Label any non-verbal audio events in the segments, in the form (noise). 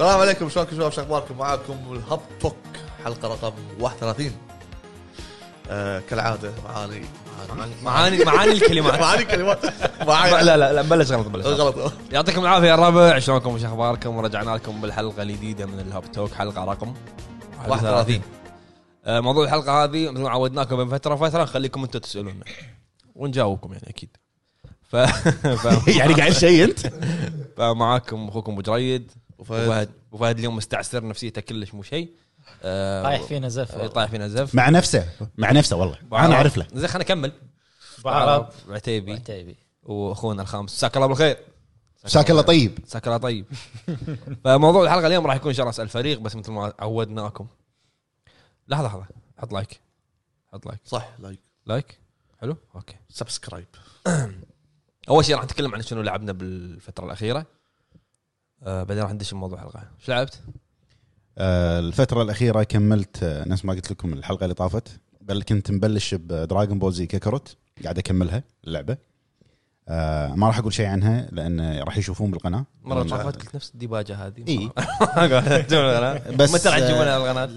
عليكم شلونكم شباب شو اخباركم معاكم الهب توك حلقه رقم 31 آه كالعاده معاني معاني معاني الكلمات معاني كلمات لا معاني (laughs) لا لا بلش غلط بلش غلط. غلط يعطيكم العافيه يا الربع شلونكم وش اخباركم رجعنا لكم بالحلقه الجديده من الهاب توك حلقه رقم 31 آه، موضوع الحلقه هذه مثل ما عودناكم بين فتره وفتره نخليكم انتم تسالون ونجاوبكم يعني اكيد ف... (laughs) ف... (laughs) (laughs) يعني قاعد شيء انت فمعاكم اخوكم ابو جريد وفهد وفهد وفهد اليوم مستعسر نفسيته كلش مو شيء آه، طايح فينا زف آه، طايح فينا زف مع نفسه مع نفسه والله انا اعرف له زين خلينا نكمل آه، بعرب عتيبي عتيبي واخونا الخامس مساك الله بالخير شاك الله طيب مساك الله طيب (laughs) فموضوع الحلقه اليوم راح يكون ان شاء الله اسال فريق بس مثل ما عودناكم لحظه لحظه حط لايك حط لايك صح لايك لايك حلو اوكي سبسكرايب اول شيء راح نتكلم عن شنو لعبنا بالفتره الاخيره آه بعدين راح ندش بموضوع الحلقه ايش لعبت؟ آه، الفترة الأخيرة كملت آه، نفس ما قلت لكم الحلقة اللي طافت بل كنت مبلش بدراجون بول زي كاكاروت قاعد أكملها اللعبة آه، ما راح أقول شيء عنها لأن راح يشوفون بالقناة مره طبعاً، طافت قلت نفس الديباجه هذه (laughs) (laughs) إي. بس بس، متى راح تجيبون آه، القناه؟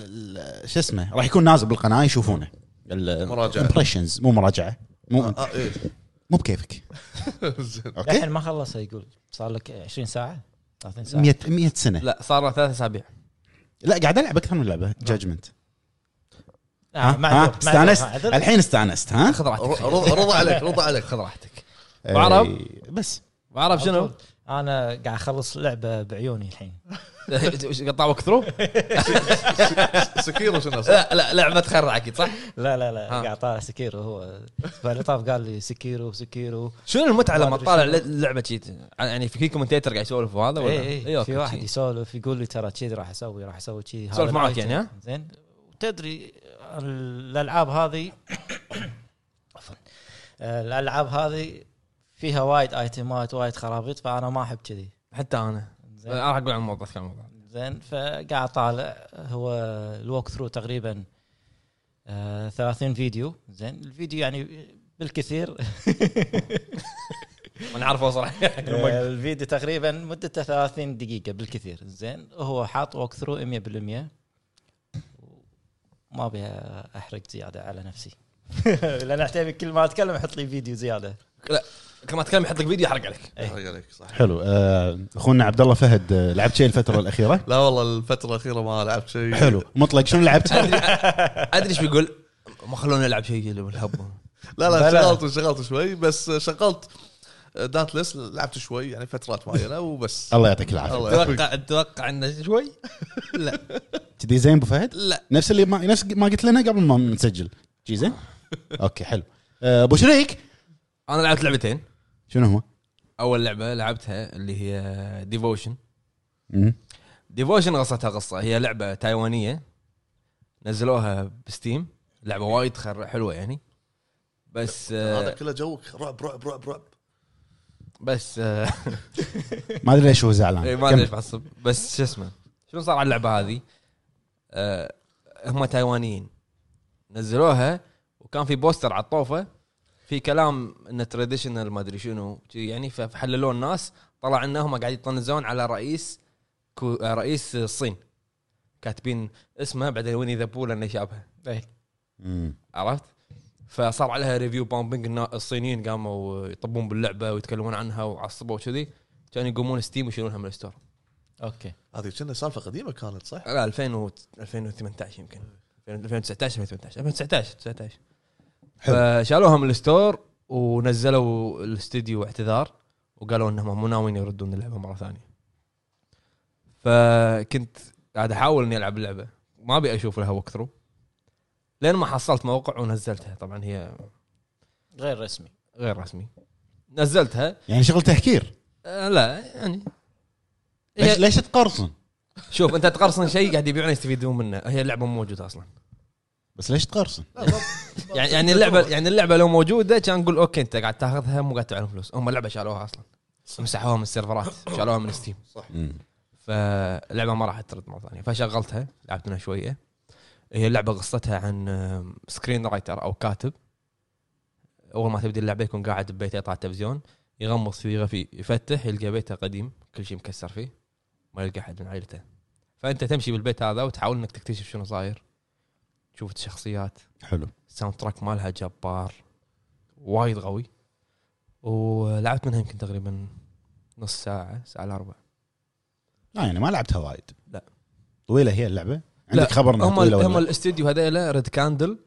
آه، شو اسمه راح يكون نازل بالقناة يشوفونه مراجعة. امبريشنز مو مراجعة مو آه، إيه. مو بكيفك (laughs) زين. الحين اوكي ما خلص يقول صار لك 20 ساعه 30 ساعه 100 100 سنة لا صار له ثلاث اسابيع لا قاعد ألعب أكثر من لعبة جادجمنت آه، معذور، معذور، استانست معذور. الحين استانست ها خذ راحتك ر- رضا رضا عليك رضا عليك خذ راحتك أي، بعرب. بس بعرف شنو؟ انا قاعد اخلص لعبه بعيوني الحين قطعوك ثرو؟ سكيرو شنو صح؟ لا لا لعبه خرع اكيد صح؟ لا لا لا ها. قاعد طالع سكيرو هو فالطاف قال لي سكيرو سكيرو شنو المتعه لما ما أدري تطالع شنو. ل- لعبه شيت يعني في كومنتيتر قاعد يسولف وهذا ولا؟ اي اي أيوه، أوكي، إيه، في واحد شي. يسولف يقول لي ترى كذي راح اسوي راح اسوي كذي هذا يسولف معك الآيتم. يعني، ها؟ زين وتدري الالعاب هذه (coughs) عفواً. الالعاب هذه فيها وايد ايتمات وايد خرابيط فانا ما احب كذي حتى انا زين انا راح اقول عن الموضوع كان الموضوع زين فقاعد طالع هو الووك ثرو تقريبا آه 30 فيديو زين الفيديو يعني (laughs) بالكثير انا عارفه صراحه آه، الفيديو تقريبا مدته 30 دقيقه بالكثير زين هو حاط ووك ثرو 100% ما ابي احرق زياده على نفسي (laughs) لان احتاج كل ما اتكلم احط لي فيديو زياده كل ما تكلم يحط لك فيديو يحرق عليك إيه. رضا عليك صح حلو آه، اخونا عبد الله فهد آه، لعبت شيء الفتره الاخيره لا والله الفتره الاخيره ما لعبت شيء حلو مطلق شنو لعبت ادري ايش بيقول ما خلونا نلعب شيء اللي بالهب لا لا بلا. شغلت شغلت شوي بس شغلت دانتلس لعبت شوي يعني فترات معينه (laughs) وبس الله يعطيك العافيه الله يعافيك. اتوقع اتوقع انه شوي كذي زين ابو فهد لا نفس اللي ما نفس ما قلت لنا قبل ما نسجل جي زين اوكي حلو آه، ابو شريك انا لعبت لعبتين شنو هو اول لعبه لعبتها اللي هي ديفوشن مم. ديفوشن قصتها قصه هي لعبه تايوانيه نزلوها بستيم لعبه وايد خر- حلوه يعني بس هذا آه، كله جوك رعب رعب رعب رعب بس آه، ما ادري ليش هو إيه، زعلان ما ادري ليش كمل. بعصب بس شو اسمه شنو صار على اللعبه هذه؟ آه هم تايوانيين نزلوها وكان في بوستر على الطوفه في كلام انه تراديشنال ما ادري شنو شي يعني فحللوه الناس طلع انهم قاعد يطنزون على رئيس كو آه، رئيس الصين كاتبين اسمه بعدين وين يذبوه لانه شابه مم. عرفت؟ فصار عليها ريفيو بامبنج النا- الصينيين قاموا يطبون باللعبه ويتكلمون عنها وعصبوا وكذي كانوا يقومون ستيم ويشيلونها من الستور اوكي هذه كنا سالفه قديمه كانت صح؟ لا 2000 و 2018 يمكن 2019 2018 2019 19 حلو. فشالوها من الستور ونزلوا الاستديو اعتذار وقالوا انهم مو ناويين يردون اللعبه مره ثانيه فكنت قاعد احاول اني العب اللعبه ما ابي اشوف لها وقت ثرو لين ما حصلت موقع ونزلتها طبعا هي غير رسمي غير رسمي نزلتها يعني شغل تهكير أه لا يعني ليش, هي- ليش تقرصن شوف انت تقرصن شيء قاعد يبيعونه يستفيدون منه هي اللعبه مو موجوده اصلا بس ليش تقرصن يعني يعني اللعبه يعني اللعبه لو موجوده كان نقول اوكي انت قاعد تاخذها مو قاعد تعلم فلوس هم اللعبه شالوها اصلا مسحوها من السيرفرات شالوها من ستيم مم. فاللعبه ما راح ترد مره ثانيه فشغلتها لعبت منها شويه هي اللعبه قصتها عن آم، سكرين رايتر او كاتب اول ما تبدي اللعبه يكون قاعد ببيته يطلع التلفزيون يغمض فيه يغفي يفتح يلقى بيته قديم كل شيء مكسر فيه ما يلقى احد من عائلته فانت تمشي بالبيت هذا وتحاول انك تكتشف شنو صاير تشوف الشخصيات حلو الساوند تراك مالها جبار وايد قوي ولعبت منها يمكن تقريبا نص ساعه ساعه الا ربع لا يعني ما لعبتها وايد لا. طويله هي اللعبه لا، عندك خبر انها هم طويله هم ولا الاستوديو هذيلا ريد كاندل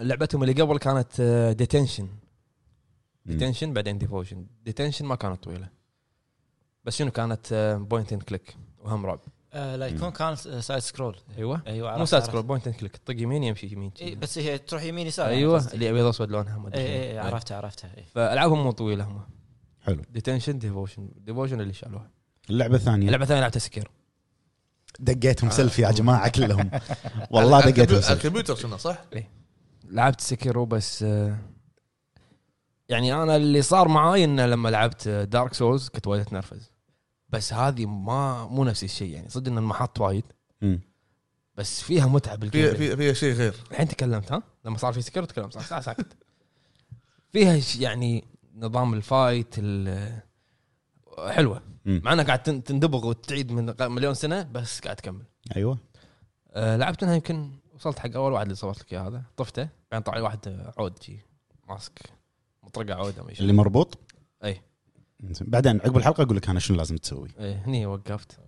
لعبتهم اللي قبل كانت ديتنشن مم. ديتنشن بعدين ديفوشن ديتنشن ما كانت طويله بس شنو كانت آه، بوينت اند كليك وهم رعب آه لا يكون كان سايد سكرول ايوه ايوه مو عرفت- سايد عرفت. سكرول بوينت اند كليك طق يمين يمشي يمين إي، بس إيه، هي تروح يمين يسار يعني ايوه اللي ابيض اسود لونها ما اي اي اي شنو. عرفتها عرفتها إيه. اي فالعابهم مو طويله هم حلو ديتنشن ديفوشن ديفوشن اللي شالوها اللعبه الثانيه اللعبه الثانيه لعبتها سكير دقيتهم سيلفي يا جماعه كلهم والله على دقيتهم الكمبيوتر- على سيلفي الكمبيوتر كنا صح؟ لعبت سكيرو بس آه، يعني انا اللي صار معاي انه لما لعبت دارك سولز كنت وايد اتنرفز بس هذه ما مو نفس الشيء يعني صدق ان المحط وايد مم. بس فيها متعه في بالجيم في في شيء غير الحين تكلمت ها لما صار في سكر تكلمت صار ساعه ساكت فيها ش- يعني نظام الفايت ال- حلوه مم. مع انها قاعد تن- تندبغ وتعيد من ق- مليون سنه بس قاعد تكمل ايوه أه لعبت منها يمكن وصلت حق اول واحد اللي صورت لك اياه هذا طفته بعدين طلع لي واحد آه، عود جي ماسك مطرقه عود او شيء اللي مربوط اي زين. بعدين عقب الحلقه اقول لك انا شنو لازم تسوي إي، إيه، هني وقفت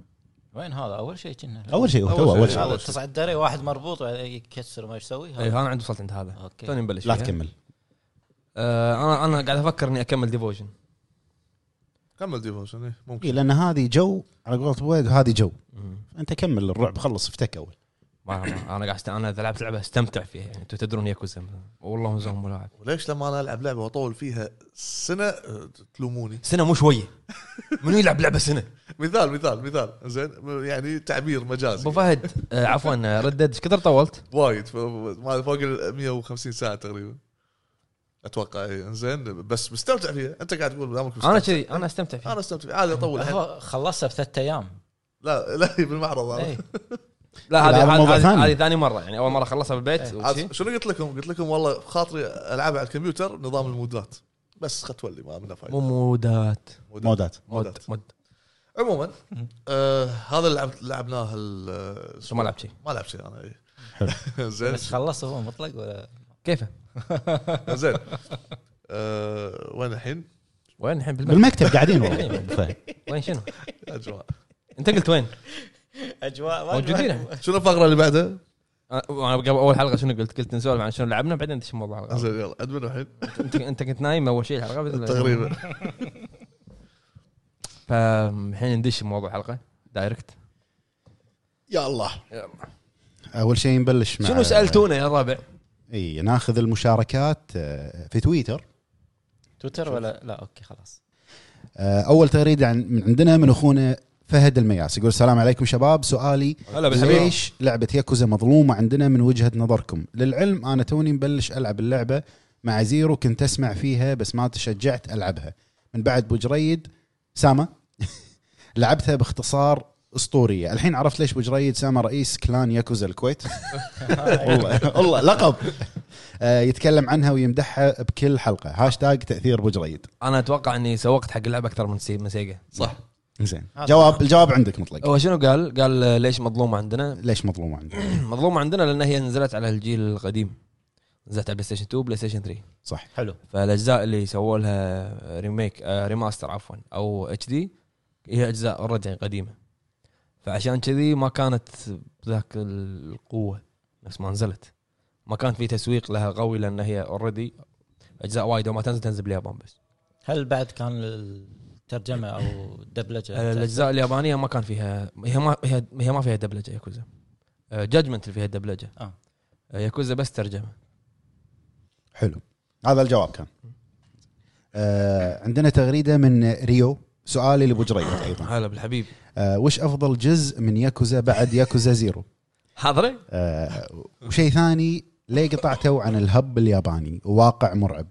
وين هذا اول شيء كنا اول شيء هو أول تو شيء. اول شيء هذا إيه. تصعد الدري واحد مربوط يكسر ما يسوي اي انا إيه، عندي وصلت عند هذا اوكي توني مبلش لا فيها. تكمل أه انا انا قاعد افكر اني اكمل ديفوجن كمل ديفوشن إيه، إيه ممكن لان هذه جو على قولة بويد هذه جو انت كمل الرعب خلص افتك اول ما ما- انا قاعد است... انا اذا لعبت لعبه استمتع فيها يعني انتم تدرون ياكوزا والله زهم ملاعب وليش لما انا العب لعبه واطول فيها سنه آه، تلوموني سنه مو شويه منو يلعب لعبه سنه؟ مثال مثال مثال زين يعني تعبير ابو مجازي فهد آه، عفوا ردد ايش كثر طولت؟ وايد ف- ما فوق ال 150 ساعه تقريبا اتوقع إيه، زين بس مستمتع فيها انت قاعد تقول دامك مستمتع انا كذي انا استمتع فيها انا استمتع فيها عادي اطول الحين. هو خلصها بثلاث إيه. ايام لا لا هي بالمعرض أنا. (laughs) اي لا هذا هذه موضوع هذه- ثاني. هذه ثاني مره يعني اول مره خلصها بالبيت وشي. عاد شنو قلت لكم؟ قلت لكم والله خاطري العبها على الكمبيوتر نظام المودات بس خت ولي ما منها فايده مو مودات مودات. مودات مود مودات. مود عموما آه هذا اللي لعبت لعبناه ال- شو ما لعبت شيء ما لعب شيء انا إيه. (laughs) زين بس خلصه هو مطلق ولا كيفه؟ زين آه وين الحين؟ وين الحين بالمكتب بالمكتب قاعدين والله أبو فهد. وين شنو؟ يا جماعه انت قلت (laughs) وين؟ اجواء ما (laughs) موجودين أجواء. (laughs) احنا شنو الفقره اللي بعدها؟ أنا- انا قبل اول حلقه شنو قلت؟ قلت نسولف عن شنو لعبنا بعدين ندش موضوع الحلقة. زين يلا ادمن الحين انت انت كنت نايم اول شيء الحلقه بعدين- تقريبا فالحين ندش موضوع الحلقه دايركت يا الله اول شيء نبلش مع شنو سالتونا يا الربع؟ اي ناخذ المشاركات آه، في تويتر تويتر ولا لا اوكي خلاص آه، اول تغريده عن من عندنا من اخونا فهد المياس يقول السلام عليكم شباب سؤالي هلا بالحبيب ليش لعبه ياكوزا مظلومه عندنا من وجهه نظركم للعلم انا توني مبلش العب اللعبه مع زيرو كنت اسمع فيها بس ما تشجعت العبها من بعد بو جريد سامه (laughs) لعبتها باختصار اسطوريه الحين عرفت ليش بو جريد سامه رئيس كلان ياكوزا الكويت والله والله لقب آه، يتكلم عنها ويمدحها بكل حلقه هاشتاج تاثير بو جريد انا اتوقع اني سوقت حق اللعبه اكثر من سي... من سيجا صح زين هذا جواب الجواب عندك مطلق هو شنو قال؟ قال آه، ليش مظلومه عندنا؟ (clears throat) ليش مظلومه عندك مظلومه عندنا لان هي نزلت على الجيل القديم نزلت على بلاي ستيشن 2 بلاي ستيشن 3 صح حلو فالاجزاء اللي سووا لها ريميك آه، ريماستر عفوا او اتش دي هي اجزاء اوريدي قديمه فعشان كذي ما كانت بذاك القوه نفس ما نزلت ما كان في تسويق لها قوي لان هي اوريدي اجزاء وايد وما تنزل تنزل باليابان بس هل بعد كان الترجمه او الدبلجه الاجزاء اليابانيه ما كان فيها هي ما هي, هي ما فيها دبلجه ياكوزا جادجمنت اللي فيها دبلجه آه. آه، ياكوزا بس ترجمه حلو هذا الجواب كان آه عندنا تغريده من ريو سؤالي لابو جريد ايضا هلا بالحبيب آه وش افضل جزء من ياكوزا بعد ياكوزا زيرو حاضره آه وشيء ثاني ليه قطعتوا عن الهب الياباني واقع مرعب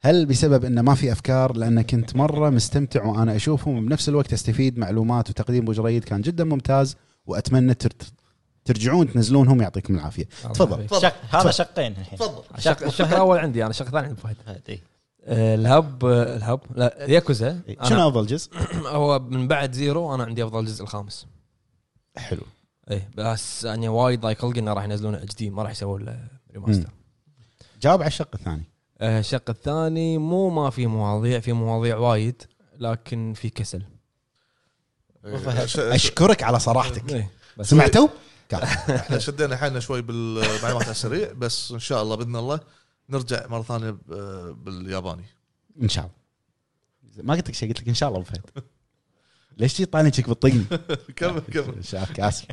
هل بسبب انه ما في افكار لان كنت مره مستمتع وانا اشوفهم وبنفس الوقت استفيد معلومات وتقديم ابو جريد كان جدا ممتاز واتمنى تر- ترجعون تنزلونهم يعطيكم العافيه تفضل. تفضل شق هذا شقين الحين إيه. تفضل الشق الشق الاول عندي انا الشق الثاني عند فهد فهد، إي. آه، الهب آه، الهب لا ياكوزا شنو إيه، أنا (clears throat) افضل جزء هو من بعد زيرو انا عندي افضل جزء الخامس حلو اي بس يعني وايد ضايق خلق انه راح ينزلونه اتش دي ما راح يسوون له ريماستر جاوب على الشق الثاني آه، الشق الثاني مو ما في مواضيع في مواضيع وايد لكن في كسل إيه، ش- ش- اشكرك على (laughs) صراحتك إيه، بس سمعتوا؟ احنا شدينا حالنا شوي بالمعلومات على السريع بس ان شاء الله باذن الله نرجع مره ثانيه ب- بالياباني ان شاء الله ما قلت لك شيء قلت لك ان شاء الله ابو فهد ليش تجي طالع (laughs) شك بتطقني؟ كمل كمل شاك اسف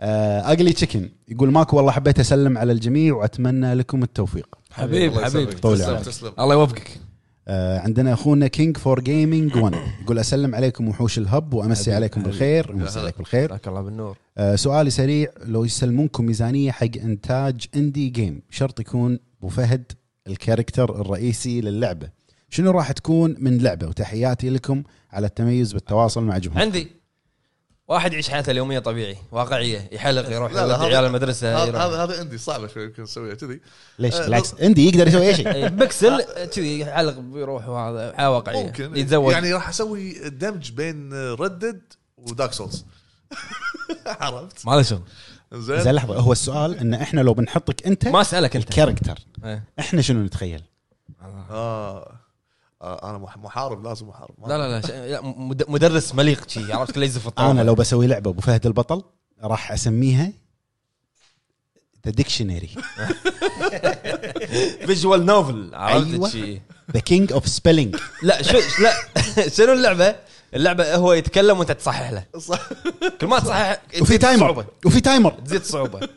آه، اقلي تشيكن يقول ماكو والله حبيت اسلم على الجميع واتمنى لكم التوفيق حبيب الله حبيب يسلمك. طول تسلم عمرك. تسلم الله يوفقك آه، عندنا اخونا كينج فور جيمنج 1 يقول اسلم عليكم وحوش الهب وامسي حبيبي، عليكم حبيبي. بالخير يا امسي هلا. عليك بالخير جزاك الله بالنور آه، سؤالي سريع لو يسلمونكم ميزانيه حق انتاج اندي جيم شرط يكون ابو فهد الكاركتر الرئيسي للعبه شنو راح تكون من لعبه وتحياتي لكم على التميز بالتواصل مع جمهور عندي واحد يعيش حياته اليوميه طبيعي واقعيه يحلق يروح لا، لا، يودي هذا- عيال المدرسه هذا يروح. هذا- هذا عندي صعبه شوي يمكن نسويها كذي ليش آه، بالعكس اندي يقدر يسوي اي (laughs) شيء (laughs) إيه، بكسل كذي يحلق بيروح وهذا حياه واقعيه ممكن يتزوج يعني راح اسوي دمج بين ردد ودارك سولز (laughs) عرفت ما له شغل زين زين لحظه هو السؤال ان احنا لو بنحطك انت ما اسالك انت الكاركتر إيه. احنا شنو نتخيل؟ آه. آه انا مح- محارب لازم محارب لا لا لا ش- لا مد- مدرس مليق شي عرفت كله يزف الطاوله انا لو بسوي لعبه ابو فهد البطل راح اسميها ذا ديكشنري فيجوال نوفل أيوة. عرفت شي ذا كينج اوف سبيلينج لا شو لا (laughs) شنو اللعبه؟ اللعبه هو يتكلم وانت تصحح له صح كل ما تصحح وفي تزيد تايمر صعوبه وفي تايمر تزيد صعوبه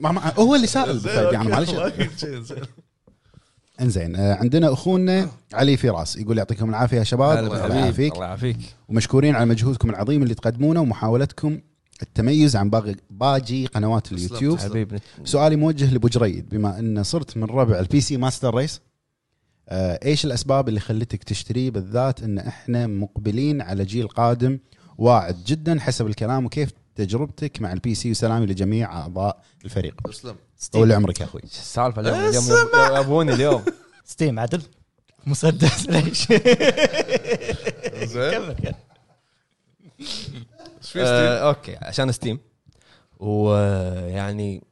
ما ما هو اللي سائل أبو زين، فهد (laughs) يعني أوكي، معلش ما يجيب شيء، زين. انزين آه، عندنا اخونا علي فراس يقول يعطيكم العافيه يا شباب الله يعافيك الله يعافيك ومشكورين على مجهودكم العظيم اللي تقدمونه ومحاولتكم التميز عن باقي باقي قنوات تسلم، اليوتيوب تسلم. حبيبنا سؤالي موجه لابو جريد بما ان صرت من ربع البي سي ماستر ريس آه، ايش الاسباب اللي خلتك تشتريه بالذات ان احنا مقبلين على جيل قادم واعد جدا حسب الكلام وكيف تجربتك مع البي سي وسلامي لجميع اعضاء الفريق تسلم طول عمرك يا اخوي شو السالفه اليوم اليوم يب- يبوني اليوم ستيم عدل مسدس (laughs) ليش؟ زين كمل كمل. ايش في ستيل؟ آه، اوكي عشان ستيم ويعني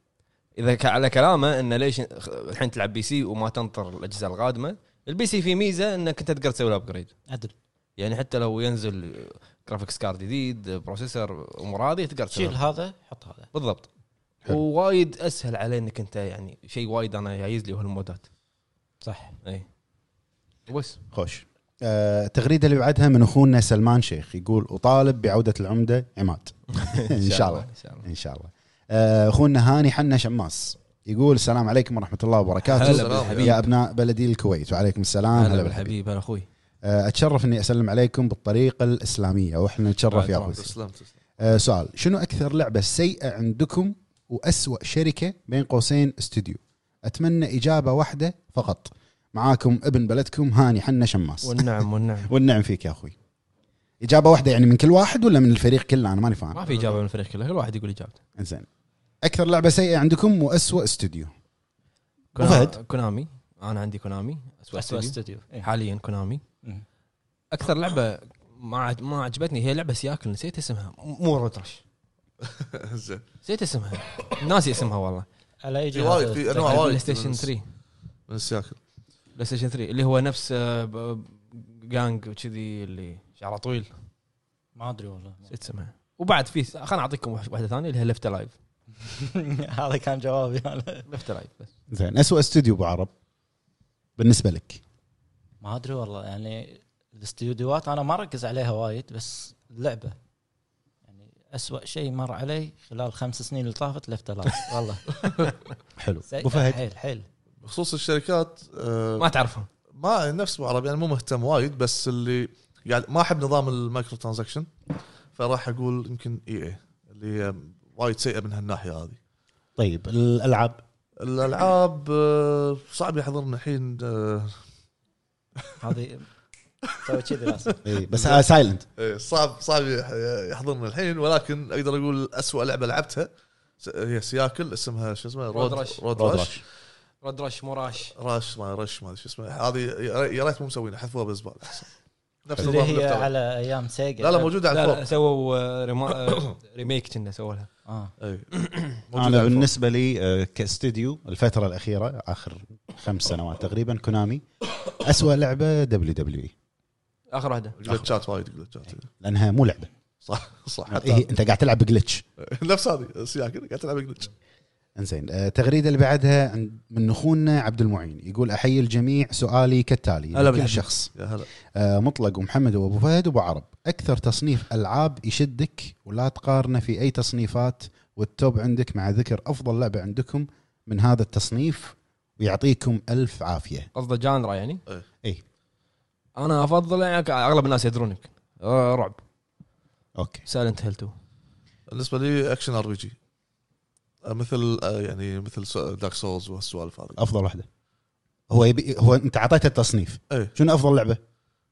اذا ك- على كلامه انه ليش خ- الحين تلعب بي سي وما تنطر الاجهزه القادمه البي سي فيه ميزه انك انت تقدر تسوي له ابجريد عدل يعني حتى لو ينزل جرافيكس كارد جديد بروسيسور امور هذه تقدر تسوي شيل هذا حط هذا بالضبط حلو. ووايد اسهل عليه انك انت يعني شيء وايد انا جايز لي هالمودات صح اي (laughs) بس خوش آه، التغريده اللي بعدها من اخونا سلمان شيخ يقول اطالب بعوده العمده عماد ان شاء الله ان شاء الله ان شاء الله آه، اخونا هاني حنا شماس يقول السلام عليكم ورحمه الله وبركاته هلا بالحبيب. يا ابناء بلدي الكويت وعليكم السلام هلا هلا بالحبيب بالحبيب هلا اخوي آه، اتشرف اني اسلم عليكم بالطريقه الاسلاميه واحنا نتشرف يا طبعاً. اخوي تسلم تسلم آه، سؤال شنو اكثر لعبه سيئه عندكم واسوا شركه بين قوسين استوديو اتمنى اجابه واحده فقط معاكم ابن بلدكم هاني حنا شماس والنعم والنعم والنعم فيك يا اخوي اجابه واحده يعني من كل واحد ولا من الفريق كله انا ماني (laughs) فاهم ما في اجابه من الفريق كله كل واحد يقول اجابته زين اكثر لعبه سيئه عندكم واسوا استوديو كونا- فهد؟ كونامي انا عندي كونامي اسوأ أسوأ استوديو استوديو إيه. حاليا كونامي مم. اكثر لعبه ما عج- ما عجبتني هي لعبه سياكل نسيت اسمها م- مو رود رش زين نسيت اسمها ناسي اسمها والله على اي في جهاز وايد في انواع وايد بلاي ستيشن 3 من السياكل بلاي ستيشن 3 اللي هو نفس آه، ب- ب- جانج وكذي اللي شعره طويل ما ادري والله نسيت اسمها وبعد في خليني اعطيكم واحد- واحده ثانيه اللي هي ليفت لايف (laughs) هذا كان جوابي انا ليفت لايف بس زين اسوا استوديو ابو عرب بالنسبه لك ما ادري والله يعني الاستديوهات انا ما ركز عليها وايد بس اللعبه يعني اسوأ شيء مر علي خلال خمس سنين اللي طافت لفت (laughs) لايف والله حلو سيء ابو فهد حيل حيل بخصوص الشركات آه، ما تعرفهم ما نفس ابو عرب يعني مو مهتم وايد بس اللي قاعد ما احب نظام المايكرو ترانزكشن فراح اقول يمكن اي اي اللي هي وايد سيئه من هالناحيه هذه طيب الالعاب الالعاب آه، صعب يحضرنا الحين آه، هذه سوي كذي (laughs) لازم (laughs) إيه، بس آه سايلنت إيه، صعب صعب يح- يحضرنا الحين ولكن اقدر اقول أسوأ لعبه لعبتها س- هي سياكل اسمها شو اسمها رود رش. رود رود رش رش. رود رش مو راش راش ما رش ما أدري شو اسمه هذه يا ريت مو مسوينها حذفوها بالزبال احسن نفس اللي نظام هي اللي على على ايام سيجا لا لا موجوده على لا لا الفوق سووا آه، ريما- آه، (coughs) ريميك كنا سووا لها آه. اي إيه. موجودة انا على الفوق. بالنسبه لي آه، كاستديو الفتره الاخيره اخر خمس سنوات تقريبا كونامي اسوأ لعبه دبليو دبليو اي اخر واحده جلتشات وايد جلتشات لانها مو لعبه صح صح هي حتى انت قاعد تلعب جلتش نفس هذه سياق كذا قاعد تلعب جلتش انزين آه، التغريده اللي بعدها عند- من اخونا عبد المعين يقول احيي الجميع سؤالي كالتالي هلا لكل بالحبيب. شخص يا هلا آه، مطلق ومحمد وابو فهد وابو عرب اكثر تصنيف العاب يشدك ولا تقارنه في اي تصنيفات والتوب عندك مع ذكر افضل لعبه عندكم من هذا التصنيف ويعطيكم الف عافيه قصده جانرا يعني؟ إيه. إيه. انا افضل يعني اغلب الناس يدرونك آه، رعب اوكي سايلنت هيل 2 بالنسبه لي اكشن ار بي جي مثل آه، يعني مثل دارك سولز وهالسوالف هذه افضل واحده هو يبي هو انت اعطيته التصنيف إيه. شنو افضل لعبه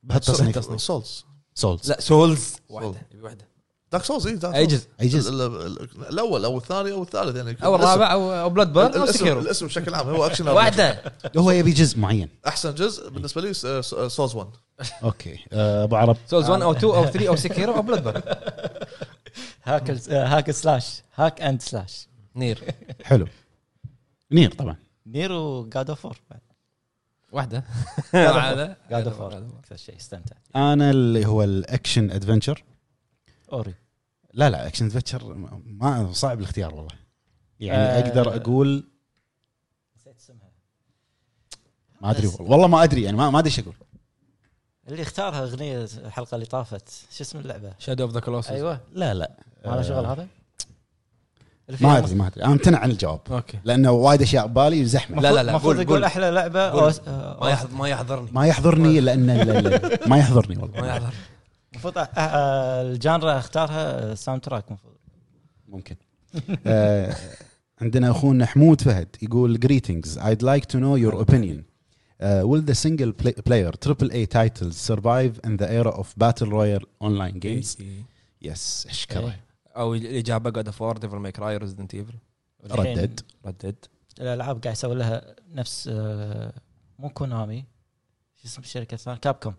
بهالتصنيف تصنيف. سولز سولز لا سولز واحده يبي واحده دارك سولز اي دارك اي سولز جزء اي جزء ال- ال- ال- الاول او الثاني او الثالث يعني او الاسم- الرابع او او بلاد بيرن او الاسم, سكيرو الاسم بشكل عام هو (laughs) اكشن RPG. واحده هو يبي جزء معين احسن جزء بالنسبه لي سولز 1 اوكي آه، ابو عرب سولز 1 او 2 او 3 (laughs) او سكيرو او بلاد بيرن هاك ال- آه، هاك سلاش هاك اند سلاش نير حلو نير طبعا نيرو جاد اوف وور (laughs) واحده جاد اوف وور اكثر شيء استمتع انا اللي هو الاكشن ادفنتشر اوري لا لا اكشن ادفنتشر ما صعب الاختيار والله يعني آه. اقدر اقول نسيت اسمها ما ادري والله والله ما ادري يعني ما ما ادري ايش اقول اللي اختارها اغنيه الحلقه اللي طافت شو اسم اللعبه؟ شادو اوف ذا كلوسس ايوه لا لا ما له شغل هذا؟ اللي فيها ما ادري ما ادري انا امتنع عن الجواب اوكي لانه وايد اشياء ببالي وزحمه لا لا لا المفروض قول يقول قول احلى لعبه قول. أو- ما آه، يحض- ما يحضرني ما يحضرني لان لا- لا- ما يحضرني ما والله يحضرني المفروض أ- أ- آه، الجانرا اختارها ساوند تراك المفروض ممكن آه، عندنا اخونا حمود فهد يقول greetings I'd like to know your opinion Uh, will the single play- player AAA titles survive in the era of battle royale online games? إيه. Yes, اشكره إيه. او الاجابه جاد اوف وور ديفل ماي كراي ريزدنت ايفل والحين ردد. ردد الالعاب قاعد يسوي لها نفس آه، مو كونامي شو اسم الشركه الثانية كابكوم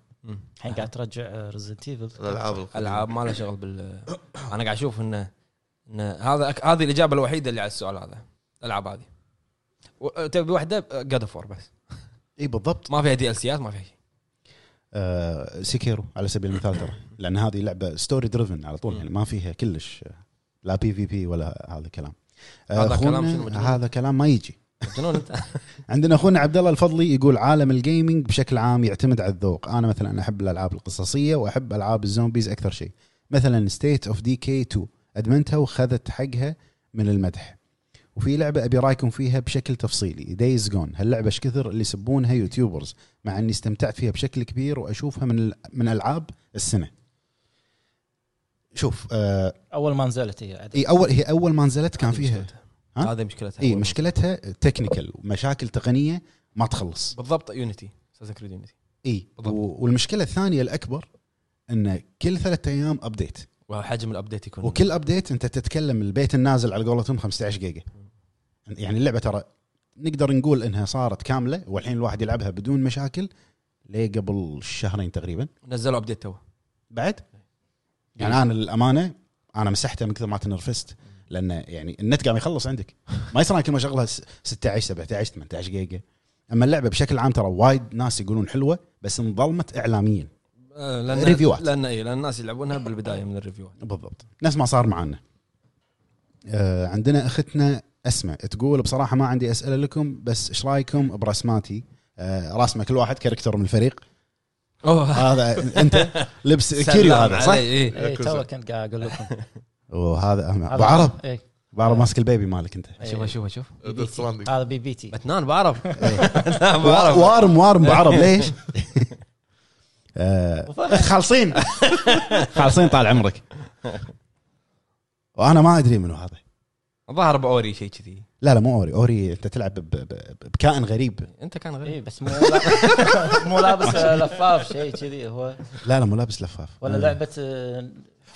الحين قاعد ترجع ريزنت ايفل الالعاب القديمة. العاب ما لها شغل بال انا قاعد اشوف انه انه هذا أك- هذه الاجابه الوحيده اللي على السؤال هذا الالعاب هذه و- أه، تبي واحده جاد اوف وور بس اي إيه، بالضبط ما فيها دي ال سيات ما فيها شيء آه سيكيرو على سبيل المثال ترى لان هذه لعبه ستوري دريفن على طول يعني ما فيها كلش آه، لا بي في بي ولا هذا الكلام آه، هذا كلام أخونا شنو مجنون؟ هذا كلام ما يجي جنون انت عندنا اخونا عبد الله الفضلي يقول عالم الجيمنج بشكل عام يعتمد على الذوق انا مثلا احب الالعاب القصصيه واحب العاب الزومبيز اكثر شيء مثلا ستيت اوف دي كي 2 ادمنتها وخذت حقها من المدح وفي لعبه ابي رايكم فيها بشكل تفصيلي دايز جون هاللعبه ايش كثر اللي يسبونها يوتيوبرز مع اني استمتعت فيها بشكل كبير واشوفها من ال- من العاب السنه شوف آه اول ما نزلت هي عاد. إي اول هي اول ما نزلت كان فيها (laughs) ها؟ هذه مشكلتها اي مشكلتها تكنيكال مشاكل تقنيه ما تخلص بالضبط يونيتي اساسن كريد يونيتي اي بالضبط. و- والمشكله الثانيه الاكبر ان كل ثلاثة ايام ابديت وحجم الابديت يكون وكل ابديت انت تتكلم البيت النازل على قولتهم 15 جيجا يعني اللعبه ترى نقدر نقول انها صارت كامله والحين الواحد يلعبها بدون مشاكل ليه قبل شهرين تقريبا نزلوا ابديت تو بعد يعني انا للامانه انا مسحته من كثر ما تنرفزت لانه يعني النت قام يخلص عندك ما يصير أنا كل ما شغلها س- 16 17 18 جيجا اما اللعبه بشكل عام ترى وايد ناس يقولون حلوه بس انظلمت اعلاميا لان ريفيوات. لان اي لان الناس يلعبونها بالبدايه من الريفيوات بالضبط نفس ما صار معنا آه عندنا اختنا اسماء تقول بصراحه ما عندي اسئله لكم بس ايش رايكم برسماتي آه راسمه كل واحد كاركتر من الفريق (laughs) اوه هذا (laughs) انت لبس كيريو هذا صح؟ اي تو كنت قاعد اقول لكم وهذا أهم- هذا- ابو عرب إي. ابو عرب ماسك البيبي مالك انت إي. شوف شوف شوف Death Stranding. آه، هذا بي بي تي بتنان بعرف (laughs) لا، بعرف (laughs) وارم وارم ابو عرب (laughs) ليش؟ آه، (laughs) خالصين خالصين طال عمرك وانا ما ادري منو هذا ظهر باوري شيء كذي لا لا مو اوري اوري انت تلعب ب- ب- بكائن غريب انت كان اي غريب إيه، بس مو (laughs) مو لابس لفاف شيء كذي هو لا لا مو لابس لفاف ولا لعبه آه،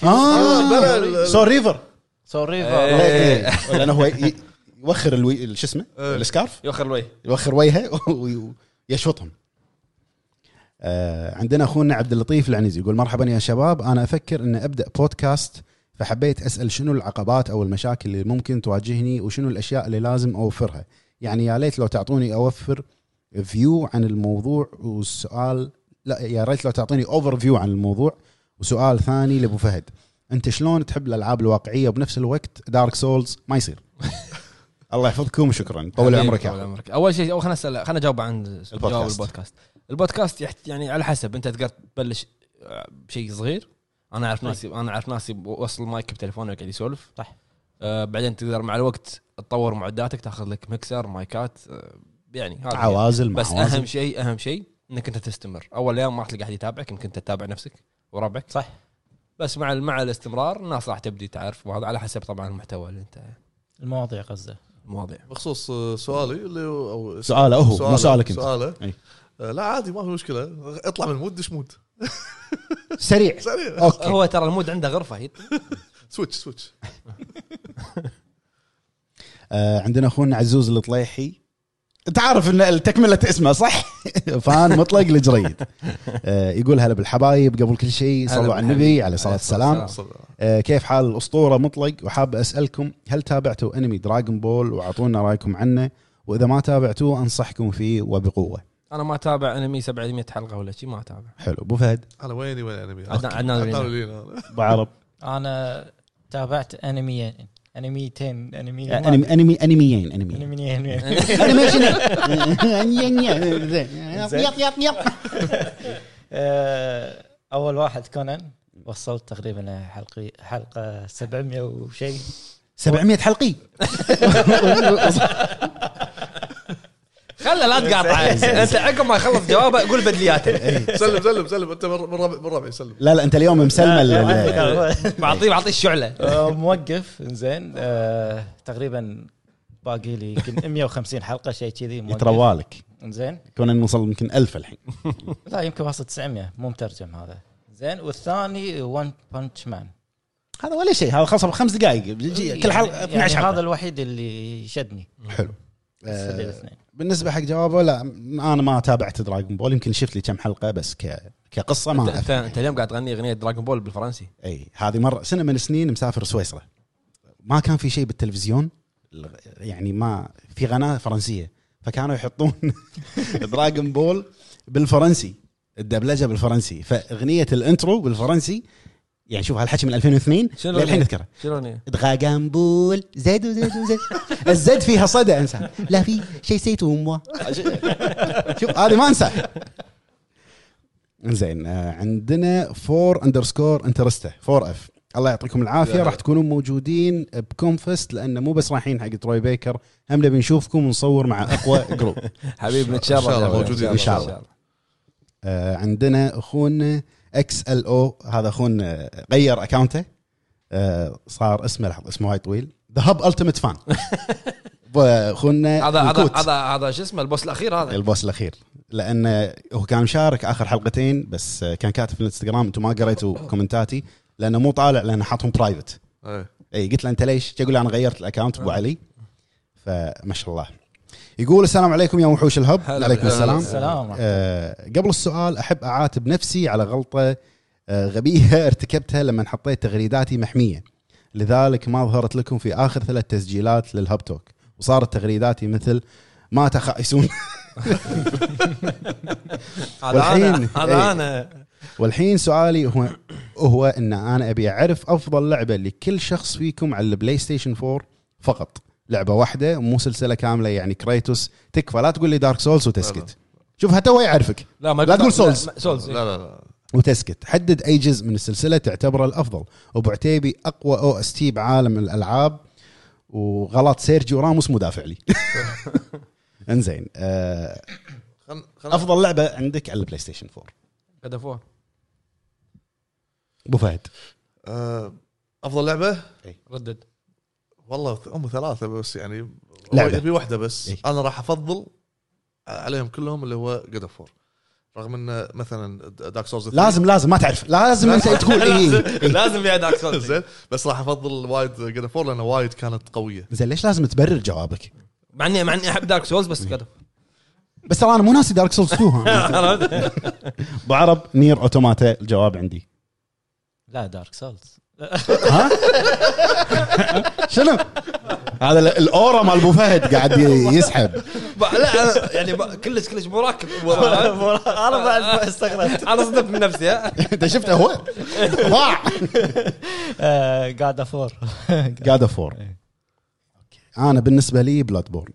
اه بلا- ال- سول ريفر سول إيه. ريفر إيه، لانه هو ي- يوخر الوي ال- شو اسمه إيه. السكارف يوخر الوي يوخر وجهه ويشوطهم آه، عندنا اخونا عبد اللطيف العنزي يقول مرحبا يا شباب انا افكر ان ابدا بودكاست فحبيت اسال شنو العقبات او المشاكل اللي ممكن تواجهني وشنو الاشياء اللي لازم اوفرها يعني يا ليت لو تعطوني اوفر فيو عن الموضوع والسؤال لا يا ريت لو تعطيني اوفر فيو عن الموضوع وسؤال ثاني لابو فهد انت شلون تحب الالعاب الواقعيه وبنفس الوقت دارك سولز ما يصير (laughs) الله يحفظكم وشكرا طول حبيبي، عمرك يا طول أحمد. عمرك اول شيء أول خلنا اسال خلنا اجاوب عن جواب البودكاست البودكاست يحت- يعني على حسب انت تقدر تبلش آه، بشيء صغير انا طيب. اعرف ناس انا اعرف ناس وصل المايك بتليفونه وقاعد يسولف صح. آه بعدين تقدر مع الوقت تطور معداتك تاخذ لك مكسر مايكات آه يعني هذا يعني. عوازل مع بس عوازل. اهم شيء اهم شيء انك انت تستمر اول ايام ما راح تلقى احد يتابعك يمكن انت تتابع نفسك وربعك صح. بس مع مع الاستمرار الناس راح تبدي تعرف وهذا على حسب طبعا المحتوى اللي انت المواضيع قصده المواضيع بخصوص آه، سؤالي اللي هو أو سؤاله هو مو سؤالك انت سؤاله أي. آه، لا عادي ما في مشكله اطلع من المود دش مود (laughs) سريع سريع اوكي هو ترى المود عنده غرفه هي سويتش سويتش آه عندنا اخونا عزوز الطليحي انت عارف ان تكمله اسمه صح؟ (laughs) فان مطلق لجريد آه يقول هلا بالحبايب قبل كل هلا شيء صلوا على بالحبيب. النبي عليه الصلاه عليه الصلاة والسلام والسلام. آه كيف حال الاسطوره مطلق وحاب اسالكم هل تابعتوا انمي دراغون بول واعطونا رايكم عنه واذا ما تابعتوه انصحكم فيه وبقوه انا ما اتابع انمي 700 حلقه ولا شيء ما اتابع حلو ابو فهد انا ويني وين انمي عدنان- أوكي. عدنان عدنان ولينا. ولينا. ابو (laughs) عرب انا تابعت انميين انميتين انميين ما- انمي انمي انميين انميين انميين انيميشن (laughs) يب يب يب آه، اول واحد كونان وصلت تقريبا حلقي حلقه 700 وشيء 700 حلقي خله لا (laughs) تقاطع إيه. انت عقب ما يخلص جوابه قول بدلياته (laughs) سلم سلم سلم انت من من ربع- من ربعي سلم لا لا انت اليوم مسلمل بعطيه بعطيه الشعله آه، موقف زين آه، تقريبا باقي لي يمكن 150 حلقه شيء كذي موقف. يتروالك زين كنا نوصل يمكن ألف الحين لا يمكن واصل 900 مو مترجم هذا زين والثاني ون بانش مان هذا ولا شيء هذا خلص بخمس دقائق كل حلقه 12 يعني هذا حلقه الوحيد اللي شدني حلو بس هذول آه، الاثنين. بالنسبه حق جوابه لا انا ما تابعت دراجون بول يمكن شفت لي كم حلقه بس ك كقصه ما انت أعرف. انت, انت اليوم قاعد تغني اغنيه دراغون بول بالفرنسي اي هذه مره سنه من السنين مسافر سويسرا ما كان في شيء بالتلفزيون يعني ما في قناه فرنسيه فكانوا يحطون (laughs) دراغون بول بالفرنسي الدبلجه بالفرنسي فاغنيه الانترو بالفرنسي يعني شوف هالحكي من 2002 شنو للحين الأغنية؟ اذكرها شنو الاغنيه؟ دراغون بول زد وزد وزد الزد فيها صدى انسى لا في شيء سيتو موا شوف هذه ما انسى زين آه، عندنا فور اندرسكور انترستا فور اف الله يعطيكم العافيه يا راح تكونون موجودين بكونفست لان مو بس رايحين حق تروي بيكر هم نبي نشوفكم ونصور مع اقوى جروب حبيبي إن شاء نتشرف الله يا أبو. موجودين إن شاء الله. آه، عندنا اخونا اكس ال او هذا اخونا غير اكاونته آه، صار اسمه لحظه اسمه وايد طويل ذا هب التيمت (laughs) فان اخونا هذا هذا الكوت، هذا هذا شو اسمه البوس الاخير هذا البوس الاخير لانه هو كان مشارك اخر حلقتين بس آه، كان كاتب في الانستغرام انتم ما قريتوا (laughs) كومنتاتي لانه مو طالع لانه حاطهم برايفت إيه. اي قلت له انت ليش؟ يقول لي انا غيرت الاكونت آه. ابو علي فما شاء الله يقول السلام عليكم يا وحوش الهب هلا عليكم بالهلا. السلام السلام عليكم. آه، قبل السؤال احب اعاتب نفسي على غلطه آه، غبيه (laughs) ارتكبتها لما حطيت تغريداتي محميه لذلك ما ظهرت لكم في اخر ثلاث تسجيلات للهب توك وصارت تغريداتي مثل ما تخايسون (laughs) هذا انا والحين- إيه. هذا انا والحين سؤالي هو هو ان انا ابي اعرف افضل لعبه لكل شخص فيكم على البلاي ستيشن 4 فقط لعبه واحده مو سلسله كامله يعني كريتوس تكفى لا تقول لي دارك سولز وتسكت شوف حتى هو يعرفك لا ما إيه. لا تقول سولز. سولز لا لا لا وتسكت حدد اي جزء من السلسله تعتبره الافضل ابو عتيبي اقوى او اس تي بعالم الالعاب وغلط سيرجيو راموس مدافع (laughs) لي انزين آه، خل خل افضل لعبه عندك على البلاي ستيشن 4 God of War. ابو فهد آه، افضل لعبه ردد والله ث- هم ثلاثه بس يعني هو لعبة. يبي واحده بس إيه. انا راح افضل عليهم كلهم اللي هو جود اوف رغم ان مثلا دارك سولز لازم لازم ما تعرف لازم (laughs) انت تقول إيه. اي لازم يا دارك سولز زين بس راح افضل وايد جود اوف لانه وايد كانت قويه زين ليش لازم تبرر جوابك؟ (laughs) مع اني مع اني احب دارك سولز بس God of War. بس ترى انا مو ناسي دارك سولز (laughs) 2 ابو عرب نير اوتوماتا الجواب عندي لا دارك (laughs) سولز (laughs) ها شنو؟ هذا ال- الاورا مال ابو فهد قاعد ي- يسحب لا أنا يعني ب- كلش كلش مراكب انا بعد ما استغربت (laughs) انا صدمت من نفسي ها انت شفته هو ضاع قاعد افور جاد اوف 4 انا بالنسبه لي بلاد بورن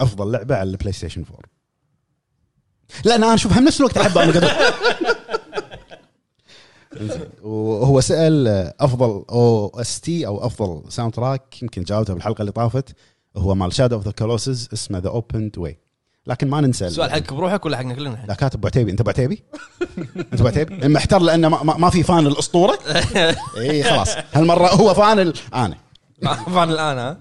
افضل لعبه على البلاي ستيشن 4 لان انا اشوفها بنفس الوقت احبها انا قدر إنزين. وهو سال افضل او اس تي او افضل ساوند تراك يمكن جاوبته بالحلقه اللي طافت هو مال شادو اوف ذا كولوسز اسمه ذا اوبن واي لكن ما ننسى سؤال حقك بروحك ولا حقنا كلنا الحين؟ لا كاتب ابو عتيبي انت ابو عتيبي؟ انت ابو عتيبي؟ محتار لانه ما, ما- ما في (laughs) فان الاسطوره اي خلاص هالمره هو فان ال- انا طبعا الان ها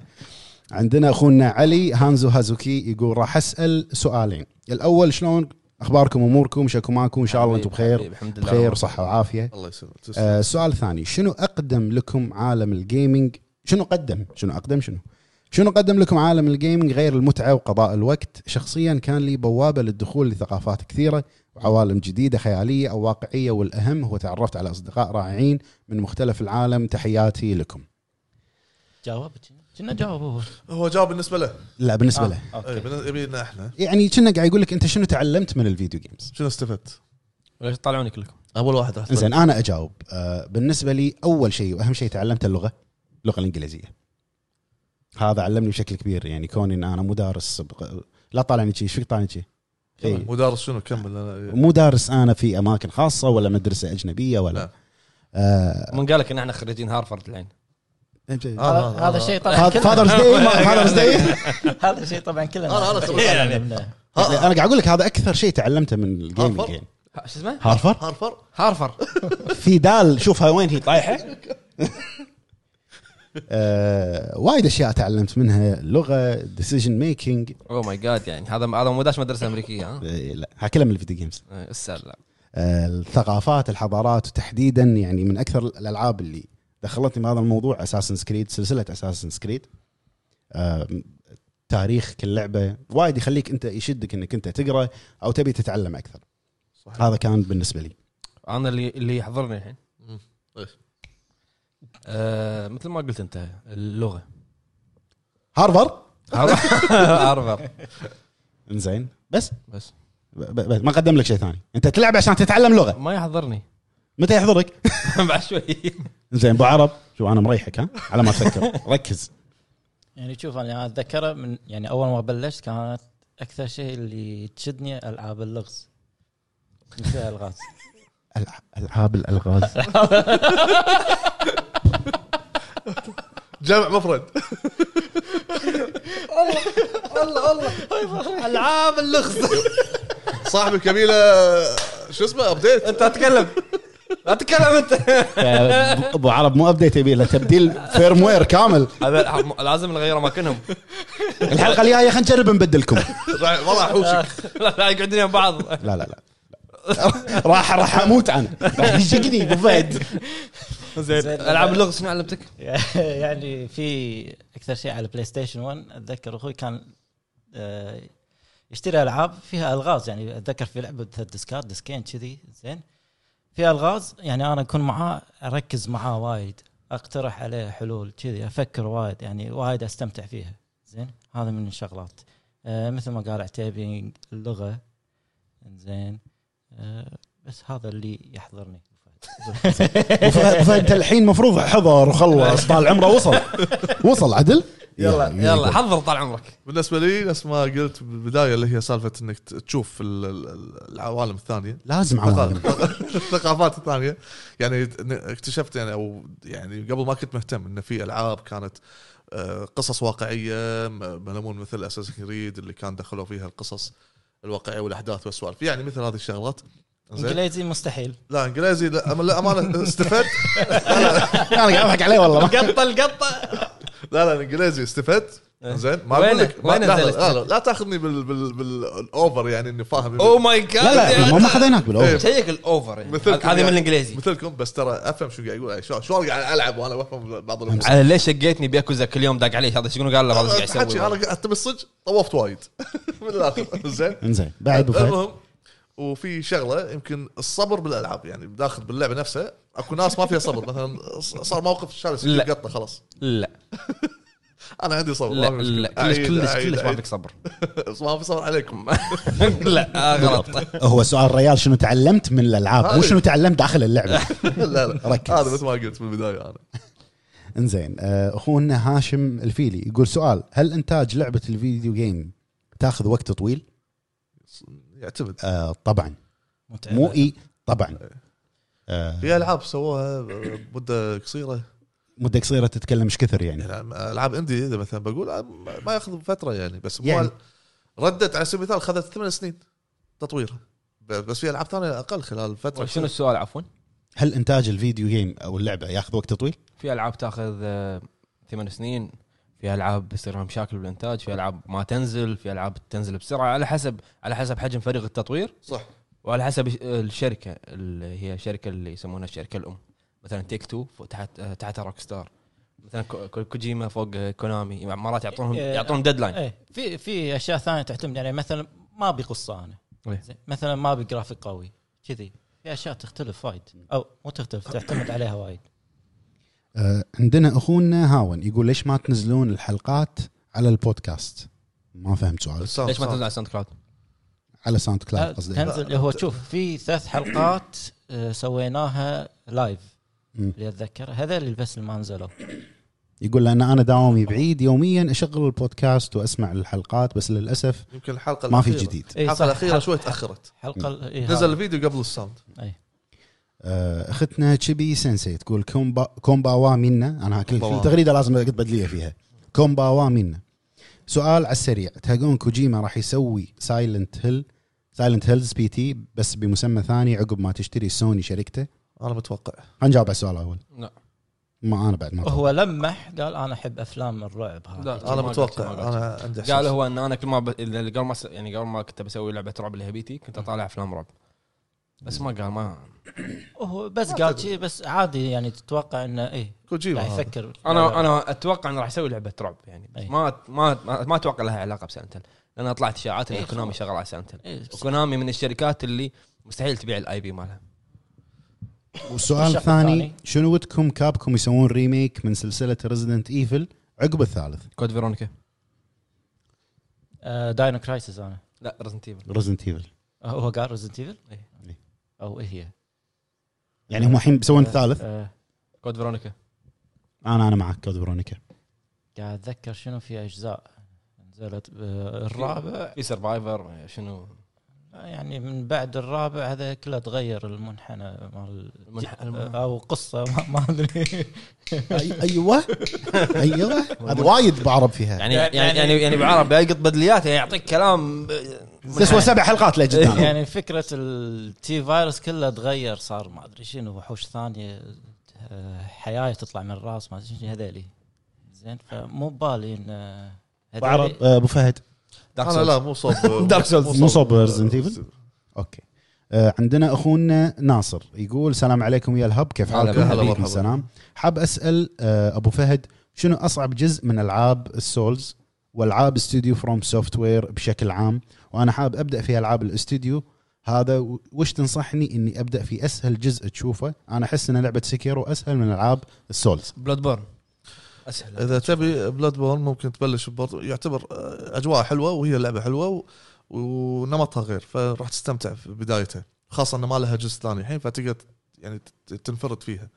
عندنا اخونا علي هانزو هازوكي يقول راح اسال سؤالين الاول شلون اخباركم اموركم شكو معكم ان شاء الله انتم بخير حبيب، الحمد لله بخير وصحه وعافيه الله يسلمك تسلم. آه، السؤال الثاني شنو اقدم لكم عالم الجيمنج شنو قدم شنو اقدم شنو شنو قدم لكم عالم الجيمنج غير المتعه وقضاء الوقت شخصيا كان لي بوابه للدخول لثقافات كثيره وعوالم جديده خياليه او واقعيه والاهم هو تعرفت على اصدقاء رائعين من مختلف العالم تحياتي لكم جاوبت كنا جاوب هو هو جاوب بالنسبه له لا بالنسبه آه، له إيه، اوكي بالن- يبينا احنا يعني كنا قاعد يقول لك انت شنو تعلمت من الفيديو جيمز شنو استفدت؟ ليش تطالعوني كلكم؟ اول واحد راح زين انا اجاوب آه، بالنسبه لي اول شيء واهم شيء تعلمت اللغه اللغه الانجليزيه هذا علمني بشكل كبير يعني كوني ان انا مدارس بق- لا طالعني شيء ايش فيك طالعني شيء إيه. مدرس شنو كمل أنا- مو دارس انا في اماكن خاصه ولا مدرسه اجنبيه ولا لا. آه، من قال لك ان احنا خريجين هارفرد الحين؟ هذا أنا- أنا- هذا شيء طبعا (laughs) فادرز داي فادرز داي هذا شيء طبعا كلنا أنا- أنا سويت يعني انا قاعد اقول لك هذا اكثر شيء تعلمته من هارفر؟ الجيمنج ها- شو اسمه؟ هارفر هارفر هارفر في دال شوفها وين هي طايحه (laughs) آه، وايد اشياء تعلمت منها لغه ديسيجن ميكينج او ماي جاد يعني هذا هذا مو داش مدرسه امريكيه ها؟ آه، لا هكلم الفيديو جيمز إيه، السلام آه، الثقافات الحضارات وتحديدا يعني من اكثر الالعاب اللي دخلتني بهذا الموضوع اساسن سكريد سلسله اساسن سكريد آه، تاريخ كل لعبه وايد يخليك انت يشدك انك انت تقرا او تبي تتعلم اكثر صحيح. هذا كان بالنسبه لي انا اللي اللي يحضرني الحين آه، مثل ما قلت انت (laughs) اللغه هارفر هارفر انزين بس بس ب- ب- بس ما قدم لك شيء ثاني انت تلعب عشان تتعلم لغه ما يحضرني متى يحضرك (laughs) (laughs) بعد شوي زين ابو عرب شو انا مريحك ها على ما تفكر (laughs) ركز يعني شوف انا اتذكره من يعني اول ما بلشت كانت اكثر شيء اللي تشدني العاب اللغز مثل الغاز ألع- العاب (laughs) الالغاز جمع مفرد الله الله العاب اللغز صاحبي كميله شو اسمه ابديت انت اتكلم اتكلم انت ابو عرب مو ابديت يبي له تبديل فيرموير كامل هذا لازم نغير (laughs) اماكنهم الحلقه الجايه خلينا نجرب نبدلكم راح- والله احوشك (laughs) لا لا، يقعدون يم بعض (laughs) لا لا لا (laughs) راح راح اموت انا راح يشقني ابو فهد زين العاب اللغز شنو علمتك؟ (laughs) يعني في اكثر شيء على بلاي ستيشن 1 اتذكر اخوي كان آه، يشتري العاب فيها الغاز يعني اتذكر في لعبه ثلاث ديسكات ديسكين كذي زين فيها الغاز يعني انا اكون معاه اركز معاه وايد اقترح عليه حلول كذي افكر وايد يعني وايد استمتع فيها زين هذا من الشغلات آه، مثل ما قال عتيبي اللغه زين آه، بس هذا اللي يحضرني ابو فهد أبو فهد الحين المفروض حضر وخلص طال عمره وصل وصل عدل يلا يلا حضر طال عمرك بالنسبه لي نفس ما قلت بالبدايه اللي هي سالفه انك ت- تشوف ال- ال- العوالم الثانيه لازم عوالم الثقافات الثانيه يعني إن- اكتشفت يعني او يعني قبل ما كنت مهتم ان في العاب كانت آه، قصص واقعيه م- ملمون مثل اساس كريد اللي كان دخلوا فيها القصص الواقعيه والاحداث والسوالف يعني مثل هذه الشغلات زين انجليزي مستحيل لا انجليزي لا أما- لا امانه استفدت انا قاعد اضحك عليه والله قطه القطه لا لا الانجليزي استفدت زين ما وين- اقول لك ما- وين لحظة، نزلت؟ لا, لا, لا تاخذني بال بال بالاوفر يعني اني فاهم او ماي جاد لا (laughs) لا ما- ما خذيناك بالاول شيك الاوفر يعني. مثلكم هذه من يعني. الانجليزي مثلكم بس ترى افهم شو قاعد يقول يعني شلون شلون قاعد العب وانا بفهم بعض الامور على ليش شقيتني بياكوزا كل يوم داق علي هذا شنو قال له هذا ايش قاعد حكي يسوي انا تبي الصج طوفت وايد (laughs) من الاخر زين إيه. انزين بعد بفهد المهم وفي شغله يمكن الصبر بالالعاب يعني داخل باللعبه نفسها اكو ناس ما فيها صبر مثلا صار موقف شالس لا. قطه خلاص لا انا عندي صبر لا ما في مشكلة. لا كلش أعيد- كلش أعيد- كلش ما أعيد. فيك (laughs) صبر ما في صبر عليكم (laughs) لا آه، غلط هو سؤال ريال شنو تعلمت من الالعاب مو شنو تعلمت داخل اللعبه لا لا ركز. هذا مثل ما قلت من البدايه انا انزين آه، اخونا هاشم الفيلي يقول سؤال هل انتاج لعبه الفيديو جيم تاخذ وقت طويل؟ يعتمد آه طبعا متعب مو اي طبعا آه في العاب سووها مده قصيره مده قصيره تتكلم ايش كثر يعني يعني العاب اندي اذا مثلا بقول آه، ما ياخذ فتره يعني بس مو يعني. يعني. ردت على سبيل المثال خذت ثمان سنين تطويرها ب- بس في العاب ثانيه اقل خلال فتره طيب، شنو السؤال عفوا؟ هل انتاج الفيديو جيم او اللعبه ياخذ وقت طويل؟ في العاب تاخذ آه، ثمان سنين في العاب يصير لها مشاكل بالانتاج في العاب ما تنزل في العاب تنزل بسرعه على حسب على حسب حجم فريق التطوير صح وعلى حسب الش- الشركه اللي هي الشركه اللي يسمونها الشركه الام مثلا تيك تو تحت آه، تحتها روك ستار مثلا كو- كو- كوجيما فوق آه، كونامي يعني مرات يعطونهم إيه. يعطونهم ديدلاين ايه في في اشياء ثانيه تعتمد يعني مثلا ما ابي قصه انا إيه. زين مثلا ما ابي جرافيك قوي كذي في اشياء تختلف وايد او مو تختلف تعتمد عليها وايد آه عندنا اخونا هاون يقول ليش ما تنزلون الحلقات على البودكاست؟ ما فهمت سؤال ليش ما تنزل على ساوند كلاود؟ على ساوند كلاود قصدي تنزل هو شوف في ثلاث حلقات آه، سويناها لايف مم. اللي اتذكر هذا اللي بس اللي ما نزلوا يقول لان انا دوامي بعيد يوميا اشغل البودكاست واسمع الحلقات بس للاسف يمكن الحلقه ما في الأخيرة. جديد إيه، صح. الحلقه الاخيره حلقة- شوي تاخرت حلقه إيه، نزل هذا. الفيديو قبل الساوند إيه. آه، اختنا تشيبي سensei تقول كومبا كومباوا منا انا كل كومباوا. كل تغريده لازم اقط بدليه فيها كومباوا منا سؤال على السريع تهاجون كوجيما راح يسوي سايلنت هيل سايلنت هيلز بي تي بس بمسمى ثاني عقب ما تشتري سوني شركته انا متوقع إيه، خلينا نجاوب على السؤال الاول لا ما انا بعد ما هو لمح قال انا احب افلام الرعب هذه لا. انا ما متوقع قلت- ما قلت. انا عندي قال إحساس. هو ان انا كل ما ب... إذا- قبل ما س... يعني قبل ما كنت بسوي لعبه رعب لهبيتي كنت اطالع افلام رعب بس ما قال ما هو بس ما قال تدري. شيء بس عادي يعني تتوقع انه ايه كوجيما قاعد هذا. يفكر انا انا اتوقع انه راح يسوي لعبه رعب يعني بس أي. ما ما ما- ما اتوقع لها علاقه بسنتل لان طلعت اشاعات ان أي كونامي خلاص. شغال على سنتل إيه، بس- وكونامي من الشركات اللي مستحيل تبيع الاي بي مالها والسؤال الشق الثاني الثاني. شنو ودكم كابكم يسوون ريميك من سلسله ريزيدنت ايفل عقب الثالث كود فيرونيكا آه، داينو كرايسيس انا لا ريزنت ايفل ريزيدنت ايفل آه، هو قال ريزنت ايفل؟ إيه. إيه. او ايه هي؟ يعني هم الحين بيسوون آه، الثالث آه، كود فيرونيكا انا انا معك كود برونيكا قاعد اتذكر شنو في اجزاء نزلت آه، الرابع في سرفايفر شنو يعني من بعد الرابع هذا كله تغير المنحنى مال المنح- آه، او قصه ما- ما ادري أي- ايوه ايوه هذا وايد بعرب فيها يعني يعني يعني يعني بالعربي يقط بدليات يعني يعطيك كلام آه، تسوى سبع حلقات لجدنا (laughs) يعني فكره التي فايروس كله تغير صار ما ادري شنو وحوش ثانيه آه، حياه تطلع من الراس ما ادري شنو هذيلي زين فمو ببالي ان آه، هذيلي- بعرب آه، ابو فهد انا لا مو صوب (laughs) Dark Souls. مو صوب Resident Evil؟ Evil. اوكي آه، عندنا اخونا ناصر يقول السلام عليكم يا الهب كيف هلا حالكم؟ بالهلا عليكم مرحبا. السلام حاب اسال آه، ابو فهد شنو اصعب جزء من العاب السولز والعاب استوديو فروم سوفت وير بشكل عام وانا حاب ابدا في العاب الاستوديو هذا و- وش تنصحني اني ابدا في اسهل جزء تشوفه انا احس ان لعبه سكيرو اسهل من العاب السولز بلاد بورن اسهل اذا تبي بلاد بورن ممكن تبلش ببرضو يعتبر آه، اجواء حلوه وهي لعبه حلوه و- ونمطها غير فراح تستمتع في بدايتها خاصه انه ما لها جزء ثاني الحين فتقدر يعني ت- تنفرد فيها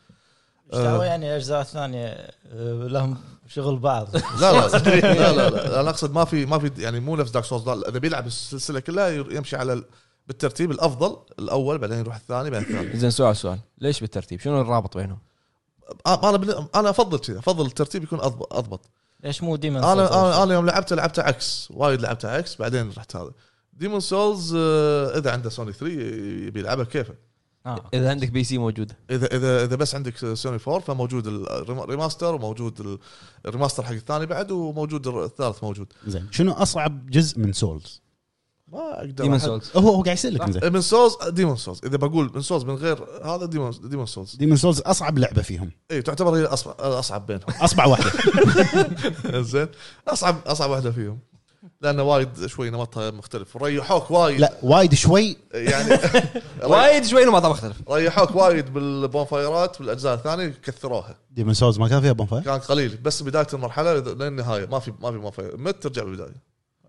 آه، إيش آه. دعوة يعني اجزاء ثانيه آه، لهم شغل بعض لا لا (laughs) لا لا, لا, انا اقصد ما في ما في يعني مو نفس دارك سولز اذا بيلعب السلسله كلها ير- يمشي على ال- بالترتيب الافضل الاول بعدين يروح الثاني بعدين الثالث زين سؤال سؤال ليش بالترتيب شنو الرابط بينهم؟ انا آه، بن- انا افضل كذا افضل الترتيب يكون اضبط اضبط ليش مو ديمن انا انا انا يوم لعبته لعبته عكس وايد لعبته عكس آه، بعدين رحت هذا ديمون سولز اذا عنده سوني 3 يبي يلعبها كيفه آه. اذا عندك بي سي موجوده اذا اذا اذا بس عندك سوني 4 فموجود الريماستر وموجود ال- الريماستر حق الثاني بعد وموجود الثالث موجود زين شنو اصعب جزء من سولز؟ ما اقدر ديمون أحد- إيه، سولز هو هو قاعد يسالك صح. زين من سولز ديمون سولز اذا بقول من سولز من غير هذا ديمون ديمون سولز ديمون سولز اصعب لعبه فيهم اي إيه، تعتبر هي الاصعب الاصعب بينهم (laughs) اصبع (laughs) واحده زين اصعب اصعب واحده فيهم لانه وايد شوي نمطها مختلف وريحوك وايد لا وايد شوي يعني (laughs) وايد شوي نمطها مختلف ريحوك وايد بالبونفايرات بالاجزاء الثانيه كثروها ديمون سولز ما كان فيها بونفاير كان قليل بس بدايه المرحله للنهايه ما في ما في بونفاير مت ترجع بالبدايه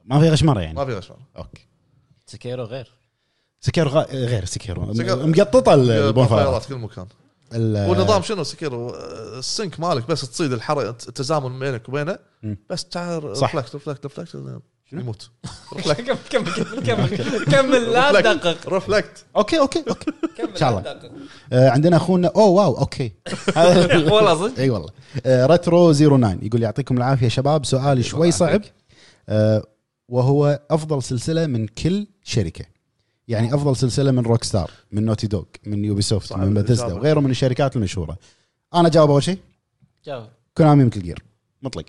ما فيها غشمره يعني ما في غشمره اوكي سكيرو غير سكيرو غ- غير سكيرو سكيرو- مقططه ال- البونفايرات بونفايرات كل مكان ال- والنظام شنو سكيرو آه، السنك مالك بس تصيد الحرق التزامن بينك وبينه مم. بس تعال صح. رفلكت رفلكت رفلكت (laughs) يموت رفلكت كمل كمل كمل (laughs) كمل لا رفلكت، تدقق رفلكت اوكي اوكي اوكي (laughs) كمل إن شاء الله. آه، عندنا اخونا اوه واو اوكي (laughs) والله (laughs) صدق اي والله آه، ريترو 09 يقول يعطيكم العافيه شباب سؤالي شوي صعب آه، وهو افضل سلسله من كل شركه يعني افضل سلسله من روك ستار من نوتي دوغ من يوبي سوفت صعب من باتيستا الإجابة. وغيره من الشركات المشهوره انا جاوب اول شيء جاوب كونامي مثل جير مطلق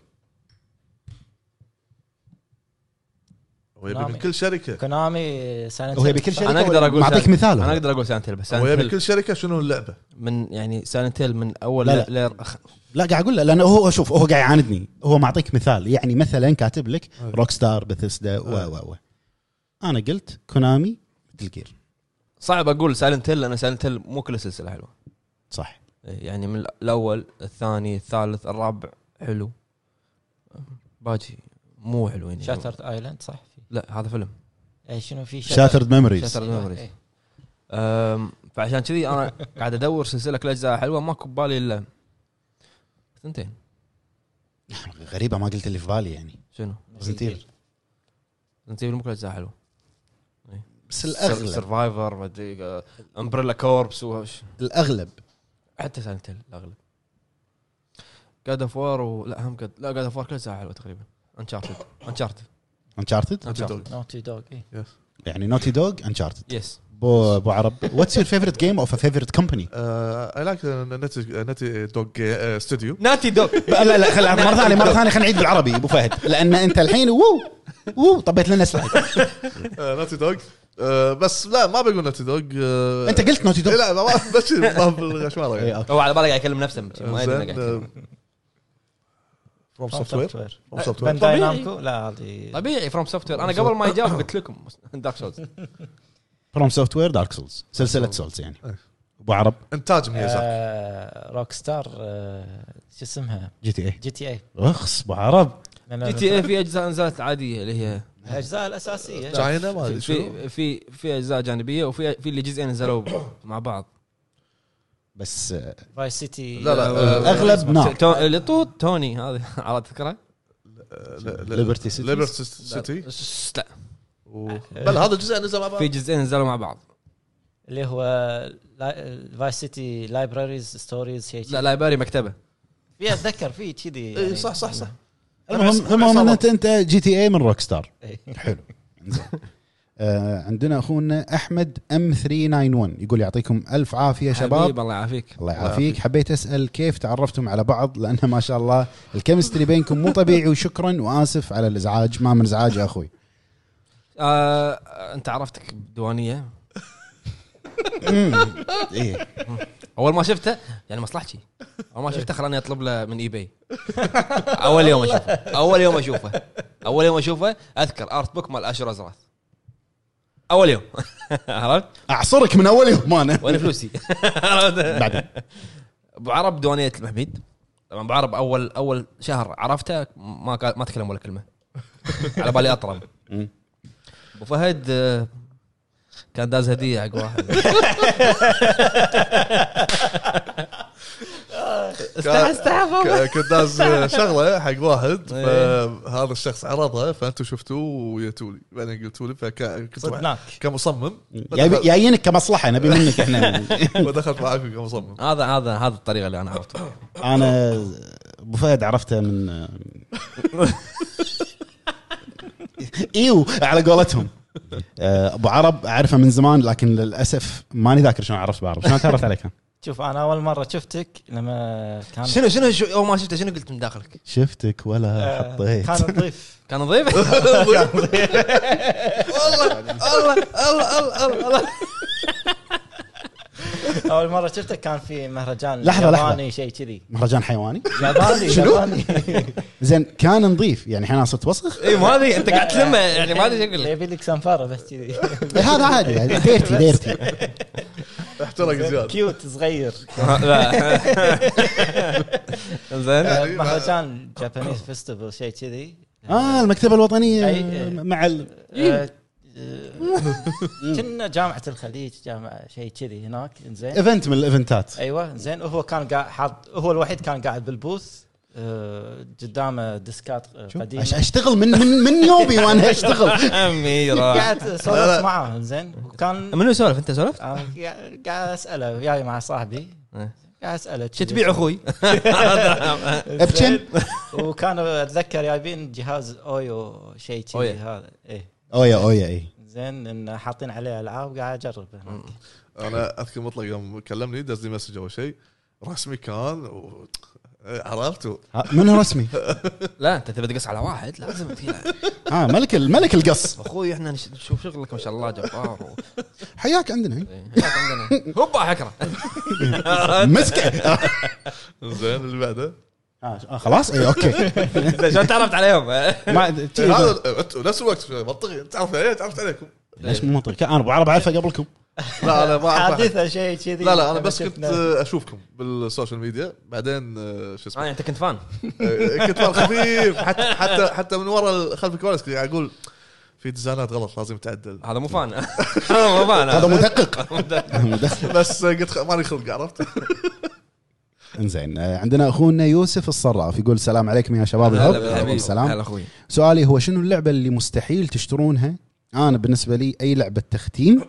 هو يبي نعم. من كل شركه كونامي سايلنت هو يبي كل شركه انا اقدر اقول اعطيك سايلنت- مثال انا هو. اقدر اقول سايلنت هيل بس هو سايلنت يبي هيل كل شركه شنو اللعبه من يعني سايلنت هيل من اول لا، لا لا لا قاعد اقول له لانه هو شوف هو قاعد يعاندني هو معطيك مثال يعني مثلا كاتب لك أي. روك ستار بثسدا و أي. و و انا قلت كونامي مثل جير صعب اقول سايلنت هيل لان سايلنت هيل مو كل السلسله حلوه صح إيه، يعني من الاول الثاني الثالث الرابع حلو باجي مو حلوين يعني. شاترد ايلاند آه، صح في لا هذا فيلم اي شنو في شاترد ميموريز Shattered Memories. إيه. أم، فعشان (laughs) كذي انا قاعد ادور سلسله كل اجزاء حلوه ماكو ببالي الا ثنتين غريبه ما قلت اللي في بالي يعني شنو؟ Resident Evil. انت مو كل اجزاء حلوه بس الاغلب سرفايفر امبريلا كوربس وش الاغلب حتى سايلنت هيل الاغلب جاد اوف وار ولا هم جاد لا جاد اوف وار كل ساعه حلوه تقريبا انشارتد انشارتد انشارتد Naughty Dog. نوتي دوغ اي يعني نوتي دوغ انشارتد يس بو بو عرب واتس يور فيفرت جيم اوف فيفرت كومباني اي لايك نتي دوغ (laughs) ستوديو ناتي دوغ (laughs) لا لا خل مره ثانيه مره ثانيه خلينا نعيد بالعربي ابو فهد لان انت الحين وو وو طبيت لنا (laughs) سلايد نتي دوغ Uh, بس لا ما بقول نتي دوغ انت قلت نوتي دوغ لا ما- بس ما بالغشمره إيه، يعني (laughs) أوكي. هو على باله قاعد يكلم نفسه ما يدري إنه قاعد زين آه، فروم سوفت وير فروم سوفت وير بانداي طبيعي. نامكو لا آه. هذه طبيعي فروم سوفت وير انا قبل ما يجاوب قلت (laughs) لكم دارك سولز فروم سوفت وير دارك سولز سلسله سولز يعني ابو عرب انتاج ميازاكي آه، روك ستار آه، شو اسمها جي تي اي جي تي إيه. اي اخس ابو عرب جي تي إيه. اي في اجزاء نزلت عاديه اللي هي الاجزاء الاساسيه تشاينا ما ادري شنو آه، في في في اجزاء جانبيه وفي في اللي جزئين نزلوا مع بعض بس آه، نعم. فايس سيتي لا لا آه، اغلب نار تو- اللي طول توني هذا (laughs) عرفت تذكره؟ آه، Liberty City. ليبرتي سيتي س- لا آه، بل هذا الجزء نزل مع بعض في جزئين نزلوا مع بعض اللي هو فايس سيتي لايبراريز ستوريز شيء لا إيه، لايبراري مكتبه في اتذكر في كذي يعني. يعني. اي إيه، صح صح صح المهم المهم إن انت انت جي تي اي من روك ستار إيه. حلو إنزين. آه، عندنا اخونا احمد ام 391 يقول يعطيكم الف عافيه شباب حبيب، الله يعافيك الله يعافيك حبيت اسال كيف تعرفتم على بعض لان ما شاء الله الكيمستري بينكم مو طبيعي وشكرا واسف على الازعاج ما من ازعاج يا اخوي آه انت عرفتك بديوانيه ايه اول ما شفته يعني مصلحتي اول ما شفته خلاني اطلب له من اي باي اول يوم اشوفه اول يوم اشوفه اول يوم اشوفه اذكر ارت بوك مال اشر ازراث اول يوم (laughs) عرفت اعصرك من اول يوم انا (laughs) وين فلوسي عرفت؟ بعدين ابو عرب ديوانيه المحميد طبعا ابو عرب اول اول شهر عرفته ما قال ما تكلم ولا (laughs) كلمه على بالي اطرم مم. ابو فهد آه، كان داز هديه حق (laughs) واحد استحى استحى ك- كنت داز شغله حق واحد إيه. فهذا الشخص عرضها فانتم شفتوه وجيتوا لي بعدين قلتوا لي فكنت صدناك كمصمم يعني جايب- جايينك كمصلحه نبي منك احنا (laughs) ودخلت معاكم كمصمم هذا هذا هذا الطريقه اللي انا عرفته (laughs) انا ابو فهد عرفته من ايو على إيوه، قولتهم آه، ابو عرب اعرفه من زمان لكن للاسف ماني ذاكر شلون عرفت بعرب شلون تعرفت عليك أنا؟ شوف انا اول مره شفتك لما كان شنو شنو شو- اول ما شفته شنو قلت من داخلك؟ (laughs) شفتك ولا آه، كان نظيف كان (laughs) نظيف؟ والله الله الله الله الله اول مره شفتك كان في مهرجان لحظة، لحظة. ياباني شيء كذي مهرجان (laughs) حيواني ياباني شنو؟ ياباني (laughs) زين كان نظيف يعني الحين انا صرت وسخ اي إيه، ما ادري انت قاعد تلمه يعني ما ادري شو اقول لك يبي لك سنفاره بس كذي هذا عادي يعني ديرتي (laughs) ديرتي احترق يعني زياده كيوت (laughs) صغير زين يعني ما- مهرجان جابانيز فيستيفال شيء كذي اه المكتبه الوطنيه أي- مع ال... إيه. آه، آه، كنا جامعه الخليج جامعه شيء كذي هناك زين ايفنت من الايفنتات ايوه زين هو كان قاعد حاط هو الوحيد كان قاعد بالبوث آه، قدامه ديسكات آه، شوف، قديمه أش- اشتغل من من من يومي وانا اشتغل (laughs) اميره قاعد سولفت معاه زين وكان منو سولف انت سولفت؟ أنا قاعد- قاعد اساله وياي مع صاحبي إيه. قاعد اساله شو تبيع اخوي؟ بكم؟ وكانوا اتذكر جايبين جهاز اويو شيء كذي أويا. هذا ايه اويا اويا اي زين انه حاطين عليه العاب قاعد اجرب هناك انا اذكر مطلق يوم كلمني دز لي مسج اول شيء رسمي كان و... عرفته ها، من هو رسمي لا انت تبي تقص على واحد لازم تي- اه ملك ال- ملك القص اخوي احنا نش- نشوف شغلك ما شاء الله جبار (laughs) و- حياك عندنا هناك عندنا. هوبا (laughs) حكره (laughs) مسكه آه، زين اللي (laughs) بعده آه، خلاص اي اوكي زين، شلون تعرفت (laughs) عليهم؟ آه، ما هذا أنتوا نفس الوقت منطقي تعرفت عليه تعرفت عليكم ليش مو منطقي انا ابو عرب عارفه قبلكم لا انا ما اعرف أحد. حادثه شيء كذي لا لا انا لما بس كنت شفنا. اشوفكم بالسوشيال ميديا بعدين آه، شو (laughs) اسمه انا يعني انت كنت فان آه، كنت مال خفيف حتى حتى حتى من ورا خلف الكواليس كنت قاعد اقول في ديزاينات غلط لازم تعدل هذا مو (laughs) فان هذا مو فان (laughs) هذا هذا. مدقق مدقق. بس آه، قلت خ- مالي خلق عرفت انزين آه، عندنا اخونا يوسف الصراف يقول السلام عليكم يا شباب هلا الهب بالحبيب. عليكم السلام هلا اخوي سؤالي هو شنو اللعبه اللي مستحيل تشترونها انا بالنسبه لي اي لعبه تختيم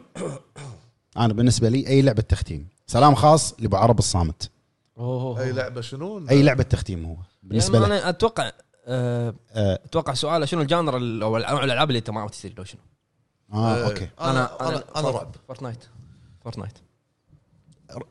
انا بالنسبه لي اي لعبه تختيم سلام خاص لابو عرب الصامت أوه. اي لعبه شنو اي لعبه تختيم هو بالنسبه يعني لي انا اتوقع آه، آه, اتوقع سؤاله شنو الجانر ال- او انواع الالعاب اللي انت ما عرفت تصير لو شنو آه، آه، اه اوكي انا انا انا رعب فورتنايت فورتنايت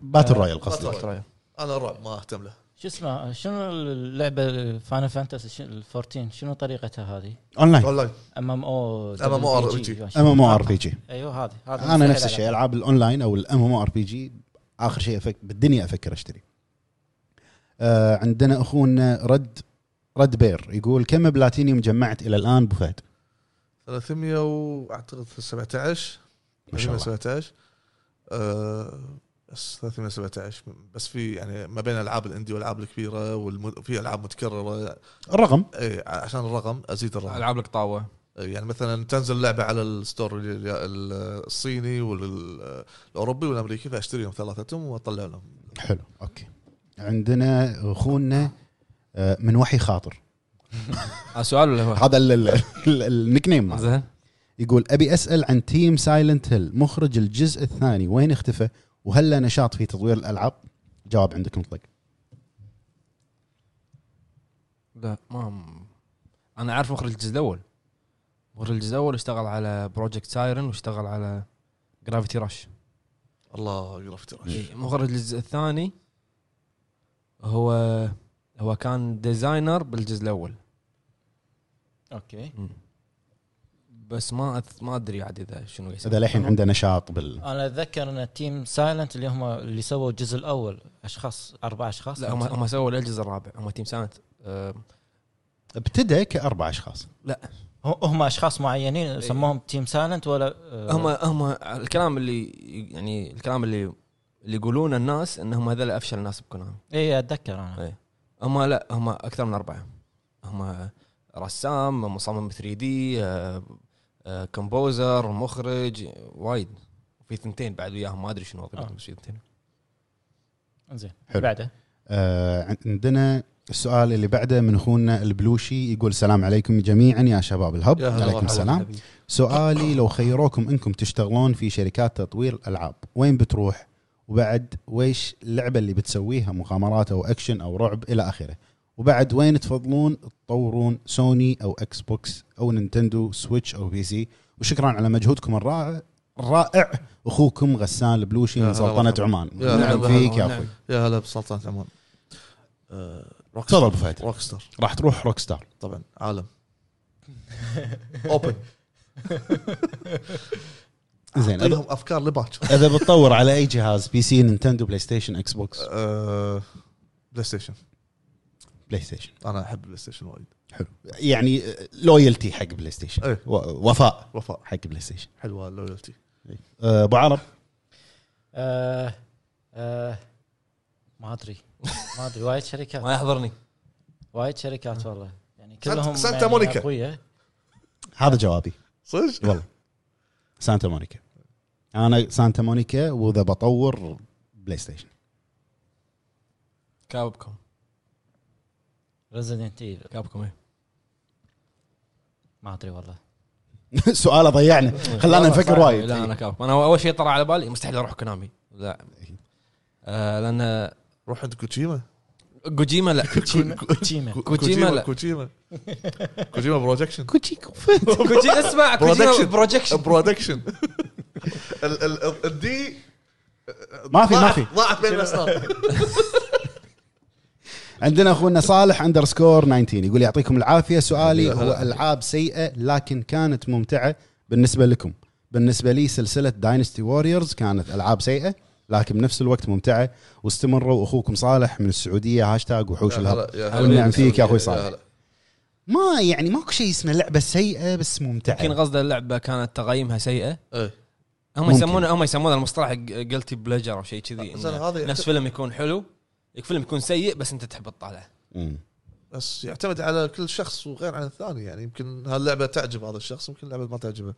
باتل رويال باتل قصدي رويال. انا رعب ما اهتم له شو اسمه شنو اللعبه فانا فانتسي 14 شنو طريقتها هذه؟ اونلاين والله ام ام او MMORPG. ام ام ار بي جي ايوه هذه هذه انا نفس مستحيل الشيء ألعبها. العاب الاونلاين او الام ام ار بي جي اخر شيء أفك... بالدنيا افكر اشتري آه عندنا اخونا رد رد بير يقول كم بلاتينيوم جمعت الى الان ابو فهد 300 واعتقد 17 ما شاء (laughs) الله. 317 آه، بس 317 بس في يعني ما بين العاب الاندي والالعاب الكبيره وفي العاب متكرره الرقم اي إيه، عشان الرقم ازيد الرقم العاب لك طاوه إي، يعني مثلا تنزل لعبه على الستور ال- ال- الصيني والاوروبي والامريكي فاشتريهم ثلاثتهم واطلع لهم حلو اوكي عندنا اخونا آه، من وحي خاطر آه، سؤال ولا هو؟ هذا ال- ال- ال- النيك نيم ماله. زين يقول ابي اسال عن تيم سايلنت هيل مخرج الجزء الثاني وين اختفى وهل له نشاط في تطوير الالعاب جواب عندك مطلق لا ما انا عارف مخرج الجزء الاول مخرج الجزء الاول اشتغل على بروجكت سايرن واشتغل على جرافيتي راش الله جرافيتي رش إيه، مخرج الجزء الثاني هو هو كان ديزاينر بالجزء الاول اوكي بس ما أث- ما ادري عاد اذا شنو قاعد يسوي. اذا للحين عنده نشاط بال انا اتذكر ان تيم سايلنت اللي هم اللي سووا الجزء الاول اشخاص اربع اشخاص لا هم هم سووا الجزء الرابع هم تيم سانت آه، ابتدى كاربع اشخاص هم اشخاص معينين سموهم تيم سايلنت ولا آه، إيه. هم هم الكلام اللي يعني الكلام اللي اللي يقولونه الناس انهم هذول افشل ناس بكونامي اي اتذكر انا هم لا هم اكثر من اربعه هم رسام مصمم 3 دي كومبوزر آه، مخرج وايد في ثنتين بعد وياهم ما ادري شنو وظيفتهم آه. بس في ثنتين زين حلو. بعده آه عندنا السؤال اللي بعده من اخونا البلوشي يقول السلام عليكم جميعا يا شباب الهب يا هلا عليكم والله. السلام سؤالي لو خيروكم انكم تشتغلون في شركات تطوير الالعاب وين بتروح وبعد ويش اللعبه اللي بتسويها مغامرات او اكشن او رعب الى اخره وبعد وين تفضلون تطورون سوني او اكس بوكس او نينتندو سويتش او بي سي وشكرا على مجهودكم الرائع الرائع اخوكم غسان البلوشي يا من هلا سلطنه مرحبا. عمان يا هلا نعم مرحبا. فيك يا نعم. اخوي يا هلا بسلطنه عمان آه، روك تفضل ستار. ابو فهد روك ستار راح تروح روك ستار طبعا (laughs) عالم اوبن زين إذا- لهم افكار لباكر اذا بتطور على اي جهاز بي سي نينتندو بلاي ستيشن اكس بوكس آه، بلاي ستيشن بلاي ستيشن انا احب بلاي ستيشن وايد حلو يعني لويالتي حق بلاي ستيشن إيه. و- وفاء وفاء حق بلاي ستيشن حلوه اللويالتي أه، ابو عرب آه آه ما ادري ما ادري وايد (laughs) شركات ما يحضرني وايد شركات والله يعني سانت- كلهم سانتا يعني مونيكا. أقوياء. هذا جوابي صدق؟ والله سانتا مونيكا انا سانتا مونيكا واذا بطور بلاي ستيشن (laughs) كابكم ريزيدنت ايفل كابكم ايه ما ادري (laughs) والله سؤاله ضيعنا خلانا والله صعب. نفكر وايد لا انا كابكم انا اول شيء طرى على بالي مستحيل اروح كونامي لا آه لان روح عند كوتشيما كوجيما لا تشيما (laughs) تشيما كو- كوجيما لا. كوجيما كوجيما بروجكشن كوتشي كوفت كوجيما اسمع كوجيما Production. بروجكشن برودكشن (laughs) ال- ال- الدي ما في ما ضاعت- في ضاعت بين الاسنان عندنا اخونا صالح اندرسكور 19 يقول يعطيكم العافيه سؤالي يا هلا هو فيك. العاب سيئه لكن كانت ممتعه بالنسبه لكم بالنسبه لي سلسله داينستي ووريرز كانت العاب سيئه لكن بنفس الوقت ممتعه واستمروا اخوكم صالح من السعوديه هاشتاج وحوش الهب والنعم فيك يا أخوي صالح. ما يعني ماكو شيء اسمه لعبه سيئه بس يمكن ممتعه قصده اللعبه كانت تقييمها سيئه إيه. هم ممكن. يسمونه هم يسمونه المصطلح جلتي بليجر او شيء كذي زين، إنه هذا نفس فيلم يكون حلو فيلم يكون سيء بس انت تحب تطالعه مم. بس يعتمد على كل شخص وغير عن الثاني يعني يمكن هاللعبه تعجب هذا الشخص يمكن اللعبه ما تعجبه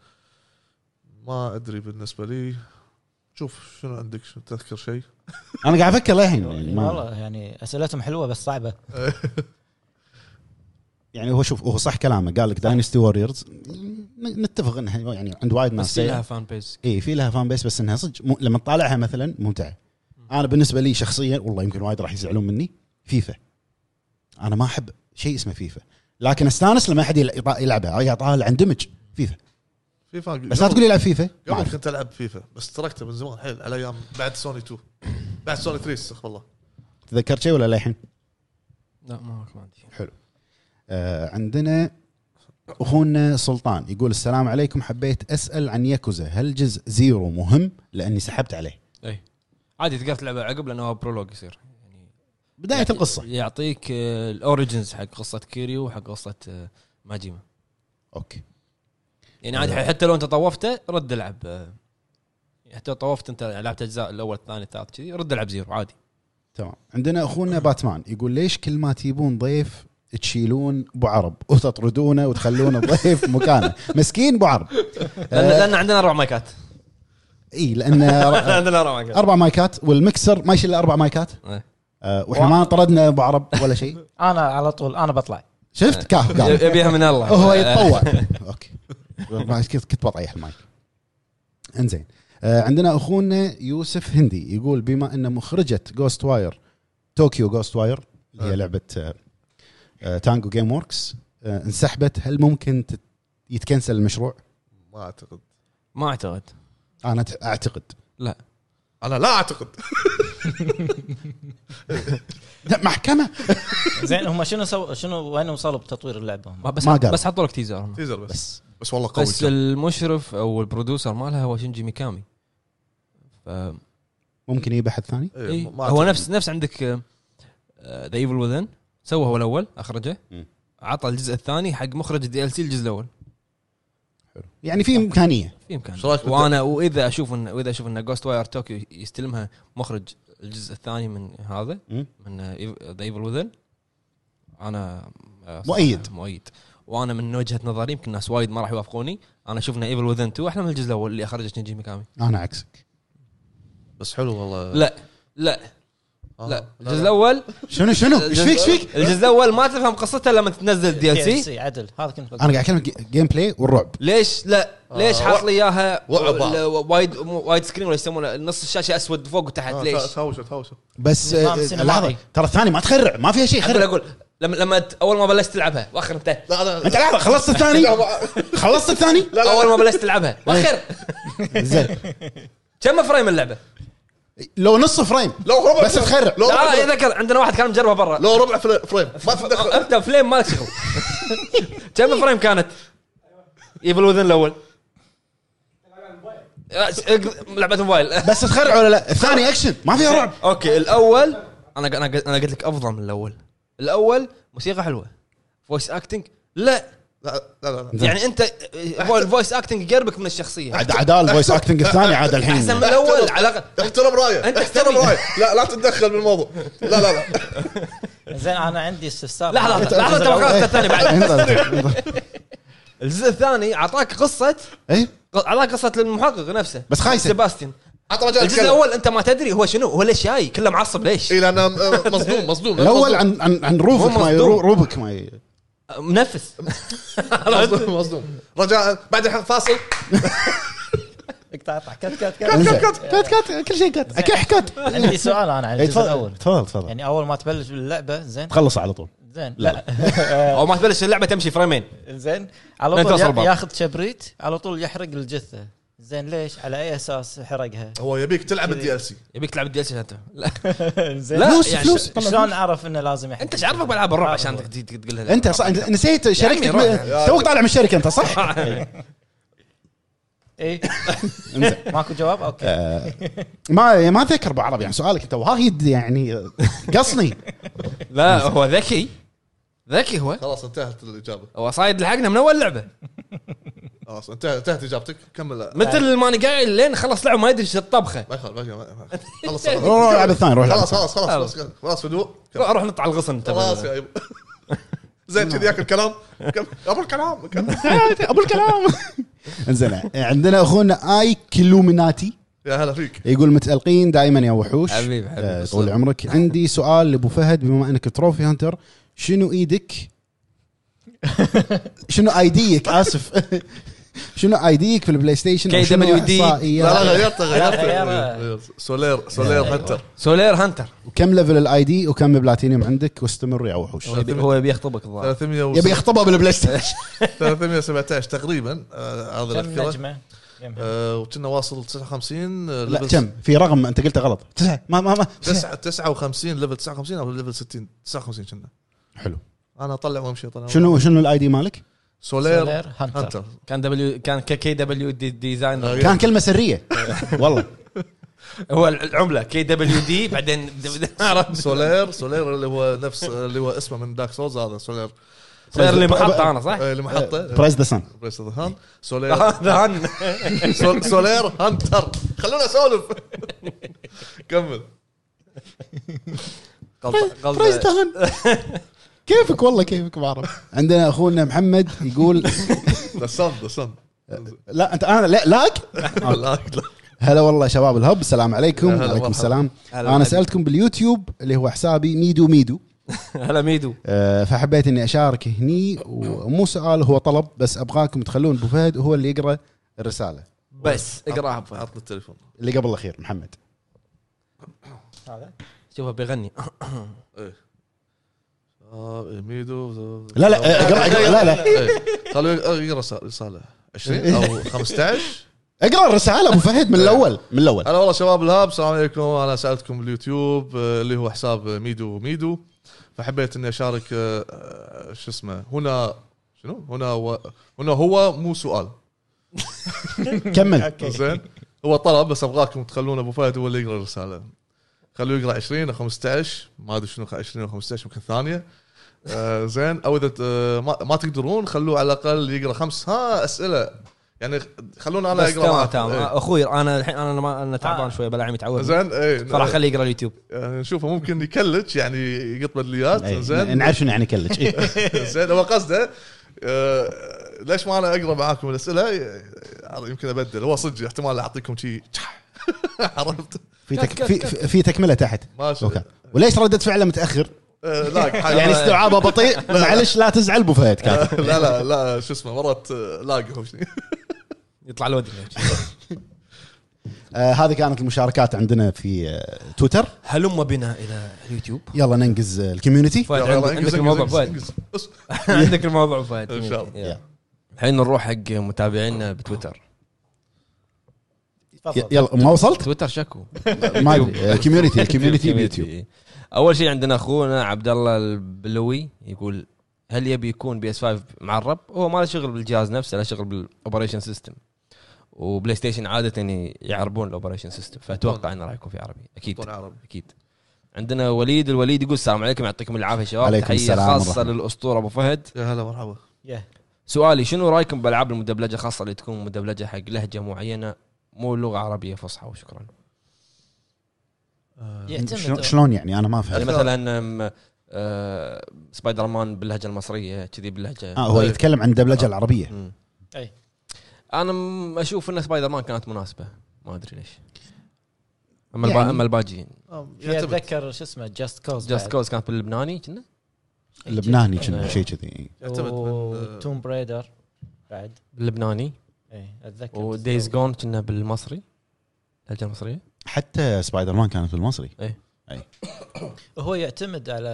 ما ادري بالنسبه لي شوف شنو عندك شنو تذكر شيء انا قاعد افكر للحين يعني ما- والله يعني اسئلتهم حلوه بس صعبه يعني هو شوف هو صح كلامه قال لك داينستي ووريرز نتفق انها يعني عند وايد ناس بس في سيئه لها فان بيز اي إيه، في لها فان بيس بس انها صدق م... لما تطالعها مثلا ممتعه انا بالنسبه لي شخصيا والله يمكن وايد راح يزعلون مني فيفا انا ما احب شيء اسمه فيفا لكن استانس لما احد يلع- يط- يلعبها اي اطالع اندمج فيفا فيفا بس لا تقول لي العب فيفا ما قبل أعرف. كنت العب فيفا بس تركته من زمان حيل على ايام بعد سوني 2 بعد سوني 3 استغفر الله تذكرت شيء ولا للحين؟ لا ما ما عندي آه عندنا اخونا سلطان يقول السلام عليكم حبيت اسال عن ياكوزا هل جزء زيرو مهم؟ لاني سحبت عليه عادي تقدر تلعبها عقب لانه برولوج يصير يعني بدايه القصه يعطيك الاوريجنز حق قصه كيريو وحق قصه آه، ماجيما اوكي يعني عادي آه. حتى لو انت طوفته رد العب آه، حتى لو طوفت انت لعبت اجزاء الاول الثاني الثالث كذي رد العب زيرو عادي تمام عندنا اخونا باتمان يقول ليش كل ما تجيبون ضيف تشيلون ابو عرب وتطردونه وتخلون الضيف مكانه مسكين ابو عرب لان آه. لان عندنا اربع مايكات اي لان ر- عندنا اربع مايكات اربع مايكات والمكسر ما يشيل الا اربع مايكات إيه. آه، واحنا ما طردنا ابو عرب ولا شيء انا على طول انا بطلع شفت كاف قال يبيها من الله آه. آه. آه. هو (laughs) يتطوع اوكي ما- كنت كنت بطيح المايك انزين آه، عندنا اخونا يوسف هندي يقول بما ان مخرجه جوست واير طوكيو جوست واير اللي آه. هي لعبه آه، آه، تانجو جيم وركس آه، انسحبت هل ممكن تت- يتكنسل المشروع؟ ما اعتقد ما اعتقد انا أت- اعتقد لا انا لا اعتقد لا، محكمه زين هم شنو سو شنو وين وصلوا بتطوير اللعبه هم؟ ما بس ما ما قال. بس حطوا لك تيزر هم. تيزر بس بس بس والله قوي بس كان. المشرف او البرودوسر مالها هو شينجي ميكامي ف... ممكن يجيب احد ثاني؟ إيه، إيه. ما هو أعتقد. نفس نفس عندك آه، ذا ايفل وذن سوى هو الاول اخرجه مم. عطى الجزء الثاني حق مخرج الدي ال سي الجزء الاول يعني في امكانيه في امكان شو (laughs) رأيك وانا واذا اشوف ان واذا اشوف ان جوست واير توكيو يستلمها مخرج الجزء الثاني من هذا مم. من ذا ايفل وذن انا آه، صراحة مؤيد. مؤيد وانا من وجهه نظري يمكن ناس وايد ما راح يوافقوني انا اشوف ان ايفل وذن 2 احلى من الجزء الاول اللي اخرجه شينجي ميكامي انا عكسك بس حلو والله لا لا آه. لا الجزء الاول شنو شنو؟ ايش فيك ايش فيك؟ الجزء الاول ما تفهم قصته لما تنزل (laughs) الدي ال سي DLC عدل هذا كنت بقول انا قاعد اكلم جيم بلاي والرعب ليش لا ليش آه. حاط لي اياها وعبة. ال- وايد وايد سكرين ولا يسمونه نص الشاشه اسود فوق وتحت آه، ليش؟ تهاوشت تهاوشت بس نظام آه، سينمائي. لحظه ترى الثاني ما تخرع ما فيها شيء اقول خرع اقول لما لما ت- اول ما بلشت تلعبها واخر انت لا لا انت لحظه خلصت الثاني خلصت الثاني لا اول ما بلشت تلعبها واخر زين كم فريم اللعبه؟ لو نص فريم لو ربع بس فريم. تخرع. لو لا لا ربع يذكر عندنا واحد كان مجربها برا لو ربع فل- فريم ما تدخل انت فليم مالك (laughs) شغل كم فريم كانت؟ ايفل وذن الاول آه، س- اق- لعبه موبايل (laughs) بس تخرع ولا لا الثاني اكشن ما فيها (laughs) رعب اوكي الاول انا انا انا قلت لك افضل من الاول الاول موسيقى حلوه فويس اكتنج لا لا لا لا زين. يعني انت هو الفويس اكتنج يقربك من الشخصيه عاد عدال فويس اكتنج الثاني عاد احسن من الحين الاول على الاقل احترم رايه أنت احترم احترم. رايه لا لا تتدخل بالموضوع لا لا لا زين انا عندي استفسار لحظه لحظه لحظه انت ما خلصت الثاني بعد الجزء الثاني اعطاك قصه اي اعطاك قصه المحقق نفسه بس خايسة. سيباستيان عطى مجال الجزء الكلام. إيه، الاول انت ما تدري هو شنو هو ليش جاي كله معصب ليش اي لان أنا م- مصدوم مصدوم الاول عن عن عن روفك مو ما مصدوم. رو- روبك ما منفس مصدوم مصدوم رجاء بعد الحين فاصل اقطع اقطع كت كت انزين. كت كات كات كل شيء كات اكح كات عندي سؤال انا عن إي، الجزء إيه، تفضل الاول تفضل تفضل يعني اول ما تبلش باللعبه زين تخلص على طول زين لا. لا او ما تبلش اللعبه تمشي فريمين زين لين على توصل طول الباب. ياخذ شبريت على طول يحرق الجثه زين ليش على اي اساس حرقها هو يبيك تلعب الدي ال سي يبيك تلعب الدي انت لا زين لا، فلوس يعني فلوس طلع شلون فلوس. اعرف انه لازم يحرق انت ايش عارفك بالعاب الرعب عشان تجي تقولها لا. انت صح أنت نسيت شركتك يعني روح. ب- توك طالع من الشركه انت صح؟ اي إنزين. إيه. ماكو جواب اوكي آه، ما ما اتذكر بالعربي يعني سؤالك انت وايد يعني آه، قصني (laughs) لا هو ذكي ذكي هو خلاص انتهت الاجابه هو صايد لحقنا من اول لعبه خلاص انتهت انتهت اجابتك كمل لا. مثل ما انا قاعد لين خلص لعبه ما يدري ايش الطبخه ما يخالف ما يخالف، ما يخالف. (laughs) خلص خلص. روح العب الثاني روح العب خلاص الثاني. خلاص خلاص خلاص خلاص هدوء كمل. روح نط على الغصن انت خلاص يا ايوب (laughs) زين كذي ياكل كلام كمل. ابو الكلام كمل. ابو الكلام (laughs) انزين عندنا اخونا اي كيلوميناتي يا هلا فيك يقول متألقين دائما يا وحوش حبيب- حبيب. آه، طول عمرك عندي سؤال لابو فهد بما انك تروفي هانتر (laughs) شنو ايدك شنو ايديك اسف (laughs) شنو ايديك في البلاي ستيشن KWD. وشنو لا لا احصائيات غيرته غيرها. غيرته سولير سولير هنتر سولير هانتر وكم ليفل الاي دي وكم بلاتينيوم عندك واستمر يا وحوش هو يبي- هو يبي يخطبك الظاهر 300 و- يبي يخطبها (laughs) بالبلاي ستيشن 317 تقريبا آه، هذا كم الاذكره نجمه؟ كم- آه، وكنا واصل 59 آه، لا level كم في رقم انت قلته غلط تسعه ما ما ما تسعة. تسعة- 59 ليفل 59 او ليفل 60 59 كنا حلو انا اطلع وامشي اطلع وأمشي. شنو شنو الاي دي مالك؟ سولير سولير هانتر. هانتر كان دبليو كان كي دبليو دي ديزاينر كان كلمه سريه والله هو العمله كي دبليو دي (laughs) بعدين عرفت؟ سولير سولير اللي هو نفس اللي هو اسمه من دارك سولز هذا سولير سولير اللي محطه انا صح؟ آه، اللي محطه برايز ذا سان بريس اوف هان سولير هذا هن. سول- سولير هانتر خلونا اسولف كمل غلطة- برايز غلطة. ذا (laughs) هان كيفك والله كيفك ما اعرف عندنا اخونا محمد يقول (laughs) ذا سن ذا سن لا انت انا لا لاك آه. هلا والله شباب الهب السلام عليكم هلا وعليكم مرحبا. السلام هلا انا مرحبا. سالتكم باليوتيوب اللي هو حسابي ميدو ميدو هلا ميدو آه، فحبيت اني اشارك هني ومو سؤال هو طلب بس ابغاكم تخلون ابو فهد هو اللي يقرا الرساله بس اقراها اقراها بفهد. عطني التليفون اللي قبل الاخير محمد هذا شوفه بيغني ايه آه، ميدو لا لا آه، اقرا اقرا لا لا إيه. خلوا اقرا رسالة- رساله 20 او 15 اقرا الرساله ابو فهد من الاول من الاول هلا والله شباب الهاب السلام عليكم انا سالتكم باليوتيوب آه، اللي هو حساب ميدو ميدو فحبيت اني اشارك آه، آه، شو اسمه هنا شنو هنا و... هنا هو مو سؤال كمل زين هو طلب بس ابغاكم تخلون ابو فهد هو اللي يقرا الرساله خلوه يقرا 20 او 15 ما ادري شنو 20 او 15 يمكن ثانيه آه زين او اذا ت- آه، ما, ما تقدرون خلوه على الاقل يقرا خمس ها اسئله يعني خلونا انا اقرا بس تمام معاكم. تمام آه، إيه. اخوي انا الحين انا ما- انا تعبان شوي بلعم يتعود زين اي فراح اخليه يقرا اليوتيوب يعني نشوفه ممكن يكلج يعني يقط بدليات إيه، زين نعرف شنو يعني كلج إيه. (laughs) زين هو قصده آه، ليش ما انا اقرا معاكم الاسئله آه، يمكن ابدل هو صدق احتمال اعطيكم شيء (laughs) عرفت في تك... في في- في تكمله تحت ماشي اوكي وليش ردة فعله متاخر؟ آه، لاق حاجة. يعني استيعابه بطيء معلش لا تزعل ابو فهد كاتب لا لا لا شو اسمه مرات آه، لاق هو شنو. يطلع الودي آه هذه كانت المشاركات عندنا في آه تويتر هلم بنا الى اليوتيوب (laughs) يلا ننقز آه، الكوميونتي فهد يلا، يلا، عندك- عندك انجز، الموضوع انجز، فهد انجز، انجز. عندك الموضوع فهد إن شاء الله. يلا. الحين نروح حق متابعينا بتويتر ي- يلا ما وصلت تويتر شكو ما أدري. آه، كوميونتي الكوميونتي بيوتيوب اول شيء عندنا اخونا عبد الله البلوي يقول هل يبي يكون بي اس 5 معرب؟ هو ما له شغل بالجهاز نفسه له شغل بالاوبريشن سيستم وبلاي ستيشن عاده ي- يعربون الاوبريشن سيستم فاتوقع انه راح يكون في عربي اكيد يكون عربي اكيد عندنا وليد الوليد يقول السلام عليكم يعطيكم العافيه شباب عليكم تحيه السلام خاصه ورحمة. للاسطوره ابو فهد يا هلا مرحبا يا. سؤالي شنو رايكم بالالعاب المدبلجه خاصه اللي تكون مدبلجه حق لهجه معينه مو لغه عربيه فصحى وشكرا شلون- آه، يعتمد شلون يعني انا ما يعني فهمت مثلا أم، آه، سبايدر مان باللهجه المصريه كذي باللهجه اه هو يتكلم عن الدبلجه العربيه مم. أي. انا م- اشوف ان سبايدر مان كانت مناسبه ما ادري ليش اما يعني. يعني اما الباجيين آم، في يعتمد. اتذكر شو اسمه جاست كوز جاست كوز كانت باللبناني كنا لبناني آه. كنا شيء كذي يعتمد من- آه، توم بريدر Oh, بعد إيه، باللبناني اي اتذكر Oh, ودايز جون كنا بالمصري اللهجه المصريه حتى سبايدر مان كانت بالمصري هو يعتمد على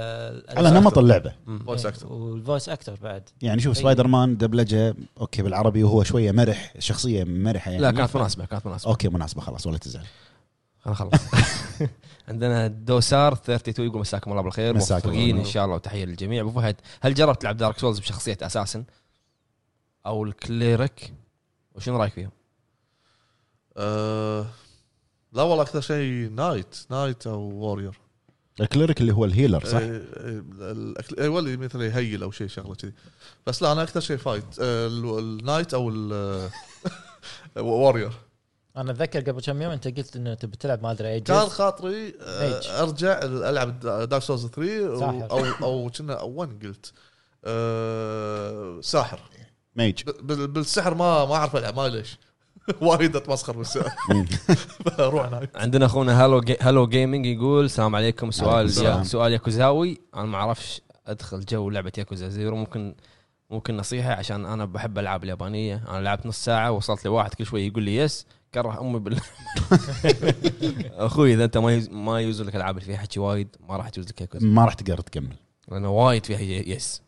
على نمط اللعبه مم. فويس اكتر والفويس اكتر بعد يعني شوف أي. سبايدر مان دبلجه اوكي بالعربي وهو شويه مرح شخصيه مرحه يعني لا كانت مناسبه كانت مناسبه اوكي مناسبه خلاص ولا تزعل خلنا (laughs) نخلص عندنا دوسار 32 يقول مساكم الله بالخير مساك الله موفقين ان بالنور. شاء الله وتحيه للجميع ابو فهد هل جربت تلعب دارك سولز بشخصيه اساسن او الكليرك وشنو رايك فيهم؟ آه، لا والله اكثر شيء نايت نايت او وورير الكليريك اللي هو الهيلر صح؟ آه، آه، الأكل- آه، ولي مثل يهيل او شيء شغله كذي بس لا انا اكثر شيء فايت آه، ال- النايت او ال- (laughs) وورير انا اتذكر قبل كم يوم انت قلت انه تبي تلعب ما ادري اي كان جزء (laughs) خاطري آه، Mage. ارجع العب دارك سولز 3 و- ساحر. او او كنا او 1 قلت آه، ساحر ميج ب- بال- بالسحر ما ما اعرف العب ما أدري ليش (laughs) وايد اتمسخر بالسحر (laughs) فاروح نايت عندنا اخونا هالو جي هالو جيمنج يقول السلام عليكم سؤال عليكم السلام. يا سؤال ياكوزاوي انا ما اعرفش ادخل جو لعبه ياكوزا زيرو ممكن ممكن نصيحه عشان انا بحب العاب اليابانيه انا لعبت نص ساعه وصلت لواحد كل شوي يقول لي يس كره امي بال (laughs) اخوي اذا انت ما يز... ما يجوز لك العاب اللي فيها حكي وايد ما راح يجوز لك ياكوزا ما راح تقدر تكمل لانه وايد فيها ي- يس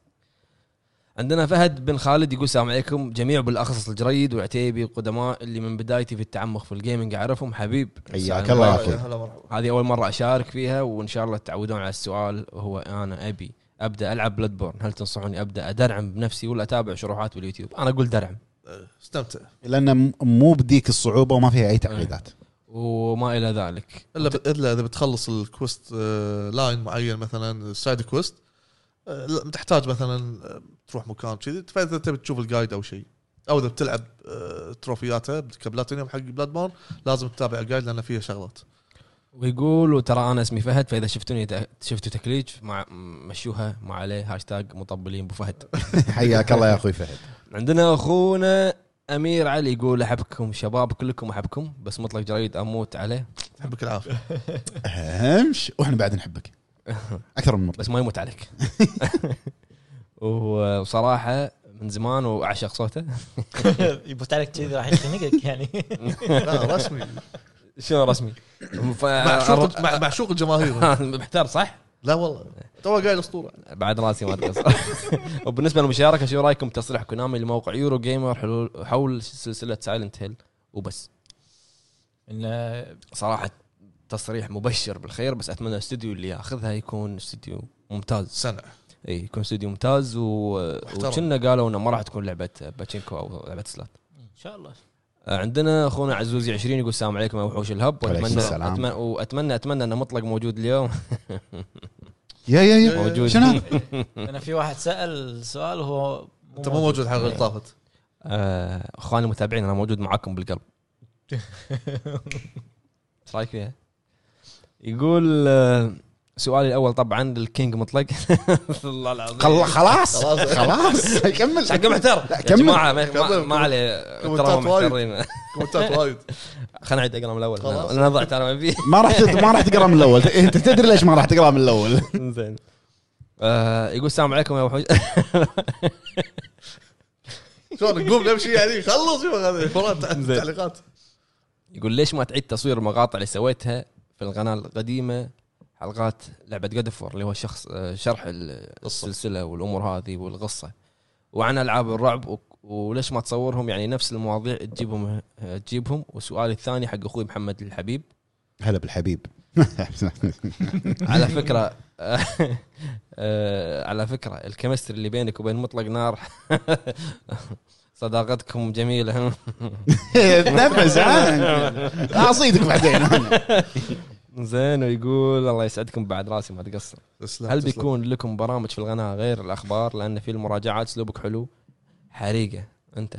عندنا فهد بن خالد يقول السلام عليكم جميع بالاخص الجريد والعتيبي القدماء اللي من بدايتي في التعمق في الجيمنج اعرفهم حبيب حياك الله يا يا اخوي هلا مرحبا هذه اول مره اشارك فيها وان شاء الله تعودون على السؤال وهو انا ابي ابدا العب بلاد بورن هل تنصحوني ابدا ادرعم بنفسي ولا اتابع شروحات باليوتيوب انا اقول درعم آه، استمتع لان م- مو بديك الصعوبه وما فيها اي تعقيدات وما الى ذلك الا ب- الا اذا بتخلص الكوست آه، لاين معين مثلا سايد كوست آه، لا، تحتاج مثلا آه، تروح مكان كذي فاذا تبي تشوف الجايد او شيء او اذا بتلعب آه، تروفياته كبلاتينيوم حق بلاد بورن لازم تتابع الجايد لان فيها شغلات ويقول وترى انا اسمي فهد فاذا شفتوني ت- شفتوا تكليج مع مشوها ما عليه هاشتاج مطبلين ابو فهد حياك الله يا اخوي فهد عندنا اخونا امير علي يقول احبكم شباب كلكم احبكم بس مطلق جريد اموت عليه يعطيك العافيه همش واحنا بعد نحبك اكثر من مطلق بس ما يموت عليك (laughs) وصراحه من زمان واعشق صوته يبوت عليك كذي راح يخنقك (laughs) يعني (laughs) لا رسمي شنو رسمي؟ ف... معشوق (laughs) مع- معشوق الجماهير (laughs) محتار صح؟ لا والله تو قايل اسطوره بعد راسي ما (laughs) ادري وبالنسبه للمشاركه شو رايكم بتصريح كونامي لموقع يورو جيمر حلول حول سلسله سايلنت هيل وبس انه صراحه تصريح مبشر بالخير بس اتمنى الاستوديو اللي ياخذها يكون استوديو ممتاز سنه اي يكون استوديو ممتاز و... محترم. وكنا قالوا انه ما راح تكون لعبه باتشينكو او لعبه سلات ان شاء الله عندنا اخونا عزوزي 20 يقول السلام عليكم يا وحوش الهب عليكم واتمنى السلام. أتمنى واتمنى اتمنى ان مطلق موجود اليوم يا يا يا موجود. أه، شنو هذا؟ انا في واحد سال سؤال وهو انت مو موجود الحلقه اللي (laughs) طافت آه، اخواني المتابعين انا موجود معاكم بالقلب ايش رايك فيها؟ يقول آه، سؤالي الاول طبعا للكينج مطلق (laughs) الله العظيم خلا- (laughs) خلاص خلاص. خلاص كمل حق محتر يا كمل. جماعه ما- ما- كمل. ما عليه ترى وايد. محترين كومنتات وايد خلينا نعيد اقرا من الاول خلاص. انا ضعت انا ما في ما راح تد- ما راح تقرا من الاول انت تدري ليش ما راح تقرا من الاول (laughs) زين آه، يقول السلام عليكم يا وحوش (laughs) شلون نقوم نمشي يعني خلص يا هذا تعليقات يقول ليش ما تعيد تصوير المقاطع اللي سويتها في القناه القديمه حلقات لعبه جود اللي هو شخص آه، شرح ال- السلسله والامور هذه والقصه وعن العاب الرعب و- وليش ما تصورهم يعني نفس المواضيع تجيبهم آه، تجيبهم وسؤالي الثاني حق اخوي محمد الحبيب هلا بالحبيب على فكره آه، على فكره الكيمستري اللي بينك وبين مطلق نار (laughs) صداقتكم جميله تنفس ها؟ اصيدك بعدين (laughs) زين ويقول الله يسعدكم بعد راسي ما تقصر تسلم، هل تسلم. بيكون لكم برامج في القناه غير الاخبار لان في المراجعات اسلوبك حلو حريقه انت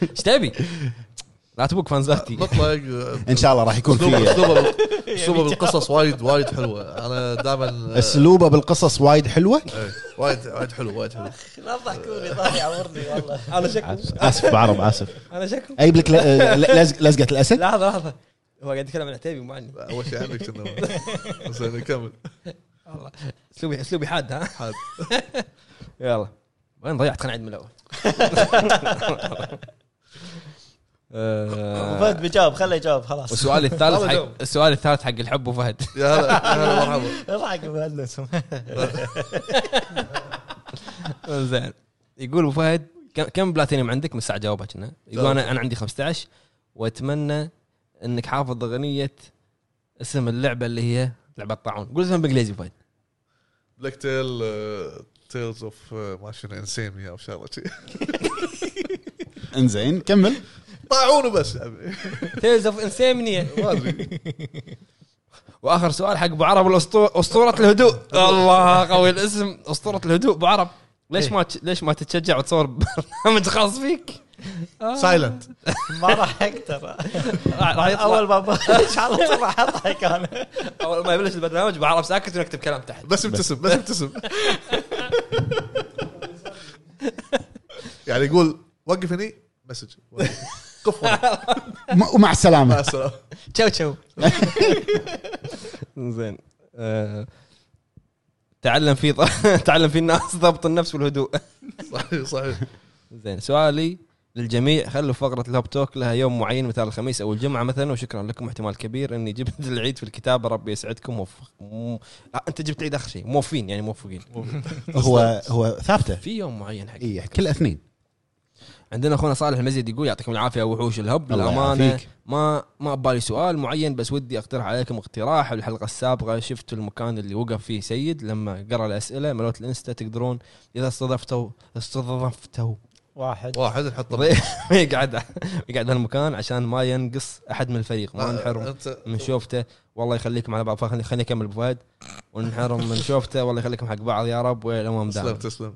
ايش تبي؟ (laughs) لا تبوك فانزاتي مطلق آه، ان شاء الله راح يكون اسلوبه في اسلوبه اسلوبه بالقصص وايد وايد حلوه انا دائما اسلوبه بالقصص وايد حلوه آه، إيه، وايد وايد حلو وايد حلو لا تضحكوني طالع عورني والله (laughs) انا شكله اسف بعرب اسف انا شكله اجيب لك ل- لزق- لزقه الاسد لحظه لحظه هو قاعد يتكلم عن عتيبي مو عني اول شيء عنك كنا زين نكمل اسلوبي اسلوبي حاد ها حاد. يلا وين ضيعت خلينا نعيد من الاول (laughs) آه، فهد بيجاوب خله يجاوب خلاص (laughs) والسؤال الثالث يلا حق جاوب. السؤال الثالث حق الحب وفهد يا هلا يا هلا مرحبا اضحك يا مهندس زين يقول ابو فهد كم- كم بلاتينيوم عندك من الساعه جاوبها كنا يقول انا انا عندي 15 واتمنى انك حافظ اغنيه اسم اللعبه اللي هي لعبه الطاعون قول اسمها بالانجليزي أبو فهد بلاك تيل آه، تيلز اوف آه، ما شنو انسيميا او شغله شي. انزين كمل طاعونه بس يعني تيلز اوف انسيمنيا (laughs) ما ادري واخر سؤال حق ابو عرب الأسطو- اسطوره الهدوء الله قوي الاسم اسطوره الهدوء ابو عرب ليش ما تش- ليش ما تتشجع وتصور (laughs) برنامج خاص فيك؟ سايلنت ما راح اقدر (laughs) راح راح يطلع اول ما (laughs) بلش على طول راح اضحك انا اول ما يبلش البرنامج ابو عرب ساكت ونكتب كلام تحت بس ابتسم بس ابتسم يعني يقول وقف هني مسج قف ورا. م- ومع مع (laughs) السلامه السلامه تشو تشو زين آه، تعلم في (laughs) تعلم في الناس ضبط النفس والهدوء صحيح صحيح زين سؤالي للجميع خلوا فقرة الهوب توك لها يوم معين مثال الخميس أو الجمعة مثلا وشكرا لكم احتمال كبير إني جبت (laughs) العيد في الكتابة ربي يسعدكم وفق مو... آه، أنت جبت العيد آخر شيء موفين يعني موفقين هو هو ثابته في يوم معين حق اي كل اثنين عندنا أخونا صالح المزيد يقول يعطيكم العافية وحوش الهب الله للأمانة يعافيك. ما ما ببالي سؤال معين بس ودي اقترح عليكم اقتراح الحلقة السابقة شفت المكان اللي وقف فيه سيد لما قرأ الأسئلة ملوت الانستا تقدرون إذا استضفتوا استضفتوا (laughs) واحد واحد نحط طريق يقعد يقعد هالمكان عشان ما ينقص احد من الفريق ما نحرم انت من شوفته والله يخليكم على بعض فخليني خليني اكمل أبو فهد ونحرم من شوفته والله يخليكم حق بعض يا رب والامام تسلم دائم تسلم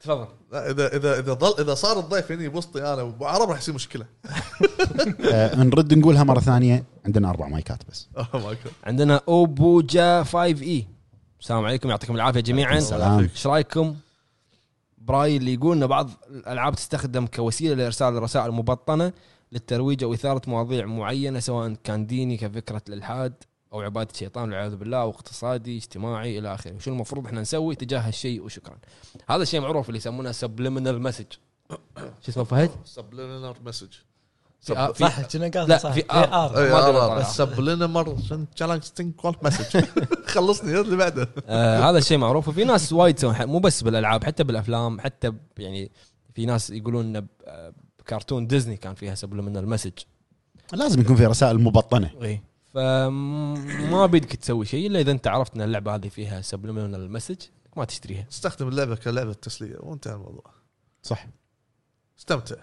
تفضل لا، اذا اذا اذا ظل اذا صار الضيف هني بوسطي انا وابو عرب راح يصير مشكله آه، نرد نقولها مره ثانيه عندنا اربع مايكات بس Oh my God. عندنا اوبوجا 5 اي السلام عليكم يعطيكم العافيه جميعا السلام. ايش رايكم براي اللي يقول ان بعض الالعاب تستخدم كوسيله لارسال رسائل مبطنه للترويج او اثاره مواضيع معينه سواء كان ديني كفكره الالحاد او عباده الشيطان والعياذ بالله او اقتصادي اجتماعي الى اخره وشو المفروض احنا نسوي تجاه هالشيء وشكرا هذا الشيء معروف اللي يسمونه سبليمينال مسج شو اسمه فهد؟ Subliminal (laughs) message. في- في- صح كنا قال لا، صح. إيه، في آر. ما أدري آه، والله. سبلينمر تشالنج تنك مسج (laughs) خلصني يلا اللي بعده آه هذا الشيء معروف وفي ناس وايد تسوون ح- مو بس بالالعاب حتى بالافلام حتى ب- يعني في ناس يقولون ان ب- آه، بكرتون ديزني كان فيها سبلمنال مسج لازم يكون في رسائل مبطنه إيه. فما بدك تسوي شيء الا اذا انت عرفت ان اللعبه هذه فيها سبلمنال مسج ما تشتريها استخدم اللعبه كلعبه تسليه وانتهى الموضوع صح استمتع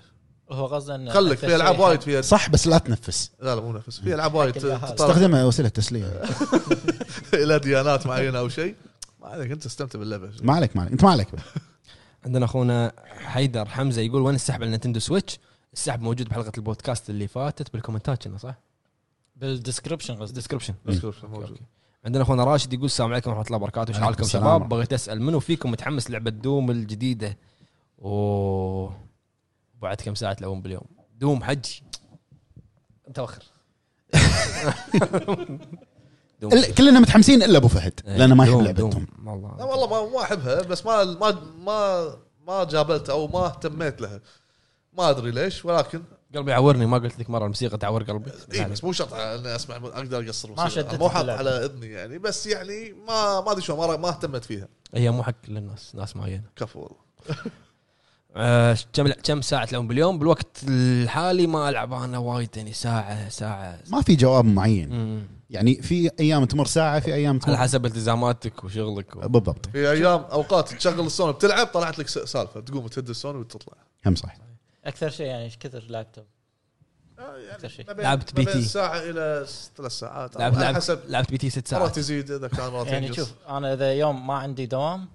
هو قصده انه خلك في العاب وايد فيها صح بس لا تنفس لا لا مو نفس في العاب وايد (laughs) تطلع استخدمها وسيله تسليه الى ديانات معينه او شيء ما عليك انت استمتع باللعبه ما عليك ما عليك انت ما عليك عندنا اخونا حيدر حمزه يقول وين السحب على نينتندو سويتش السحب موجود بحلقه البودكاست اللي فاتت بالكومنتات كنا صح؟ بالدسكربشن قصدي الديسكربشن Description موجود. أوكي. عندنا اخونا راشد يقول السلام عليكم ورحمه الله وبركاته ايش عليكم حالكم السلام شباب ورحمة. بغيت اسال منو فيكم متحمس لعبه دوم الجديده اوه بعد كم ساعه تلعبون باليوم دوم حجي انت وخر دوم. إلا- كلنا متحمسين الا ابو فهد إيه، لانه ما يحب دوم- لعبتهم دوم. والله لا والله ما ما احبها بس ما ما ما ما جابلت او ما اهتميت لها ما ادري ليش ولكن قلبي يعورني ما قلت لك مره الموسيقى تعور قلبي إيه. اي بس مو شرط انا اسمع اقدر اقصر ما موسيقى. شدت مو حاط اللعبة. على اذني يعني بس يعني ما ما ادري شو ما ما اهتمت فيها هي مو حق كل الناس ناس معينه كفو والله آه، كم كم ساعه تلعبون باليوم بالوقت الحالي ما العب انا وايد يعني ساعه ساعه ما في جواب معين مم. يعني في ايام تمر ساعه في ايام على تمر حسب التزاماتك وشغلك و... بالضبط في ايام اوقات تشغل السون بتلعب طلعت لك س- سالفه تقوم تهد السون وتطلع هم صح اكثر شيء يعني ايش كثر لعبته أكثر شيء. ما بين- لعبت ما بين PT. ساعه الى س- ثلاث ساعات لعبت على لعبت حسب لعبت بي تي ست مرات ساعات تزيد اذا كان مرات يعني ينقص. شوف انا اذا يوم ما عندي دوام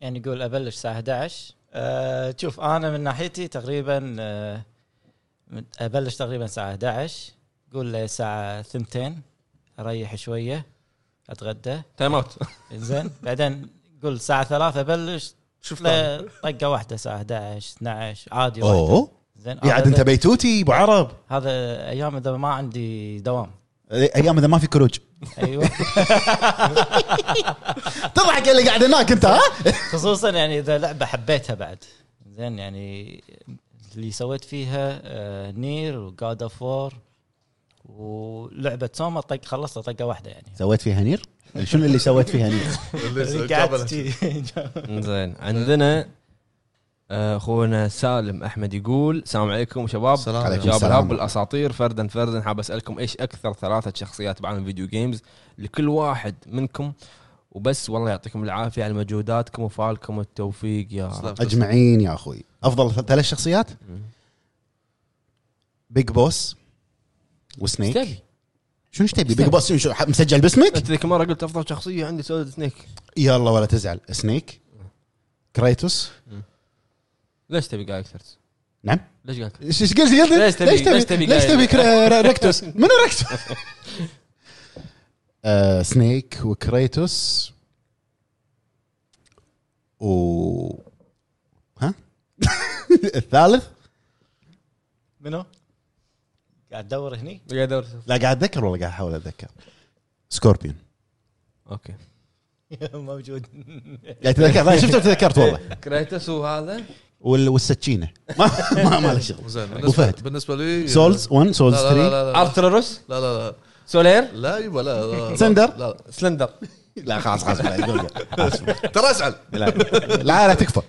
يعني يقول ابلش الساعه 11 أه شوف انا من ناحيتي تقريبا أه من- ابلش تقريبا الساعه 11 قول لي الساعه 2 اريح شويه اتغدى تايم اوت زين (laughs) بعدين قول الساعه 3 ابلش شوف لا، طقه واحده الساعه 11 12 عادي واحدة. اوه زين يا إيه، عاد هذا- آه، انت بيتوتي ابو عرب هذا ايام اذا ما عندي دوام ايام اذا ما في كروج ايوه تضحك اللي قاعد هناك انت ها خصوصا يعني اذا لعبه حبيتها بعد زين يعني اللي سويت فيها آه، نير وجاد اوف وور ولعبه سوما طق خلصتها طقه واحده يعني سويت فيها نير شنو اللي سويت فيها نير اللي قعدت قابله. شي. زين عندنا آه، اخونا سالم احمد يقول السلام عليكم شباب السلام عليكم شباب السلام. الهب الاساطير فردا فردا حاب اسالكم ايش اكثر ثلاثه شخصيات بعالم الفيديو جيمز لكل واحد منكم وبس والله يعطيكم العافيه على مجهوداتكم وفعلكم التوفيق يا رب. سلام. اجمعين يا اخوي افضل ثلاث شخصيات بيج بوس وسنيك سنيك شنو ايش تبي بيج بوس شو ح- مسجل باسمك انت ذيك المره قلت افضل شخصيه عندي سولد سنيك يلا ولا تزعل سنيك كريتوس ليش تبي قاعد اكثر؟ نعم ليش قاعد ايش ايش قلت قلت ليش تبي- ليش ليش تبي تبي ليش قايل؟ تبي كرا- را- (laughs) ركتوس منو ركتوس آه، سنيك وكريتوس و ها (laughs) الثالث (laughs) منو؟ قاعد ادور هني (laughs) قاعد ادور لا قاعد اتذكر والله قاعد احاول اتذكر سكوربيون اوكي موجود قاعد اتذكر لا شفته تذكرت والله كريتوس وهذا وال- والسكينه ما ما, ما له شغل زين أبو بالنسبه فهد. بالنسبه لي سولز 1 لا سولز لا 3 لا لا لا ارتروس لا لا لا سولير لا يبا لا لا، لا لا سندر؟ لا. سلندر لا خلاص خلاص لا، يقول- خلاص. ترى ازعل لا لا لا تكفى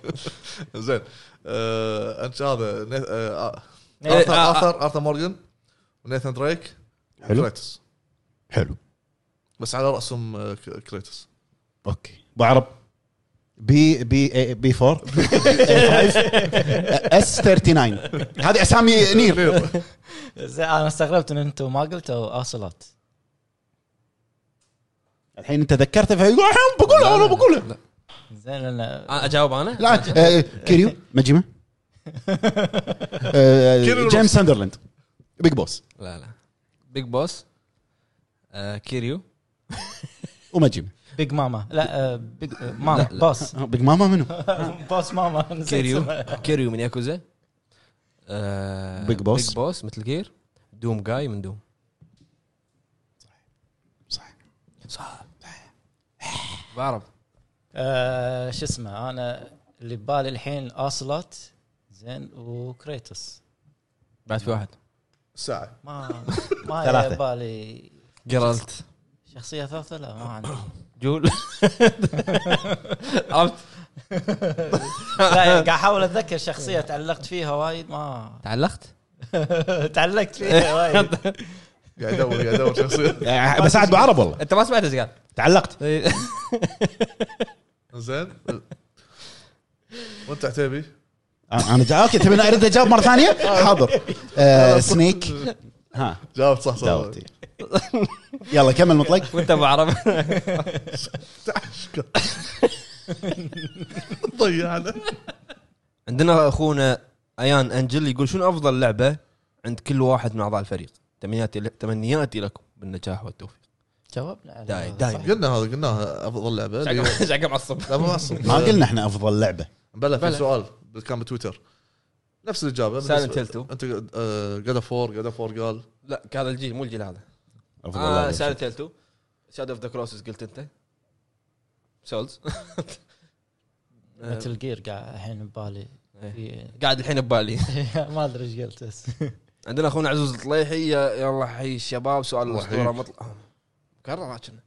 زين آه، انت هذا نيث- آه، آه، إيه، ارثر آه، آه. ارثر ارثر مورجن ونيثان دريك حلو. كريتوس حلو بس على راسهم آه، ك- كريتوس اوكي ابو عرب بي بي بي 4 اس 39 هذه اسامي نير نير. زين، انا استغربت ان انتم ما قلتوا اوسلوت الحين انت ذكرته فيقول الحين بقولها انا بقولها زين لان أنا اجاوب انا؟ لا آه، كيريو مجيمه آه، كيريو جيمس ساندرلاند بيج بوس لا لا بيج بوس آه كيريو ومجيمه بيج ماما لا آه، بيج آه، ماما لا، لا. (laughs) بوس آه، بيج ماما منو؟ بوس ماما نسيت كيريو اسمها. كيريو من ياكوزا آه بيج بوس. بيج بوس مثل جير دوم جاي من دوم صح صح بعرف آه، شو اسمه انا اللي ببالي الحين اوسلوت زين وكريتوس بعد في واحد ساعه ما ما ثلاثة. ببالي جيرالت شخصيه ثالثه لا ما عندي جول عرفت لا (laughs) يعني قاعد احاول اتذكر شخصيه تعلقت فيها وايد ما (laughs) تعلقت تعلقت فيها وايد قاعد ادور قاعد ادور شخصيه آه، بساعد ابو عرب والله انت ما سمعت ايش (laughs) قال تعلقت زين وانت عتيبي آه، انا جا اوكي تبي ارد اجاوب مره ثانيه؟ حاضر آه، سنيك ها جاوبت صح صح داوتي يلا كمل مطلق وانت بعرف ضيعنا عندنا اخونا ايان انجل يقول شنو افضل لعبه عند كل واحد من اعضاء الفريق تمنياتي تمنياتي لكم بالنجاح والتوفيق جاوبنا على- داي- داي. صح. قلنا هذا قلناها افضل لعبه ايش عقب- (laughs) ايش عقب عصب لا ما أصلاً. ما قلنا احنا افضل لعبه بلا في بلى. سؤال كان بتويتر نفس الاجابه Silent بالنسبة- Hill 2. انت قد آه، فور قد فور قال لا هذا الجيل مو الجيل هذا افضل آه لعبه سالت تيل 2 شاد اوف ذا كروسز قلت انت سولز مثل جير قاعد الحين ببالي في- (laughs) قاعد الحين ببالي (laughs) ما ادري ايش قلت بس عندنا اخونا عزوز الطليحي يا- يلا حي الشباب سؤال الله الاسطوره يحييك. مطلع كرر كنا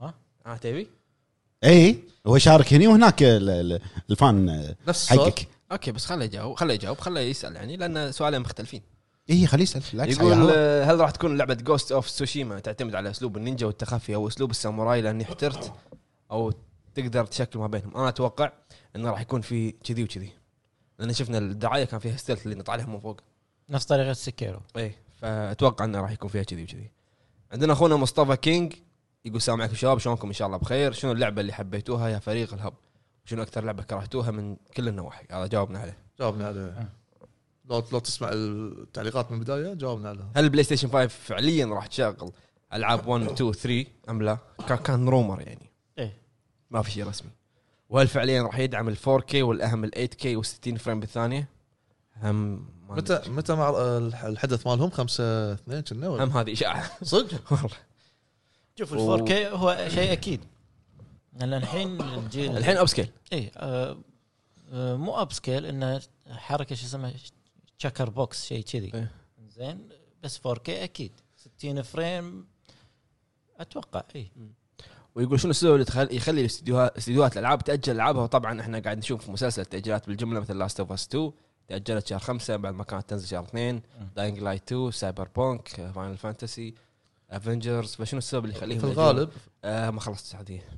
ها؟ ها آه، تبي؟ اي إيه، هو يشارك هني وهناك ال- ال- الفان نفس السؤال حقك اوكي بس خله يجاوب خله يجاوب خله يسال يعني لان سؤالين مختلفين اي إيه، خليه يسال بالعكس يقول حياه. آه، هل راح تكون لعبه جوست اوف سوشيما تعتمد على اسلوب النينجا والتخفي او اسلوب الساموراي لاني احترت او تقدر تشكل ما بينهم انا اتوقع انه راح يكون في كذي وكذي لان شفنا الدعايه كان فيها ستيلث اللي نطلع لهم من فوق نفس طريقه سكيرو اي فاتوقع انه إيه، راح يكون فيها كذي وكذي عندنا اخونا مصطفى كينج يقول السلام عليكم شباب شلونكم ان شاء الله بخير شنو اللعبه اللي حبيتوها يا فريق الهب شنو اكثر لعبه كرهتوها من كل النواحي هذا جاوبنا عليه جاوبنا آه. عليه لو لو تسمع التعليقات من البدايه جاوبنا عليها هل بلاي ستيشن 5 فعليا راح تشغل العاب 1 2 3 ام لا كان, كان رومر يعني إيه. ما في شيء رسمي وهل فعليا راح يدعم ال 4K والاهم ال 8K وال 60 فريم بالثانيه هم ما متى ندري. متى مع الح- الحدث مالهم 5 2 كنا ولا؟ هم هذه اشاعه صدق؟ (laughs) والله شوف و- ال 4K هو شيء اكيد لان الحين الجيل الحين اب سكيل اي آه، آه، مو اب سكيل انه حركه شو اسمها تشكر بوكس شيء كذي إيه. زين بس 4K اكيد 60 فريم إيه. اتوقع اي ويقول شنو السبب اللي تخل- يخلي الاستديوهات استديوهات الالعاب تاجل العابها وطبعا احنا قاعد نشوف مسلسل تاجيلات بالجمله مثل لاست اوف اس 2 تاجلت شهر خمسة بعد ما كانت تنزل شهر اثنين داينج لايت 2 سايبر بونك فاينل فانتسي افنجرز فشنو السبب اللي يخليهم في يأجلون؟ الغالب آه ما خلصت السعوديه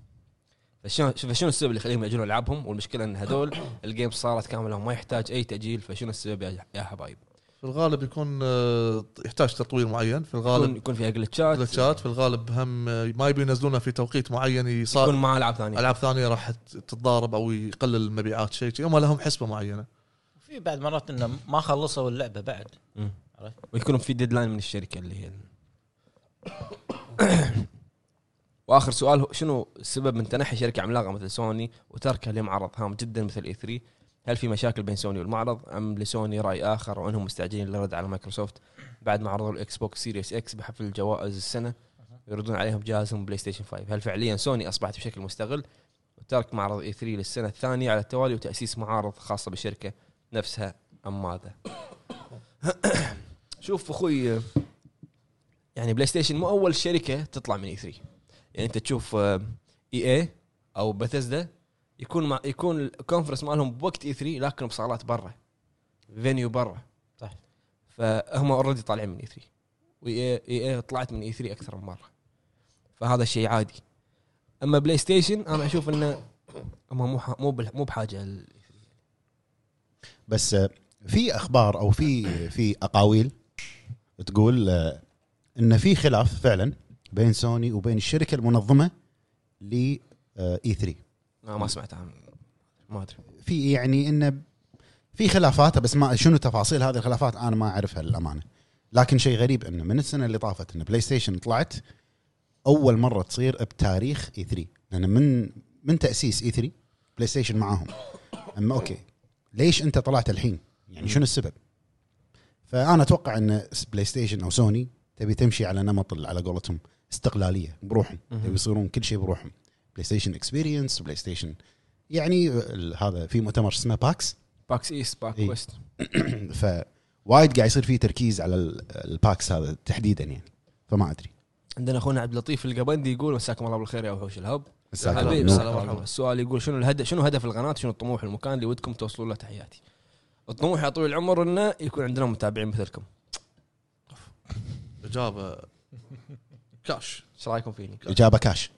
فشنو شوف شنو السبب اللي يخليهم ياجلون العابهم والمشكله (coughs) ان هذول الجيم صارت كامله وما يحتاج اي تاجيل فشنو السبب يا يا حبايب؟ في الغالب يكون آه، يحتاج تطوير معين في يكون الغالب يكون فيها جلتشات جلتشات في الغالب هم آه، ما يبي ينزلونها في توقيت معين يصار يكون مع العاب ثانيه العاب ثانيه راح تتضارب او يقلل المبيعات شيء شيء. هم لهم حسبه معينه في بعد مرات انه ما خلصوا اللعبه بعد مم. عرفت؟ ويكون في ديدلاين من الشركه اللي (coughs) هي ال- واخر سؤال هو شنو السبب من تنحي شركه عملاقه مثل سوني وتركها لمعرض هام جدا مثل اي 3 هل في مشاكل بين سوني والمعرض ام لسوني راي اخر وانهم مستعجلين للرد على مايكروسوفت بعد ما عرضوا الاكس بوكس سيريس اكس بحفل جوائز السنه يردون عليهم جهازهم بلاي ستيشن 5 هل فعليا سوني اصبحت بشكل مستغل وترك معرض E اي 3 للسنه الثانيه على التوالي وتاسيس معارض خاصه بالشركه نفسها ام ماذا شوف اخوي يعني بلاي ستيشن مو اول شركه تطلع من اي 3 يعني انت تشوف اي اي او بثزدا يكون مع يكون الكونفرنس مالهم بوقت اي 3 لكن بصالات برا فينيو برا صح. فهم اوريدي طالعين من E اي 3 واي اي إيه، طلعت من اي 3 اكثر من مره فهذا الشيء عادي اما بلاي ستيشن انا اشوف انه هم مو ح- مو بال- مو بحاجه ال- بس آه، في اخبار او في في اقاويل تقول آه، ان في خلاف فعلا بين سوني وبين الشركه المنظمه ل آه، اي 3 أنا آه، ما سمعت عن ما ادري في يعني انه في خلافات بس ما شنو تفاصيل هذه الخلافات انا ما اعرفها للامانه لكن شيء غريب انه من السنه اللي طافت ان بلاي ستيشن طلعت اول مره تصير بتاريخ اي 3 لان من من تاسيس اي 3 بلاي ستيشن معاهم اما اوكي ليش انت طلعت الحين؟ يعني شنو السبب؟ فانا اتوقع ان بلاي ستيشن او سوني تبي تمشي على نمط ال- على قولتهم استقلاليه بروحهم مهم. تبي يصيرون كل شيء بروحهم بلاي ستيشن اكسبيرينس بلاي ستيشن يعني ال- هذا في مؤتمر اسمه باكس (clears throat) باكس ايست باك إي. ويست فوايد قاعد يصير فيه تركيز على ال- الباكس هذا تحديدا يعني فما ادري عندنا اخونا عبد اللطيف القبندي يقول مساكم الله بالخير يا وحوش الهب مساء هلا. حبيبي الخير. السلام مساك عليكم. الله. السؤال يقول شنو الهدف شنو هدف القناه شنو الطموح المكان اللي ودكم توصلون له تحياتي الطموح يا طويل العمر انه يكون عندنا متابعين مثلكم اجابه (laughs) كاش ايش رايكم فيني اجابه كاش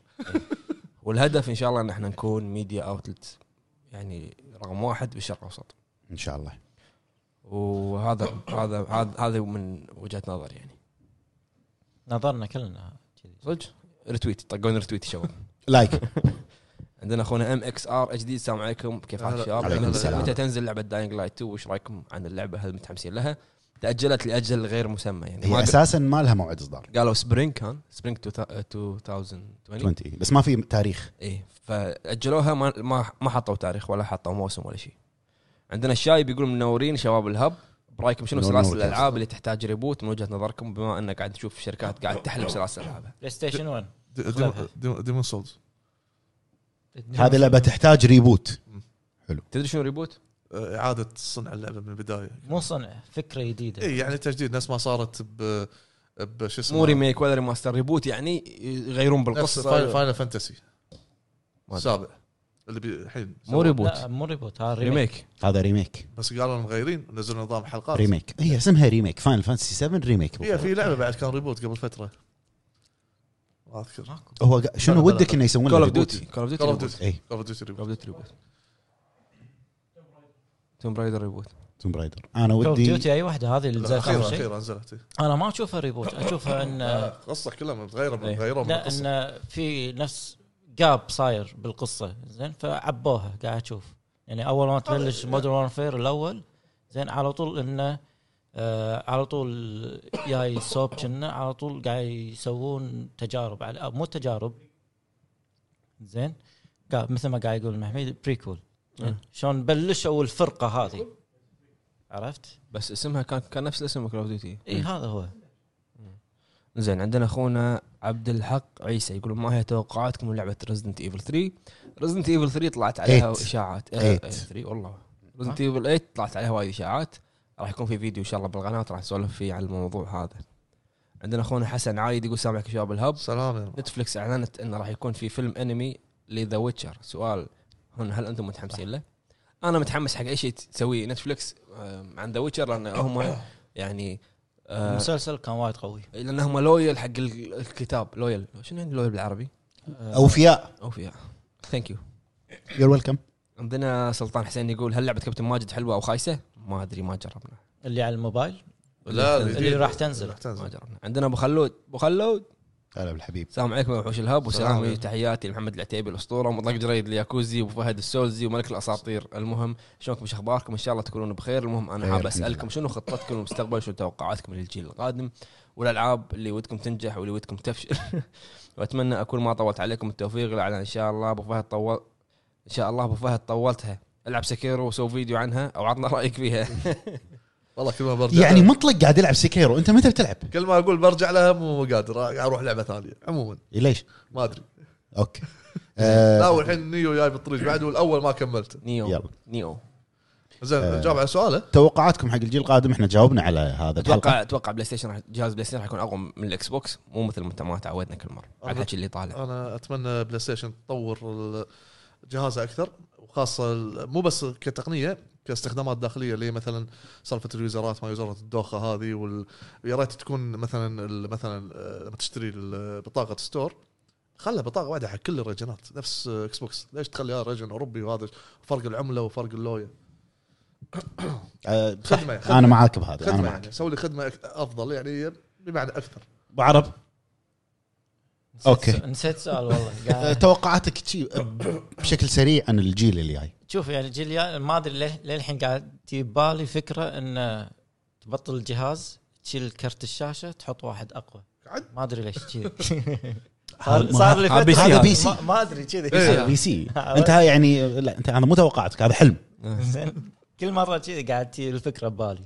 والهدف ان شاء الله ان احنا نكون ميديا اوتلت يعني رقم واحد بالشرق الاوسط ان شاء الله وهذا هذا هذا هذا من وجهه نظري يعني نظرنا كلنا كذي صدق ريتويت طقون ريتويت شباب لايك عندنا اخونا ام اكس ار اتش دي السلام عليكم كيف حالك هلا. شباب؟ عليكم السلام. متى تنزل لعبه داينج لايت 2 وش رايكم عن اللعبه هل متحمسين لها؟ تاجلت لاجل غير مسمى يعني هي ما اساسا ما لها موعد اصدار قالوا سبرينج كان سبرينج 2020 20 بس ما في تاريخ ايه فاجلوها ما ما ما حطوا تاريخ ولا حطوا موسم ولا شيء عندنا الشاي بيقول منورين شباب الهب برايكم شنو منورين سلاسل والله. الالعاب اللي تحتاج ريبوت من وجهه نظركم بما ان قاعد نشوف شركات قاعد تحلب سلاسل العابها بلاي ستيشن 1 خلها. ديمون سولز هذه لعبه تحتاج ريبوت تدري شنو ريبوت؟ آه، اعاده صنع اللعبه من البدايه مو صنع فكره جديده اي يعني تجديد نفس ما صارت ب بشو اسمه مو ريميك ولا ريماستر ريبوت يعني يغيرون نفس بالقصه أيوة. فاينل, فاينل فانتسي ما أدري. السابع اللي بي- الحين مو ريبوت لا مو ريبوت هذا ريميك ريميك هذا ريميك بس قالوا مغيرين نزلوا نظام حلقات ريميك هي اسمها ريميك فاينل فانتسي 7 ريميك هي في لعبه بعد كان ريبوت قبل فتره ما اذكر هو قا- لا، شنو لا، ودك لا. انه يسوون كول له إيه، اوف ريبوت؟ ديوتي كول اوف ديوتي كول اوف كول ديوتي اي كول اوف ديوتي ريبوت اوف ديوتي ريبوت توم برايدر ريبوت توم برايدر انا كول اوف ودي ديوتي اي واحده هذه اللي نزلت الاخيره اول شيء الاخيره نزلت إيه. انا ما اشوفها ريبوت (laughs) اشوفها ان القصه كلها متغيره إيه. متغيره من لا القصه ان في نفس جاب صاير بالقصه زين فعبوها قاعد اشوف يعني اول ما تبلش مودرن وارفير الاول زين على طول انه آه على طول جاي سوب كنا على طول قاعد يسوون تجارب على أو مو تجارب زين قا- مثل ما قاعد يقول محمد بريكول أه. شلون بلشوا الفرقه هذه عرفت؟ بس اسمها كان كان نفس الاسم كول اوف ديوتي اي إيه. هذا هو زين عندنا اخونا عبد الحق عيسى يقول ما هي توقعاتكم من لعبه ريزدنت ايفل 3 ريزدنت ايفل 3 طلعت عليها Eight. اشاعات آه، Eight. أه؟ آه، 3 والله ريزدنت ايفل 8 طلعت عليها وايد اشاعات راح يكون في فيديو ان شاء الله بالقناه راح نسولف فيه على الموضوع هذا عندنا اخونا حسن عايد يقول سامعك يا شباب الهب سلام يا نتفلكس اعلنت انه راح يكون في فيلم انمي لذا ويتشر سؤال هون هل انتم متحمسين له؟ انا متحمس حق اي شيء تسويه نتفلكس آه، عن ذا ويتشر لان (coughs) هم يعني آه، المسلسل كان وايد قوي لان هم لويل حق ال- الكتاب لويل شنو يعني لويل بالعربي؟ آه، اوفياء اوفياء ثانك يو يور ويلكم عندنا سلطان حسين يقول هل لعبه كابتن ماجد حلوه او خايسه؟ ما ادري ما جربنا اللي على الموبايل لا اللي جديد. راح تنزل. راح تنزل ما جربنا عندنا ابو خلود ابو خلود هلا بالحبيب السلام عليكم يا وحوش الهب السلام وسلامي عليكم. تحياتي لمحمد العتيبي الاسطوره ومطلق جريد الياكوزي وابو فهد السولزي وملك الاساطير المهم شلونكم شو اخباركم ان شاء الله تكونون بخير المهم انا خير، حاب الحمد اسالكم لله. شنو خطتكم للمستقبل شنو توقعاتكم للجيل القادم والالعاب اللي ودكم تنجح واللي ودكم تفشل (laughs) واتمنى اكون ما طولت عليكم التوفيق لعل ان شاء الله ابو فهد طول ان شاء الله ابو فهد طولتها العب سكيرو وسوي فيديو عنها او عطنا رايك فيها (laughs) والله كل ما برجع يعني مطلق قاعد يلعب سكيرو انت متى بتلعب؟ كل ما اقول برجع لها مو قادر اروح لعبه ثانيه عموما إيه، ليش؟ ما ادري (laughs) اوكي لا آه، والحين نيو جاي بالطريق بعد والاول ما كملته نيو يلا. نيو زين جاوب على سؤاله توقعاتكم حق الجيل القادم احنا جاوبنا على هذا اتوقع الحلقه اتوقع بلاي ستيشن راح جهاز بلاي ستيشن راح يكون اقوى من الاكس بوكس مو مثل ما- ما تعودنا كل مره على الحكي اللي طالع انا اتمنى بلاي ستيشن تطور ال- جهازها اكثر وخاصه ال- مو بس كتقنيه كاستخدامات داخليه اللي هي مثلا سالفه اليوزرات ما يوزرات الدوخه هذه وال... يا ريت تكون مثلا ال- مثلا آه، لما تشتري ال- بطاقه ستور خلها بطاقه واحده حق كل الريجنات نفس آه، اكس بوكس ليش تخليها ريجن اوروبي وهذا فرق العمله وفرق اللويه آه، صح. خدمه خدمه, انا معاك بهذا انا خدمة معاك يعني سوي لي خدمه أك- افضل يعني بمعنى اكثر ابو عرب نسيت أوكي. سؤال- نسيت سؤال (laughs) والله آه، قاعد- توقعاتك شي- بشكل سريع عن الجيل اللي جاي شوف يعني الجيل الجاي ما ادري ليه للحين قاعد تجيب بالي فكره ان تبطل الجهاز تشيل كرت الشاشه تحط واحد اقوى قعد. ما ادري ليش كذي ما- (laughs) صار صار لي ها بي سي فترة- هذا. بي سي. ما- ما ادري إيه. كذي (laughs) بي سي انت ها يعني لا انت هذا مو توقعاتك هذا حلم زين كل مره كذي قاعد تجي الفكره ببالي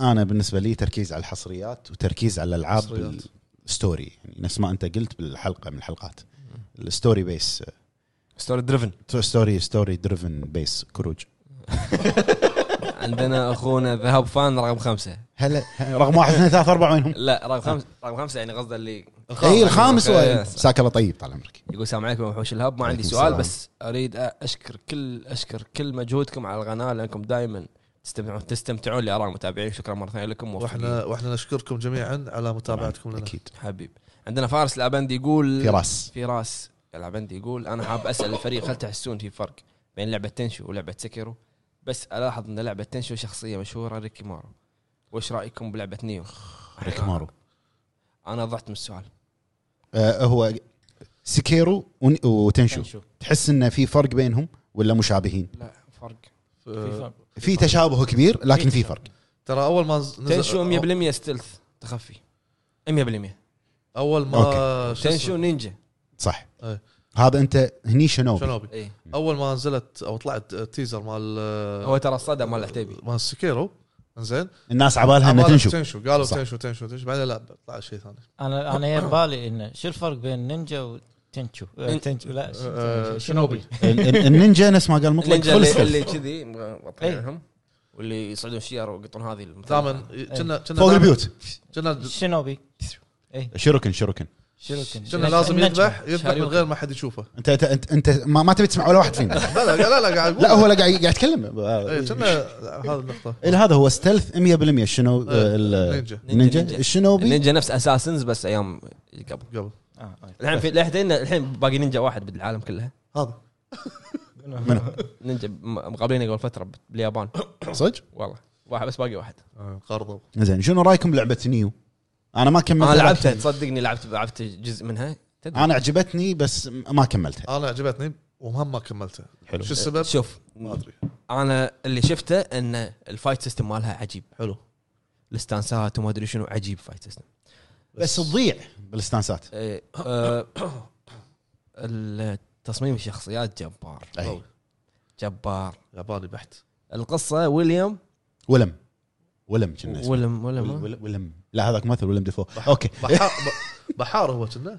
انا بالنسبه لي تركيز على الحصريات وتركيز على الالعاب حصريات. الستوري يعني نفس ما انت قلت بالحلقه من الحلقات الستوري بيس ستوري دريفن ستوري ستوري دريفن بيس كروج عندنا اخونا ذهب فان رقم خمسه هلا رقم واحد اثنين ثلاثة أربعة وينهم؟ لا رقم خمسه رقم خمسه يعني قصده اللي اي الخامس أوكي. و- ساك الله طيب طال عمرك يقول السلام عليكم يا وحوش الهب ما عندي عليكم سؤال السلام. بس اريد اشكر كل اشكر كل مجهودكم على القناه لانكم دائما تستمتعون تستمتعون لاراء المتابعين شكرا مره ثانيه لكم واحنا واحنا نشكركم جميعا على متابعتكم لنا اكيد حبيب عندنا فارس العبندي يقول في راس فراس العبندي يقول انا حاب اسال الفريق هل تحسون في فرق بين لعبه تنشو ولعبه سكيرو بس الاحظ ان لعبه تنشو شخصيه مشهوره ريكي مارو وايش رايكم بلعبه نيو؟ ريك مارو انا ضعت من السؤال آه هو سكيرو ون- وتنشو نشوف تحس انه في فرق بينهم ولا مشابهين؟ لا فرق في آه، فرق. في تشابه كبير لكن في فرق ترى اول ما نز- تنشو 100% ستيلث تخفي 100% اول ما شو تنشو اسمه؟ نينجا صح إيه. هذا انت هني شنوبي شنوبي اي اول ما نزلت او طلعت تيزر مال آه، هو ترى الصدى مال العتيبي مال سكيرو زين الناس عبالها انه عبالك تنشو تنشو قالوا صح. تنشو تنشو تنشو بعدين لا طلع شيء ثاني انا انا يا بالي انه شو الفرق بين نينجا تنشو آه، تنشو لا ش- آه، شنوبي ال- ال- النينجا نفس ما قال مطلق النينجا فول اللي, ستيلث اللي كذي مغطين إيه. عنهم واللي يصعدون الشير ويقطون هذه المثلثة. دائما كنا كنا فوق دائماً- البيوت كنا شنوبي شركن شركن شنوكن كنا لازم النجمة. يذبح يذبح من غير ما حد يشوفه انت انت انت, انت ما, ما تبي تسمع ولا واحد فينا لا لا لا لا قاعد لا اقول هو لا قاعد قاعد يتكلم إيه، كنا هذه النقطه إيه، هذا هو ستيلث 100% الشنو إيه، آه، ال- نينجا النينجا نينجا. الشنوبي النينجا نفس اساسنز بس ايام قبل قبل آه، آه. الحين في الحين الحين باقي نينجا واحد بالعالم كله هذا منو؟ نينجا م- مقابلينه قبل فتره باليابان صدق؟ والله واحد بس باقي واحد آه، قرضوا زين شنو رايكم بلعبه نيو؟ انا ما كملت انا لعبتها تصدقني لعبت لعبت جزء منها تدري انا عجبتني بس ما كملتها انا عجبتني ومهم ما كملته حلو. شو السبب؟ شوف ما ادري انا اللي شفته ان الفايت سيستم مالها عجيب حلو الاستانسات وما ادري شنو عجيب فايت سيستم بس تضيع بالاستانسات إيه، آه، (coughs) ال- تصميم الشخصيات جبار أي. جبار ياباني بحت القصه ويليام ولم ولم كنا اسمه. ويليام ويليام ول- ولم لا هذاك ممثل ولم ديفو اوكي بحار (laughs) بحار هو كنا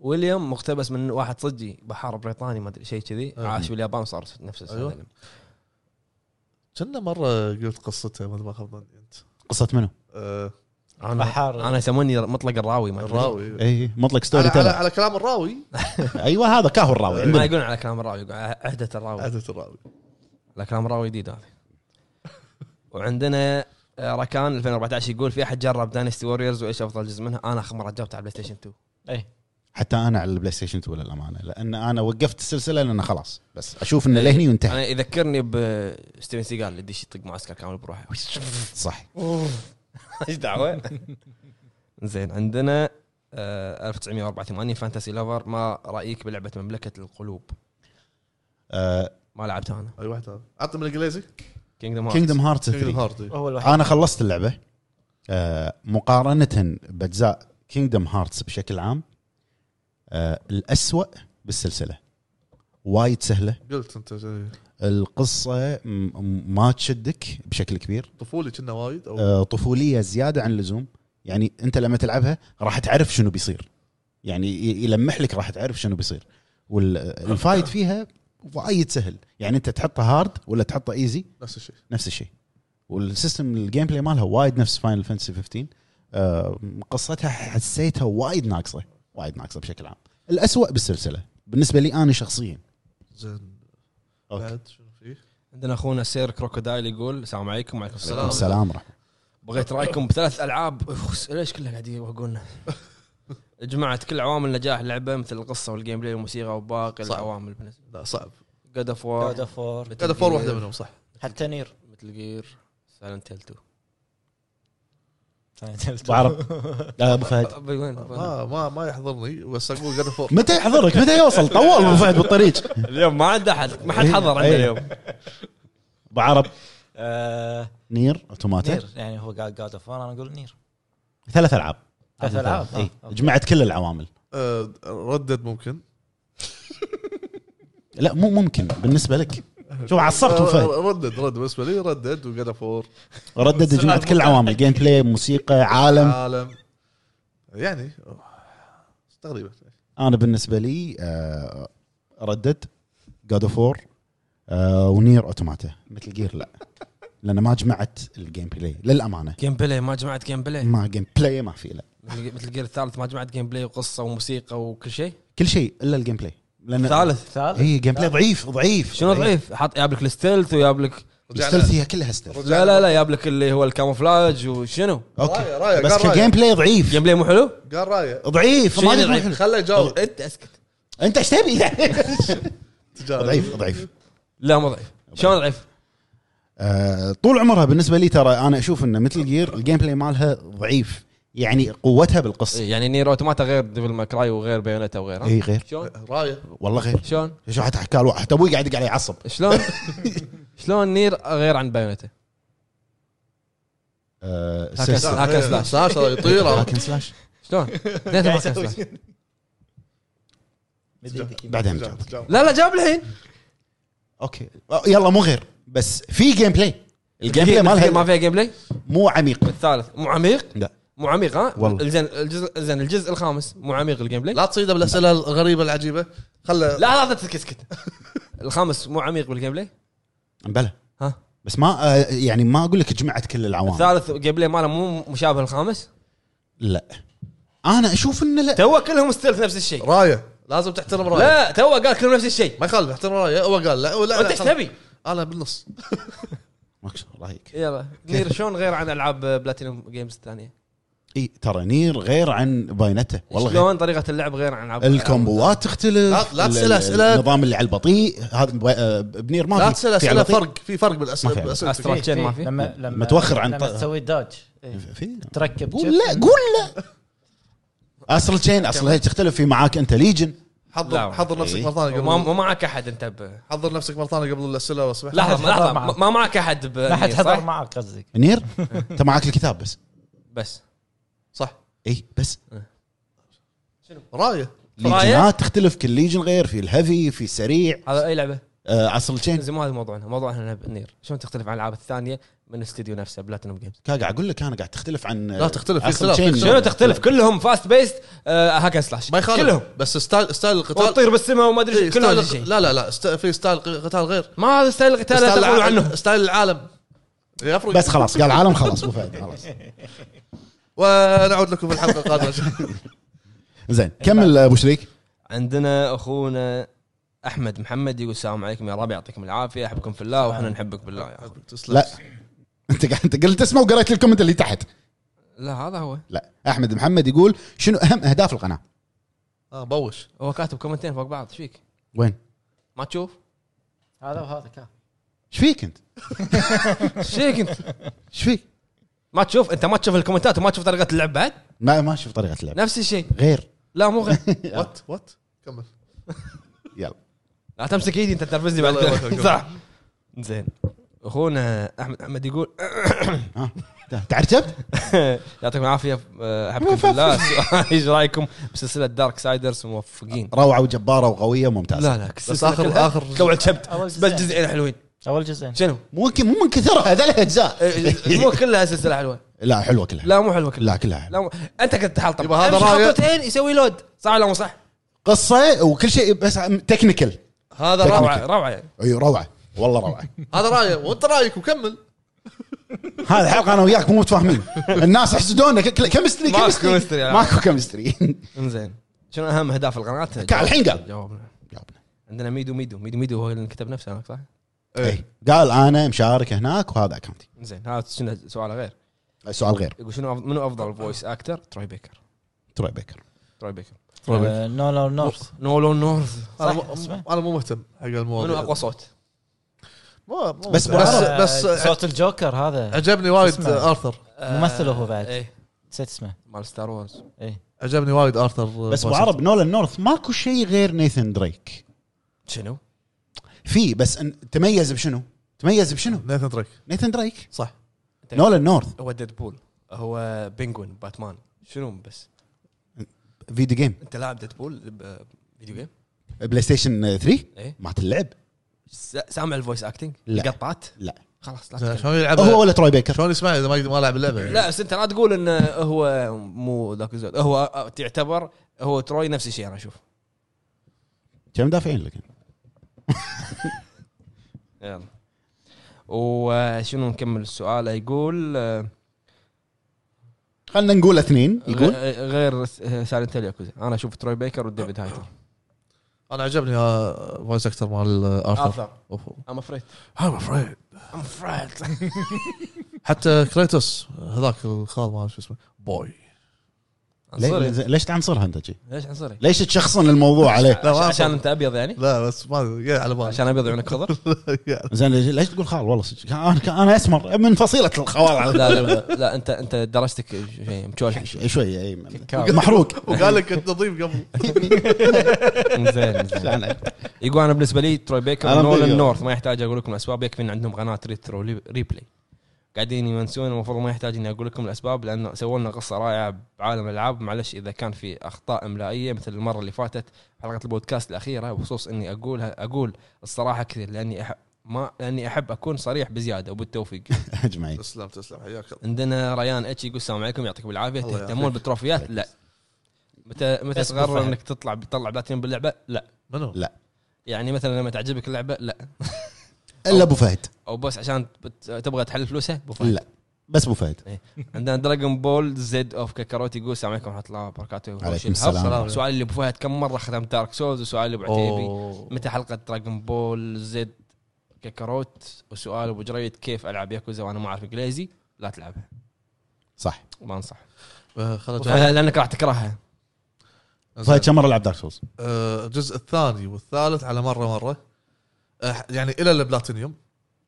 ويليام مقتبس من واحد صجي بحار بريطاني ما ادري شيء كذي أه. عاش باليابان وصار نفس أيوة. السنه كنا مره قلت قصته ما ما خاب ظني انت قصه منو؟ آه، انا بحار انا يسموني مطلق الراوي ما أدري. الراوي اي إيه، مطلق على, ستوري على, تيلر على كلام الراوي ايوه هذا كاهو الراوي ما عندنا. يقولون على كلام الراوي يقولون على عهده الراوي عادة الراوي لا كلام راوي جديد هذا وعندنا آه، ركان 2014 يقول في احد جرب داينستي ووريرز وايش افضل جزء منها انا اخر مره جربتها على بلاي ستيشن 2 اي حتى انا على البلاي ستيشن 2 للامانه لان انا وقفت السلسله لان خلاص بس اشوف انه لهني وانتهى انا يذكرني بستيفن سيجال اللي يدش يطق معسكر كامل بروحه (laughs) صح ايش دعوه زين عندنا آه، 1984 فانتسي لوفر ما رايك بلعبه مملكه القلوب آه، ما لعبتها انا اي واحد هذا عطني من الانجليزي كينجدم كينجدم هارتس كينجدم 3 هارت هو الوحيد انا خلصت اللعبه آه، مقارنه باجزاء كينجدم هارتس بشكل عام آه، الاسوأ بالسلسله وايد سهله قلت انت زي- القصه م- م- ما تشدك بشكل كبير طفولي كنا وايد او آه، طفوليه زياده عن اللزوم يعني انت لما تلعبها راح تعرف شنو بيصير يعني ي- يلمح لك راح تعرف شنو بيصير والفايت فيها وايد سهل يعني انت تحطها هارد ولا تحطها ايزي نفس الشيء نفس الشيء والسيستم الجيم بلاي مالها وايد نفس فاينل فانتسي 15 آه، قصتها حسيتها وايد ناقصه وايد ناقصه بشكل عام الأسوأ بالسلسله بالنسبه لي انا شخصيا زين أوكي. بعد شنو فيه؟ عندنا اخونا سير كروكودايل يقول السلام عليكم وعليكم السلام السلام ورحمه بغيت رايكم بثلاث العاب أخ، ليش كلها قاعد يوقعونا جمعت كل عوامل نجاح اللعبه مثل القصه والجيم بلاي والموسيقى وباقي صح. العوامل بالنسبه لا صعب جاد اوف جود وار اوف وور كذا يعني فور واحده منهم صح حتى (laughs) نير (laughs) مثل جير سايلنت هيل 2 ابو عرب لا ابو فهد أبي وين وين؟ ما ما ما يحضرني بس اقول كذا فور متى يحضرك متى يوصل طول ابو فهد بالطريق اليوم ما عنده احد ما حد حضر عنده إيه. اليوم ابو عرب آه، نير اوتوماتا نير يعني هو قال جود اوف وور انا اقول نير ثلاث العاب ثلاث العاب إي. آه، أوكي. جمعت كل العوامل آه، ردد ممكن لا مو ممكن بالنسبه لك (laughs) شوف عصبت ابو فهد آه، ردد ردد بالنسبه لي ردد وكذا فور ردد جمعت كل العوامل جيم بلاي موسيقى آه. عالم عالم يعني أوه، تقريبا انا بالنسبه لي آه، ردد جاد اوف وور آه، ونير اوتوماتا مثل جير لا لان ما جمعت الجيم بلاي للامانه جيم بلاي ما جمعت جيم بلاي ما جيم بلاي ما في لا مثل مثل جير الثالث ما جمعت جيم بلاي وقصه وموسيقى وكل شيء كل شيء الا الجيم بلاي لان الثالث ثالث هي جيم بلاي إيه، ضعيف ضعيف شنو ضعيف حط جاب لك الستيلث وجاب لك الستلث هي كلها ستلث لا لا لا جاب لك اللي هو الكاموفلاج وشنو راية- راية، اوكي بس قال راية. كجيم بلاي ضعيف جيم بلاي مو حلو؟ قال رايه ضعيف ما شنو أدري ضعيف؟ حلو. خله يجاوب انت اسكت انت ايش تبي (laughs) تجاوب. ضعيف ضعيف لا مو ضعيف شلون ضعيف؟ آه، طول عمرها بالنسبه لي ترى انا اشوف ان مثل جير الجيم بلاي مالها ضعيف يعني قوتها بالقصه يعني نير اوتوماتا غير ديفل ماكراي وغير بيونتا وغيره اي إيه، غير شلون؟ رايه والله غير شلون؟ شو حتى حكى الواحد حتى ابوي قاعد يقعد يعصب (laughs) شلون؟ شلون نير غير عن بايونتا؟ آه، هاك سيس- أند هاك أند سلاش. سلاش هذا يطير أو- هاكن سلاش (laughs) شلون؟ ليش ما كان سلاش؟ بعدين بجاوب. تجاوب. لا لا جاب الحين اوكي آه، يلا مو غير بس في جيم بلاي الجيم بلاي ما مالها فيها جيم بلاي مو عميق الثالث مو عميق لا مو عميق ها والله. زين الجزء زين الجزء الخامس مو عميق الجيم بلاي لا لا تصيده بالاسئله الغريبه العجيبه خله لا لا تسكت سكت الخامس مو عميق بالجيم بلاي بلى ها. بس ما آه، يعني ما اقول لك جمعت كل العوامل الثالث جيم بلاي ماله مو مشابه الخامس لا انا اشوف انه لا تو كلهم ستيلث نفس الشيء رايه لازم تحترم رايه لا تو قال كلهم نفس الشيء ما يخالف احترم رايه هو قال لا ولا انت ايش تبي؟ انا بالنص ماكش رايك يلا نير شلون غير عن العاب بلاتينيوم جيمز الثانيه؟ اي ترى نير غير عن باينته والله غير. شلون طريقه اللعب غير عن العاب الكومبوات تختلف لا- لا ال- تسأل ال- أسئلة. النظام اللي على البطيء هذا ب- آه، بنير ما لا في. تسال في على اسئله البطيء؟ فرق في فرق بالاسئله ما إيه، في بالأسئلة. أسئلة. تراك شين ما في؟ لما لما متوخر عن لما طرق. تسوي دوج إيه. طيب، في تركب قول شيب. لا قول لا اسرل تشين اصل هي تختلف في معاك انت ليجن حضر لا. حضر نفسك إيه. مره ثانيه قبل وما معك احد انت ب... حضر نفسك مره ثانيه قبل الاسئله لو سمحت لحظه حضر لحظه ما- معك. ما معك احد ب... لا حد حضر صح؟ معك قصدك نير انت معاك الكتاب بس بس صح اي بس رايه راية؟ ليجنات تختلف كل ليجن غير في الهيفي في السريع هذا اي لعبه آه عصر إيه. تشين زين مو هذا موضوعنا موضوعنا هنا نير شلون تختلف عن الالعاب الثانيه من الاستديو نفسه بلاتينوم جيمز قاعد اقول لك انا قاعد تختلف عن لا تختلف، في عصر اختلاف، في تشين. شنو تختلف كلهم آه، فاست بيست هاك سلاش إيه. ما يخالف كلهم بس ستايل ستايل القتال وتطير بالسماء وما ادري إيه، شو، كلهم ستايل نفس الشيء لا لا لا است- في ستايل قتال غير ما هذا ستايل القتال لا ستايل تقولوا الع- عنه ستايل العالم يفرق بس خلاص قال العالم خلاص مو فايد خلاص ونعود لكم في الحلقه (laughs) القادمه زين كمل ابو شريك عندنا اخونا احمد محمد يقول السلام عليكم يا رب يعطيكم العافيه احبكم في الله واحنا نحبك بالله يا أخوي. تسلم. لا (laughs) انت قاعد انت قلت اسمه وقريت الكومنت اللي تحت لا هذا هو لا احمد محمد يقول شنو اهم اهداف القناه اه بوش هو كاتب كومنتين فوق بعض ايش فيك؟ وين ما تشوف؟ هذا وهذا كان ايش فيك انت ايش فيك انت؟ ايش فيك ما تشوف انت ما تشوف الكومنتات وما تشوف طريقه اللعب بعد؟ ما ما اشوف طريقه اللعب نفس الشيء غير لا مو غير وات وات كمل يلا لا تمسك ايدي انت تنرفزني بعد يلا، يلا، يلا. كذا. صح زين اخونا احمد احمد يقول (coughs) ها تعرجبت يعطيكم العافيه آه، احبكم في الله السؤال، (laughs) ايش رايكم بسلسله دارك سايدرز موفقين روعه وجباره وقويه وممتازه لا لا بس اخر اخر كوع كبت أول بس جزئين. جزئين حلوين اول جزئين شنو؟ مو يمكن- مو من كثرها هذول اجزاء إيه، (laughs) مو كلها سلسله حلوه (laughs) لا حلوه كلها لا مو حلوه كلها لا كلها لا مو... انت كنت تحلطم يبا هذا أمشي رأيه. خطوتين يسوي لود صح ولا مو صح؟ قصه وكل شيء بس تكنيكال هذا رايه روعه روعه يعني اي روعه والله (laughs) روعه هذا رايه وانت رايك وكمل هذه الحلقه انا وياك مو متفاهمين الناس يحسدونا كمستري ماكو كمستري chemistry، آه. لا. ماكو كمستري (laughs) انزين شنو اهم اهداف القناه؟ الحين قال جاوبنا عندنا ميدو ميدو ميدو ميدو هو اللي كتب نفسه هناك صح؟ إيه. إي. إيه. قال انا مشارك هناك وهذا اكونتي زين هذا شنو سؤاله غير سؤال غير يقول شنو أف- منو افضل فويس اكتر؟ تروي بيكر تروي بيكر تروي بيكر آه، نو نو نورث نولو نورث انا صح، مو- اسمه. انا مو مهتم حق الموضوع منو اقوى صوت؟ بس بس- بس آه، بس صوت الجوكر هذا عجبني وايد اسمه. ارثر ممثل هو بعد. ايه نسيت اسمه إيه. مال ستار وورز اي عجبني وايد ارثر بس ابو عرب نولان نورث ماكو شيء غير نيثن دريك شنو؟ في بس إن- تميز بشنو؟ تميز بشنو؟ نيثن دريك نيثن دريك صح نولان نورث هو ديدبول هو بينجوين باتمان شنو بس؟ فيديو جيم انت لاعب ديدبول فيديو جيم؟ بلاي ستيشن 3 ايه مات اللعب س- سامع الفويس اكتنج؟ لا. قطعت؟ لا. خلاص لا زين، تتكلم. شلون يلعب هو ولا تروي بيكر شلون يسمع اذا ما ما لعب اللعبه يعني؟ لا بس انت لا تقول انه هو مو ذاك الزود هو تعتبر هو تروي نفس الشيء انا اشوف كم دافعين لك يلا وشنو نكمل السؤال يقول آه، خلينا نقول اثنين يقول غ- غير سايلنت ياكوزا انا اشوف تروي بيكر وديفيد هايتر انا عجبني آه، فويس اكتر مال آه، ارثر ارثر ام افريد I'm afraid. ام افريد (laughs) حتى كريتوس هذاك الخال ما أعرف شو اسمه بوي لي- عنصري زين، ليش تعنصرها انت شي؟ ليش عنصري؟ ليش تشخصن الموضوع عليه؟ لا، ما عش- عشان أفهم. انت ابيض يعني؟ لا بس ما جاي على (laughs) بالي عشان يعني ابيض عيونك خضر؟ زين ليش- ليش تقول خال والله صدق انا كان- انا اسمر من فصيله الخوال لا (laughs) على لا لا, لا انت انت درجتك شيء مشوش (laughs) شوي- شوي أي، محروق وقال لك كنت نظيف (laughs) قبل زين زين يقول انا بالنسبه لي تروي بيكر أنا ونولان بيكر. نورث ما يحتاج اقول لكم الاسباب يكفي ان عندهم قناه ريترو لي- ريبلاي قاعدين يونسون المفروض ما يحتاج اني اقول لكم الاسباب لانه سووا لنا قصه رائعه بعالم الالعاب معلش اذا كان في اخطاء املائيه مثل المره اللي فاتت حلقه البودكاست الاخيره بخصوص اني اقولها اقول الصراحه كثير لاني أح- ما لاني احب اكون صريح بزياده وبالتوفيق (laughs) اجمعين تسلم تسلم حياك الله عندنا ريان اتش يقول السلام عليكم يعطيكم العافيه الله تهتمون يعافيك. بالتروفيات لا متى متى بس تقرر بالفعل. انك تطلع تطلع بلاتينيوم باللعبه لا منو؟ لا. يعني مثلا لما تعجبك اللعبه لا الا ابو فهد او بس عشان بت- تبغى تحل فلوسها بفهم. لا بس ابو فهد عندنا دراجون بول زد اوف كاكاروت يقول السلام عليكم ورحمه الله وبركاته عليكم وش السلام. الهب؟ سؤالي لابو فهد كم مره ختمت دارك سولز وسؤالي ابو عتيبي أوه. متى حلقه دراجون بول زد كاكاروت وسؤال ابو جريد كيف العب ياكوزا وانا ما اعرف انجليزي لا تلعبها صح ما انصح آه، خلنا نجرب. لانك راح تكرهها فهد كم مره لعب دارك سولز؟ آه، الجزء الثاني والثالث على مره مره آه، يعني الى البلاتينيوم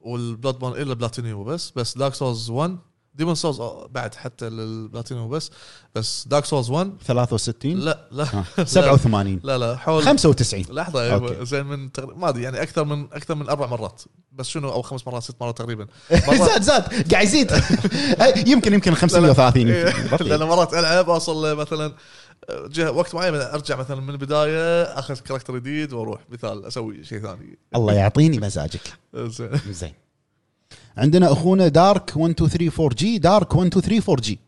والبلاد بون الى البلاتينيوم وبس بس دارك سولز 1 ديمون سولز آه، بعد حتى للبلاتينيوم وبس بس دارك سولز 1 63 لا لا آه. 87 لا لا حول 95 لحظه أيوة أوكي. زين من تقر... ما ادري يعني اكثر من اكثر من اربع مرات بس شنو او خمس مرات ست مرات تقريبا مرات (laughs) زاد زاد قاعد يزيد (laughs) يمكن يمكن 530 يمكن. لان بطيء. إيه. مرات العب اوصل مثلا جهه وقت معين ارجع مثلا من البدايه اخذ كاركتر جديد واروح مثال اسوي شيء ثاني الله يعطيني مزاجك زين زين عندنا اخونا دارك 1234 جي دارك 1234 جي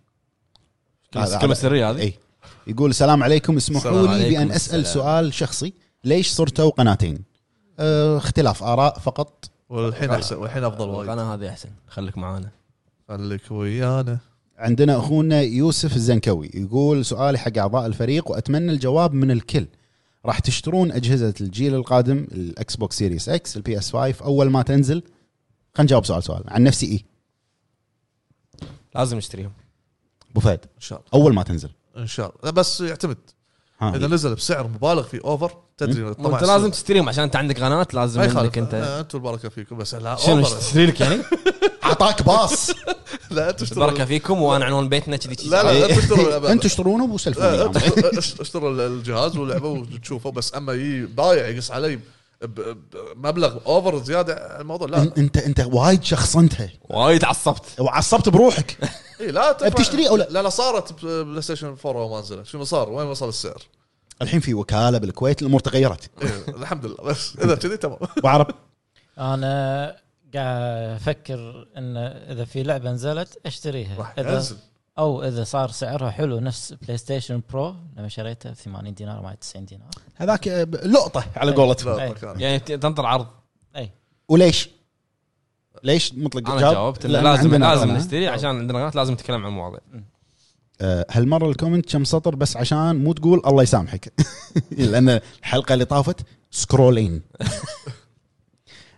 هذا- كلمه سريه هذه إيه. اي يقول السلام عليكم اسمحوا السلام لي عليكم، بان اسال السلام. سؤال شخصي ليش صرتوا قناتين؟ أه، اختلاف اراء فقط آه. والحين احسن والحين افضل وايد القناه هذه احسن خليك معانا خليك ويانا عندنا اخونا يوسف الزنكوي يقول سؤالي حق اعضاء الفريق واتمنى الجواب من الكل راح تشترون اجهزه الجيل القادم الاكس بوكس سيريس اكس البي اس 5 اول ما تنزل خلينا نجاوب سؤال سؤال عن نفسي إيه؟ اي لازم نشتريهم ابو فهد ان شاء الله اول ما تنزل ان شاء الله بس يعتمد اذا ها نزل بسعر مبالغ فيه اوفر تدري طبعا انت لازم تشتريهم عشان انت عندك قناه لازم ما انك يخالف آه، انت انت انتم البركه فيكم بس لا شنو اوفر تشتري لك (laughs) يعني؟ اعطاك باص (laughs) لا انتم اشتروا البركه فيكم وانا عنوان بيتنا كذي لا لا انتم اشتروا انتوا اشترونه ابو سلفون لا، يا عم. انتوا اش- اشتروا الجهاز ولعبه وتشوفه بس اما يجي بايع يقص علي ب- ب- بمبلغ اوفر زياده على الموضوع لا أن- انت انت وايد شخصنتها وايد عصبت وعصبت بروحك اي إيه، لا تدفع- بتشتريه أو لا؟ لا لا صارت ب- بلاي ستيشن 4 وما نزلت شنو صار وين وصل (laughs) السعر؟ الحين في وكاله بالكويت الامور تغيرت إيه، الحمد لله بس اذا كذي (laughs) تمام ابو عرب انا قاعد افكر ان اذا في لعبه نزلت اشتريها راح اذا ينزل او اذا صار سعرها حلو نفس بلاي ستيشن برو لما شريتها ب 80 دينار ما 90 دينار هذاك آه، لقطه على قولتهم لا إيه. مكان. يعني ت- تنطر عرض اي وليش؟ ليش مطلق انا الجواب؟ جاوبت انه لأن لازم عندنا لازم قناة. نشتري عشان عندنا قناه لازم نتكلم عن المواضيع آه، هالمره الكومنت كم سطر بس عشان مو تقول الله يسامحك (laughs) لان الحلقه اللي طافت سكرولين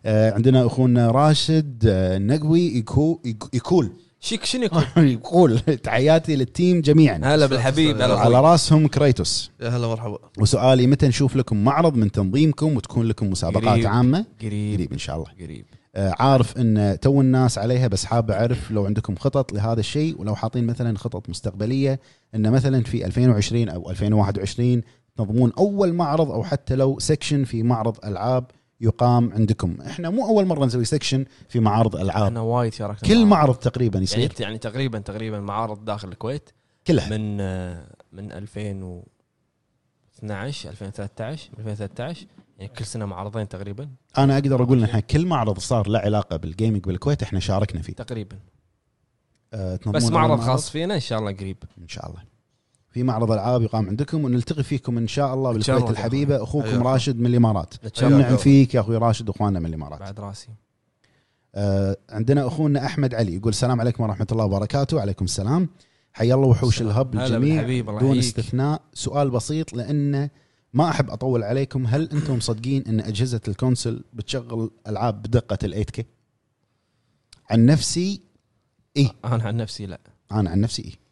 آه، عندنا اخونا راشد آه، النقوي يكو يك- يكول شيك شنو يكون؟ (laughs) يقول تحياتي للتيم جميعا هلا بالحبيب هلا على أخوي. راسهم كريتوس يا هلا مرحبا وسؤالي متى نشوف لكم معرض من تنظيمكم وتكون لكم مسابقات قريب. عامه قريب قريب ان شاء الله قريب آه، عارف ان تو الناس عليها بس حاب اعرف لو عندكم خطط لهذا الشيء ولو حاطين مثلا خطط مستقبليه ان مثلا في 2020 او 2021 تنظمون اول معرض او حتى لو سكشن في معرض العاب يقام عندكم احنا مو اول مره نسوي سكشن في معارض العاب انا وايد شاركت كل المعارض. معرض تقريبا يعني يصير أنت- يعني تقريبا تقريبا معارض داخل الكويت كلها من آه، من 2012 2013 2013 يعني كل سنه معرضين تقريبا انا اقدر اقول ان احنا كل معرض صار له علاقه بالجيمنج بالكويت احنا شاركنا فيه تقريبا آه، تنظمون بس أول معرض خاص فينا ان شاء الله قريب ان شاء الله في معرض العاب يقام عندكم ونلتقي فيكم ان شاء الله إن شاء بالكويت الله. أيوه. الحبيبه اخوكم حياكم. راشد من الامارات نتشرف. نعم فيك يا اخوي راشد واخواننا من الامارات بعد راسي آه عندنا اخونا احمد علي يقول السلام عليكم ورحمه الله وبركاته وعليكم السلام حيا الله وحوش السلام. الهب هلا الجميع بالحبيب، الله دون يحييك. استثناء سؤال بسيط لانه ما احب اطول عليكم هل انتم مصدقين ان اجهزه الكونسل بتشغل العاب بدقه ال 8K عن نفسي انا عن نفسي لا انا عن نفسي إيه.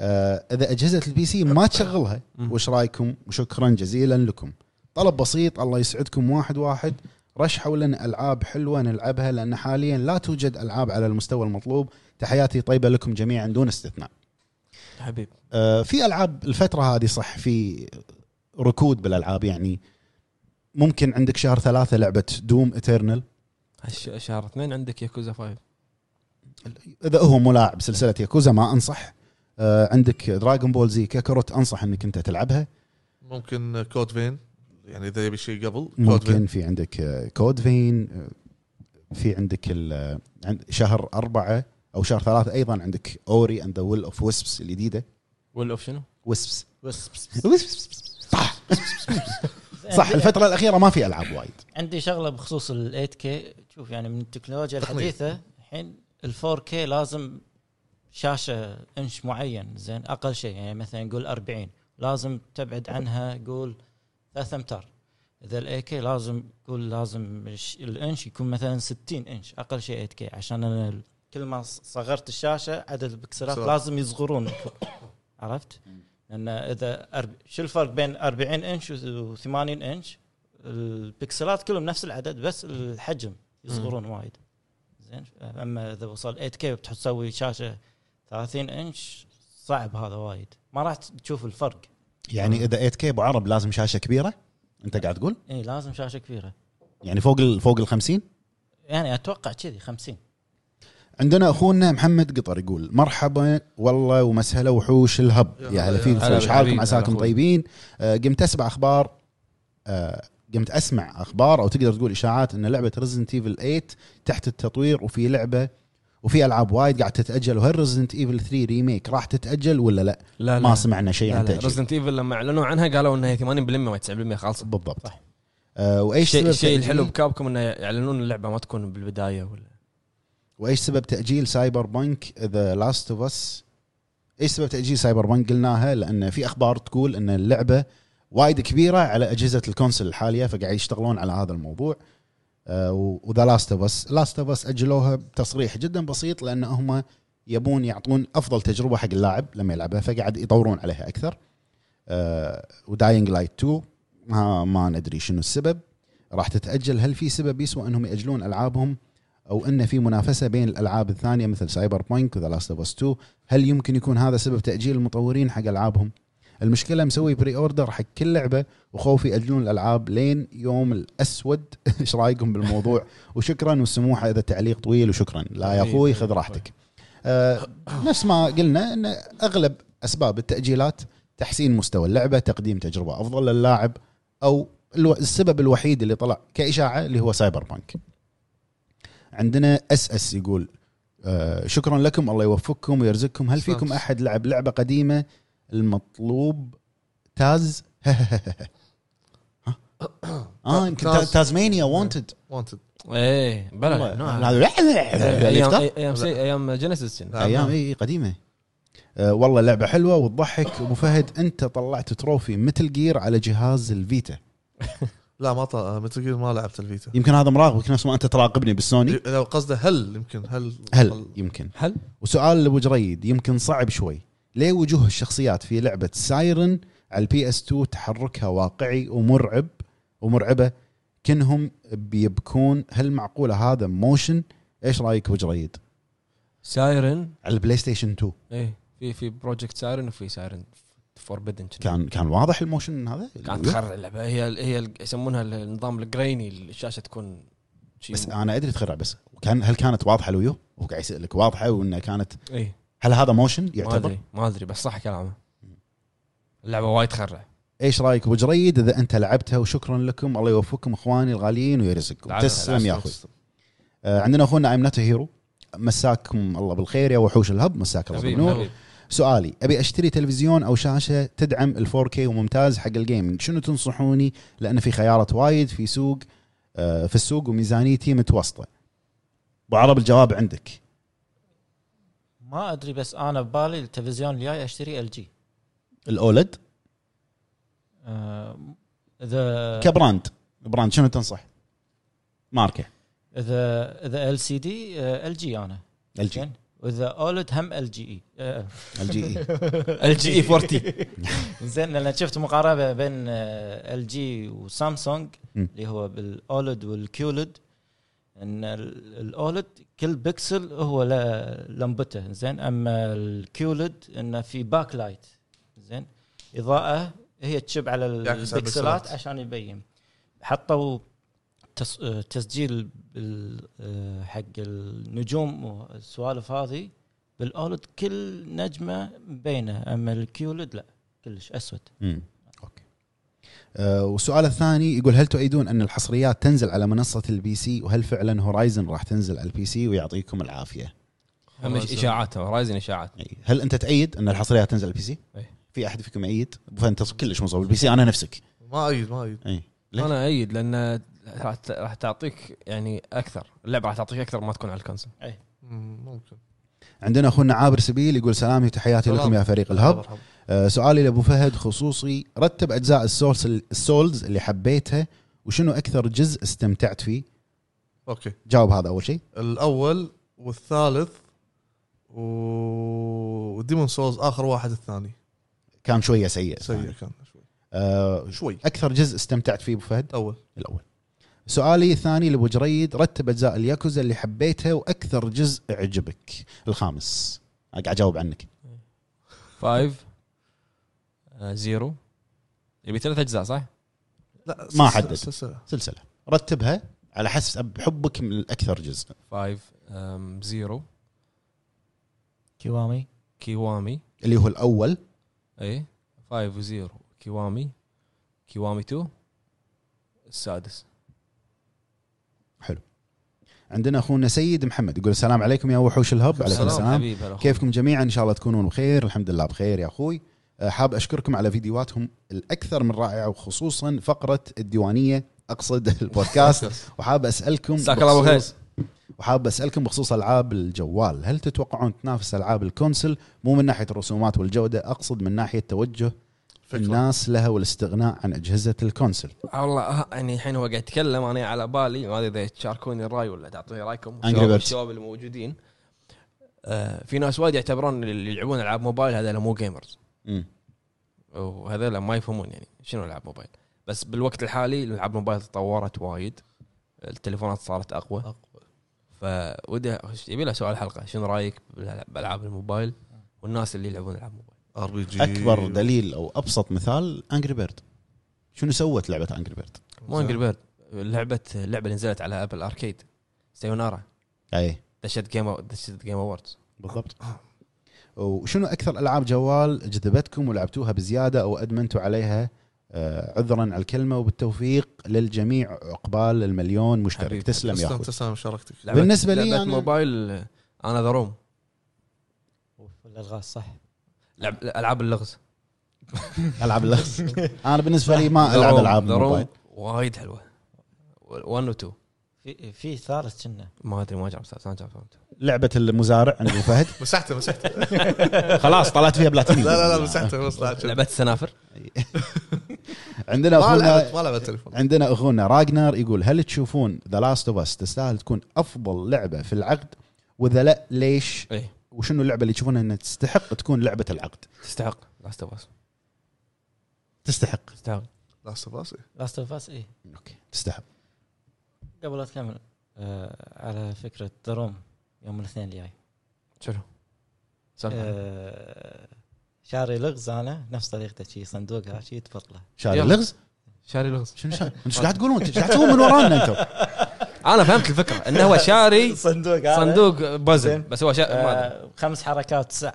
آه اذا اجهزه البي سي ما تشغلها مم. وش رايكم وشكرا جزيلا لكم طلب بسيط الله يسعدكم واحد واحد رشحوا لنا العاب حلوه نلعبها لان حاليا لا توجد العاب على المستوى المطلوب تحياتي طيبه لكم جميعا دون استثناء حبيب آه في العاب الفتره هذه صح في ركود بالالعاب يعني ممكن عندك شهر ثلاثة لعبة دوم اترنال هالش- شهر اثنين عندك ياكوزا 5 اذا هو مو لاعب سلسله ياكوزا ما انصح آه عندك دراغون بول زي كاكاروت انصح انك انت تلعبها ممكن كود فين يعني اذا يبي شيء قبل كود فين ممكن في عندك آه، كود فين آه، في عندك ال- آه، عند شهر أربعة أو شهر ثلاثة أيضا عندك أوري أند ذا ويل أوف ويسبس الجديدة ويل اوف شنو؟ ويسبس بس صح آه، صح الفترة الأخيرة ما في ألعاب وايد عندي شغله بخصوص ال 8 كي شوف يعني من التكنولوجيا تقنية. الحديثه الحين ال 4 كي لازم شاشه انش معين زين اقل شيء يعني مثلا نقول 40 لازم تبعد عنها قول 3 امتار اذا الاي كي لازم قول لازم الش- الانش يكون مثلا 60 انش اقل شيء 8 كي عشان انا ال- كل ما ص- صغرت الشاشه عدد البكسلات صغر. لازم يصغرون (coughs) عرفت؟ لان اذا أرب... شو الفرق بين 40 انش و80 انش؟ البكسلات كلهم نفس العدد بس الحجم يصغرون وايد زين اما اذا وصل 8 كي بتسوي شاشه 30 انش صعب هذا وايد ما راح تشوف الفرق يعني إذا 8 كي أبو عرب لازم شاشة كبيرة أنت قاعد تقول اي إيه، لازم شاشه كبيره يعني فوق ال فوق ال 50 يعني اتوقع كذي 50 عندنا اخونا محمد قطر يقول مرحبا والله ومسهلا وحوش الهب يا يا هلا هلا فيكم يا هلا شو حالكم بالحبيب، هلا عساكم أخوي. طيبين آه، قمت اسمع اخبار آه، قمت اسمع اخبار او تقدر تقول اشاعات ان لعبه ريزنت ايفل 8 تحت التطوير وفي لعبه وفي العاب وايد قاعد تتاجل وهل ريزنت ايفل 3 ريميك راح تتاجل ولا لا؟ لا ما سمعنا شيء لا عن لا تاجيل ريزدنت ايفل لما اعلنوا عنها قالوا انها 80% ما 90% خالصه بالضبط صح. آه، وايش الشيء سبب الشيء تأجيل؟ الحلو بكابكم انه يعلنون اللعبه ما تكون بالبدايه ولا وايش سبب تاجيل سايبر بانك ذا لاست اوف اس ايش سبب تاجيل سايبر بانك قلناها لان في اخبار تقول ان اللعبه وايد كبيره على اجهزه الكونسل الحاليه فقاعد يشتغلون على هذا الموضوع آه، وذا لاست اوف اس لاست اوف اس اجلوها بتصريح جدا بسيط لان هم يبون يعطون افضل تجربه حق اللاعب لما يلعبها فقاعد يطورون عليها اكثر آه، وداينج لايت 2 ما, ما ندري شنو السبب راح تتاجل هل في سبب يسوى انهم ياجلون العابهم او ان في منافسه بين الالعاب الثانيه مثل سايبر بانك وذا لاست اوف اس 2 هل يمكن يكون هذا سبب تاجيل المطورين حق العابهم المشكله مسوي بري اوردر حق كل لعبه وخوفي ياجلون الالعاب لين يوم (laughs) الاسود ايش رايكم بالموضوع وشكرا والسموحه اذا التعليق طويل وشكرا لا يا اخوي خذ راحتك آه نفس ما قلنا ان اغلب اسباب التاجيلات تحسين مستوى اللعبه تقديم تجربه افضل للاعب او الو- السبب الوحيد اللي طلع كاشاعه اللي هو سايبر بانك عندنا اس اس يقول آه شكرا لكم الله يوفقكم ويرزقكم هل فيكم احد لعب لعبه قديمه المطلوب تاز (laughs) ها؟ اه يمكن تاز. تازمانيا وونتد وانتد ايه بلا نعم. ايام هذا (laughs) ايام إيه، سي- ايام جينيسيس كنا. نعم. ايام اي قديمه أه والله لعبه حلوه وتضحك ابو فهد انت طلعت تروفي متل جير على جهاز الفيتا لا ما طلع متل جير ما لعبت الفيتا يمكن هذا مراقبك نفس ما انت تراقبني بالسوني لو قصده هل يمكن هل يعني؟ هل يمكن هل وسؤال لابو جريد يمكن صعب شوي ليه وجوه الشخصيات في لعبه سايرن على البي اس 2 تحركها واقعي ومرعب ومرعبه كنهم بيبكون هل معقوله هذا موشن ايش رايك ابو جريد سايرن على البلاي ستيشن 2 ايه في في بروجكت سايرن وفي سايرن فوربدن كان كان واضح الموشن هذا كانت تخرع اللعبه هي هي يسمونها النظام الجريني الشاشه تكون شي بس آه، مو- انا ادري تخرع بس كان هل كانت واضحه الويو؟ هو قاعد يسالك واضحه وانها كانت ايه هل هذا موشن ما يعتبر؟ ادري ما ادري بس صح كلامه اللعبه وايد تخرع ايش رايك ابو جريد اذا انت لعبتها وشكرا لكم الله يوفقكم اخواني الغاليين ويرزقكم تعال- تسلم تعال- يا اخوي آه عندنا اخونا ايم نوت هيرو مساكم الله بالخير يا وحوش الهب مساك الله حبيب، بالنور حبيب. سؤالي ابي اشتري تلفزيون او شاشه تدعم ال 4K وممتاز حق الجيمنج شنو تنصحوني لان في خيارات وايد في سوق آه في السوق وميزانيتي متوسطه ابو عرب الجواب عندك ما ادري بس انا ببالي التلفزيون الجاي اشتري ال جي الاولد آه، اذا كبراند براند شنو تنصح؟ ماركه اذا اذا ال سي دي ال جي انا ال جي زين؟ واذا اولد هم E. ال جي اي ال جي (laughs) اي ال جي اي 40 (laughs) زين لان شفت مقاربه بين آه، ال جي وسامسونج م. اللي هو بالاولد والكيولد ان ال- الاولد كل بكسل هو له لمبته زين اما الكيولد انه في باك لايت زين اضاءه هي تشب على يعكس على البكسلات البكسلات. عشان يبين حطوا تس... آه، تسجيل بال... آه، حق النجوم والسوالف هذه بالاولد كل نجمه مبينه اما الكيولد لا كلش اسود أمم. اوكي آه، والسؤال الثاني يقول هل تؤيدون ان الحصريات تنزل على منصه البي سي وهل فعلا هورايزن راح تنزل على البي سي ويعطيكم العافيه هم إش- اشاعات هورايزن اشاعات أي. هل انت تأيد ان الحصريات تنزل على البي سي إيه. أي. في احد فيكم يأيد فانت كلش مصاب بالبي سي انا نفسك إيه. ما ايد ما ايد اي ليه؟ انا ايد لان راح ت- راح تعطيك يعني اكثر اللعبه راح تعطيك اكثر ما تكون على الكونسول مم، ممكن عندنا اخونا عابر سبيل يقول سلامي وتحياتي سلام. لكم يا فريق الهب آه، سؤالي لابو فهد خصوصي رتب اجزاء السولز السولز اللي حبيتها وشنو اكثر جزء استمتعت فيه اوكي جاوب هذا اول شيء الاول والثالث و- وديمون سولز اخر واحد الثاني كان شويه سيء سيء كان شوي آه، شوي اكثر جزء استمتعت فيه ابو فهد الاول الاول سؤالي الثاني لابو جريد رتب اجزاء الياكوزا اللي حبيتها واكثر جزء عجبك الخامس قاعد اجاوب عنك فايف آه، زيرو يبي ثلاث اجزاء صح؟ لا ما سلسلة- حدد. سلسلة. سلسله رتبها على حسب حبك من الاكثر جزء فايف آم، زيرو كيوامي كيوامي اللي هو الاول اي فايف وزيرو كيوامي كيوامي 2 السادس عندنا اخونا سيد محمد يقول السلام عليكم يا وحوش الهب عليكم السلام السلام حبيب هلا أخوي. كيفكم جميعا ان شاء الله تكونون بخير الحمد لله بخير يا اخوي أه، حاب اشكركم على فيديوهاتهم الاكثر من رائعه وخصوصا فقره الديوانيه اقصد (laughs) البودكاست وحاب اسالكم جزاك الله بالخير. بخصوص- وحاب اسالكم بخصوص العاب الجوال هل تتوقعون تنافس العاب الكونسل مو من ناحيه الرسومات والجوده اقصد من ناحيه توجه فكرة الناس لها والاستغناء عن اجهزه الكونسل والله آه، يعني الحين هو قاعد يتكلم انا على بالي ما ادري اذا تشاركوني الراي ولا تعطوني رايكم Angry الشباب- Birds. الشباب الموجودين آه، في ناس وايد يعتبرون اللي يلعبون العاب موبايل هذول مو جيمرز مم. وهذول ما يفهمون يعني شنو العاب موبايل بس بالوقت الحالي العاب موبايل تطورت وايد التليفونات صارت اقوى أقوى. فودي يبي له سؤال حلقه شنو رايك بالألع- بالعاب الموبايل والناس اللي يلعبون العاب موبايل ار بي جي اكبر دليل او ابسط مثال انجري بيرد شنو سوت لعبه انجري بيرد مو انجل بيرد لعبه اللعبه اللي نزلت على ابل اركيد سيونارا اي دشت جيم دشت جيم اووردز بالضبط وشنو اكثر العاب جوال جذبتكم ولعبتوها بزياده او ادمنتوا عليها آه، عذرا على الكلمه وبالتوفيق للجميع عقبال المليون مشترك حبيبي. تسلم يا تسلم (laughs) اخوي تسلم شاركتك لعبة- بالنسبة لي لعبه أنا- موبايل انا ذا روم والالغاز صح لعب العاب اللغز العاب اللغز (laughs) انا بالنسبه لي ما العب العاب ذا روم موبايل وايد حلوه 1 و 2 في في ثالث كنا ما ادري ما جاب أستاذ، ما جاب فهمت لعبه المزارع عند ابو فهد مسحته مسحته (laughs) خلاص طلعت فيها بلاتينيوم (laughs) لا لا لا مسحته خلاص لا، شوف. لعبه السنافر عندنا ما اخونا لعبت ما لعبت التليفون عندنا اخونا راجنر يقول هل تشوفون ذا لاست اوف اس تستاهل تكون افضل لعبه في العقد واذا لا ليش؟ إيه. وشنو اللعبه اللي تشوفونها انها تستحق تكون لعبه العقد؟ تستحق لاست اوف اس تستحق تستحق لاست اوف اس لاست اوف اس اي اوكي تستحق قبل لا تكمل آه على فكره دروم يوم الاثنين الجاي شنو؟ سالفة. آه شاري لغز انا نفس طريقته شي صندوقها شي تفضله شاري يلا. لغز شاري لغز شنو شاري؟ انتم ايش قاعد تقولون؟ ايش قاعد تسوون من ورانا انتم؟ انا فهمت الفكره انه هو (laughs) شاري صندوق صندوق بازل زين. بس هو شا... ما أدري. آه خمس حركات تسع,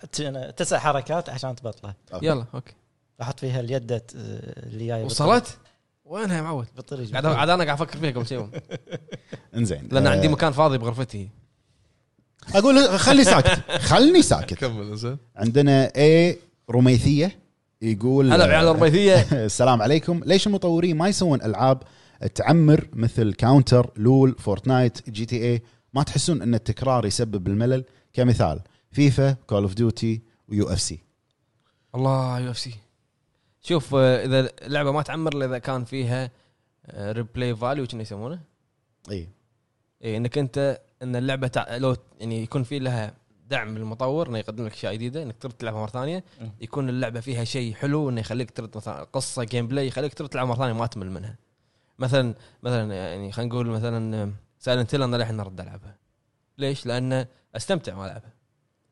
تسع حركات عشان تبطله (laughs) يلا اوكي آه، احط فيها اليد آه، اللي جاي وصلت وينها يا معود بالطريق قاعد عاد انا قاعد افكر فيها قبل شيء انزين لان آه، عندي مكان فاضي بغرفتي اقول خلي (laughs) ساكت خلني ساكت كمل زين عندنا اي رميثيه يقول هلا بعيال الرميثيه (laughs) السلام عليكم ليش المطورين ما يسوون العاب تعمر مثل كاونتر لول فورتنايت جي تي اي ما تحسون ان التكرار يسبب الملل كمثال فيفا كول اوف ديوتي ويو اف سي الله يو اف سي شوف آه، اذا اللعبه ما تعمر الا اذا كان فيها ريبلاي فاليو شنو يسمونه؟ اي اي انك انت ان اللعبه تع... لو يعني يكون في لها دعم من المطور انه يقدم لك اشياء جديده انك ترد تلعبها مره ثانيه مم. يكون اللعبه فيها شيء حلو انه يخليك ترد مثلا قصه جيم بلاي يخليك ترد تلعب مره ثانيه ما تمل منها مثلا مثلا يعني خلينا نقول مثلا سايلنت هيل انا للحين ارد العبها ليش؟ لان استمتع ما العبها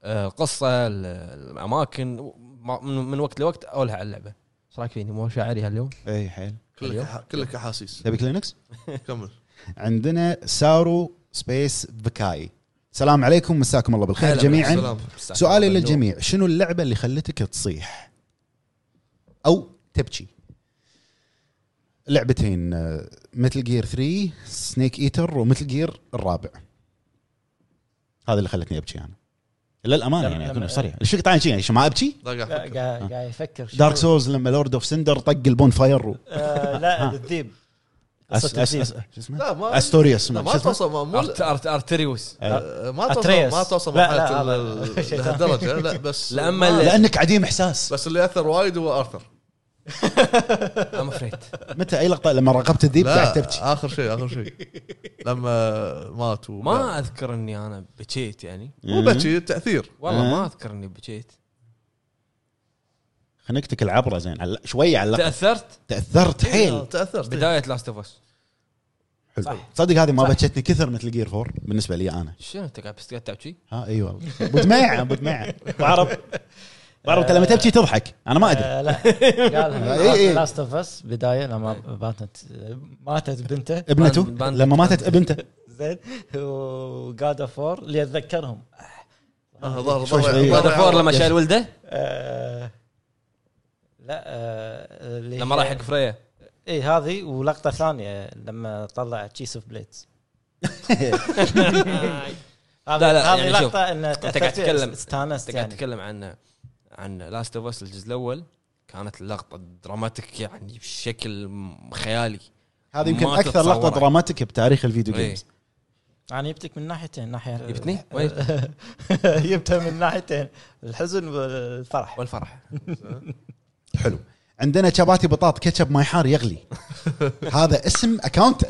آه، القصه ال- الاماكن و- ما- من من وقت لوقت اولها على اللعبه ايش رايك فيني مو شاعري هاليوم اي حيل كلك أح- أيوه. كلك احاسيس تبي كلينكس كمل عندنا سارو سبيس بكاي السلام عليكم مساكم الله بالخير هلا جميعا السلام سؤالي للجميع شنو اللعبه اللي خلتك تصيح او تبكي لعبتين آه، متل جير 3 سنيك ايتر ومتل جير الرابع هذا اللي خلتني ابكي انا للامانه لما- يعني لما- اكون صريح ايش فيك طالع شي يعني شو ما ابكي لا قاعد قاعد أفكر. قاعد يفكر شو- دارك سولز لما لورد اوف سندر طق البون فاير و... آه، (laughs) لا الذيب أس... قصة أس... الذيب. أس... شو اسمه؟ لا ما استوريوس لا ما ما اسمه؟ توصل ما- مو- أرت- أرت- ارتريوس آه، ما توصل أتريس. ما توصل لا، لا، مرحله هذا- ال- (laughs) ال- شيطان. لهالدرجه لا (laughs) بس لا، أما ما- ال- لانك عديم احساس بس اللي اثر وايد هو ارثر ام افريد متى اي لقطه لما راقبت الذيب قاعد لا تبكي اخر شيء اخر شيء لما مات و- ما اذكر اني انا بكيت يعني مو بكي تاثير والله أه. ما اذكر اني بكيت خنقتك العبره زين على- شويه على اللقطة. تاثرت تاثرت حيل تاثرت إيه. بدايه لاست اوف اس حلو. صح. صدق هذه ما صح. بكتني كثر مثل جير 4 بالنسبه لي انا شنو انت قاعد بس قاعد تبكي؟ ها اي والله (laughs) بدمع بدمع بعرف بعرف أنت لما تبكي تضحك انا ما ادري (laughs) آه، لا إي، إي. قال لاست اوف اس بدايه لما باتت آه، ماتت بنته (laughs) ابنته بان- بان- لما ماتت ابنته زين وجاد اوف وور اللي اتذكرهم آه، ظهر شوي شوي. ظهر- جاد اوف وور ظهر لما شايل ولده آه، لا آه، إيه. اللي لما هي- راح حق فريا اي هذه ولقطه ثانيه لما طلع تشيس اوف (laughs) بليدز لا، لا، هذه يعني شوف، لقطه ان أنت قاعد تتكلم- استانست انت قاعد يعني تتكلم عن عن لاست اوف اس الجزء الاول كانت اللقطه دراماتيك يعني بشكل م- خيالي هذه يمكن ما اكثر لقطه تتصورها. دراماتيك بتاريخ الفيديو جيمز انا جبتك يعني من ناحيتين ناحيه (laughs) جبتني؟ وين؟ جبتها من ناحيتين الحزن (laughs) والفرح والفرح حلو عندنا شباتي بطاط كاتشب ماي حار يغلي هذا اسم اكونت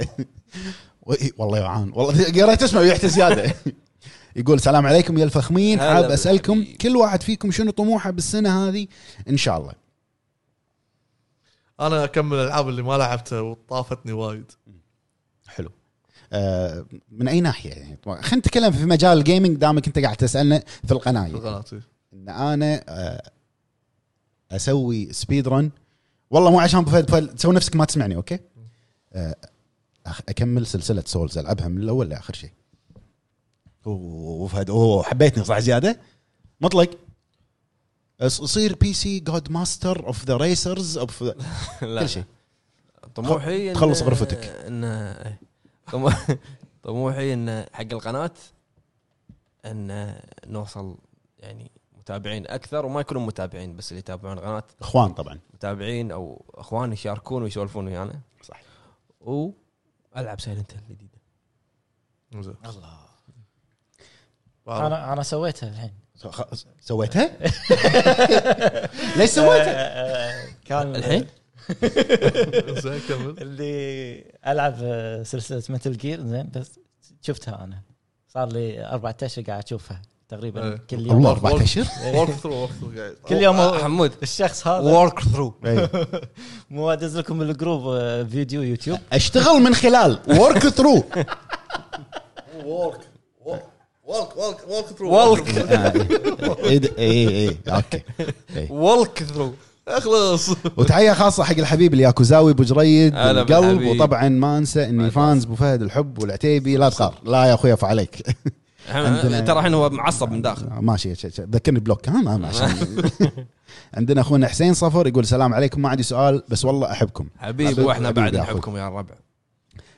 والله يعان والله قريت اسمه ويحت زياده يقول السلام عليكم يا الفخمين هلا حاب اسالكم بالحبيب. كل واحد فيكم شنو طموحه بالسنه هذه ان شاء الله انا اكمل الالعاب اللي ما لعبتها وطافتني وايد حلو آه، من اي ناحيه يعني طبعاً. خلينا نتكلم في مجال الجيمنج دامك انت قاعد تسالنا في القناه في يعني. القناه إيه. ان انا آه، اسوي سبيد رن والله مو عشان أبو فهد فهد، تسوي نفسك ما تسمعني اوكي آه، أخ- اكمل سلسله سولز العبها من الاول لاخر شيء أوه، وفهد اوه حبيتني صح زياده مطلق أص- اصير بي سي جود ماستر اوف ذا ريسرز اوف لا كل شيء طموحي إن- تخلص غرفتك. ان إيه. طم- (laughs) طموحي ان حق القناه ان نوصل يعني متابعين اكثر وما يكونوا متابعين بس اللي يتابعون القناه اخوان طبعا متابعين او اخوان يشاركون ويسولفون ويانا صح. والعب سايلنت الجديده زين الله بعرف. انا انا سويتها الحين سو- خ- سويتها؟ (laughs) ليش سويتها؟ آه، آه، كان الحين؟ زين كمل اللي العب آه، سلسله متل جير زين بس شفتها انا صار لي 14 قاعد اشوفها تقريبا إيه. كل يوم الله اربع اشهر وورك ثرو وورك ثرو قاعد كل يوم آه، هو- حمود الشخص هذا وورك ثرو إيه. مو ادز لكم بالجروب آه، فيديو يوتيوب اشتغل من خلال ورك ثرو (laughs) Oh, وورك وورك وورك وورك ثرو وورك. اي اي اوكي إيه. وورك ثرو اخلص وتحيه خاصه حق الحبيب الياكوزاوي ابو جريد هلا القلب بالحبيب. وطبعا ما انسى اني بعد فانز ابو فهد الحب والعتيبي لا تخاف لا يا اخوي فعليك عندنا- ترى الحين هو معصب من داخل (laughs) ماشي ش- ش- ذكرني بلوك ها ما ما- عشان (laughs) عندنا اخونا حسين صفر يقول السلام عليكم ما عندي سؤال بس والله احبكم حبيب واحنا حبيب بعد يا أخوي. نحبكم يا الربع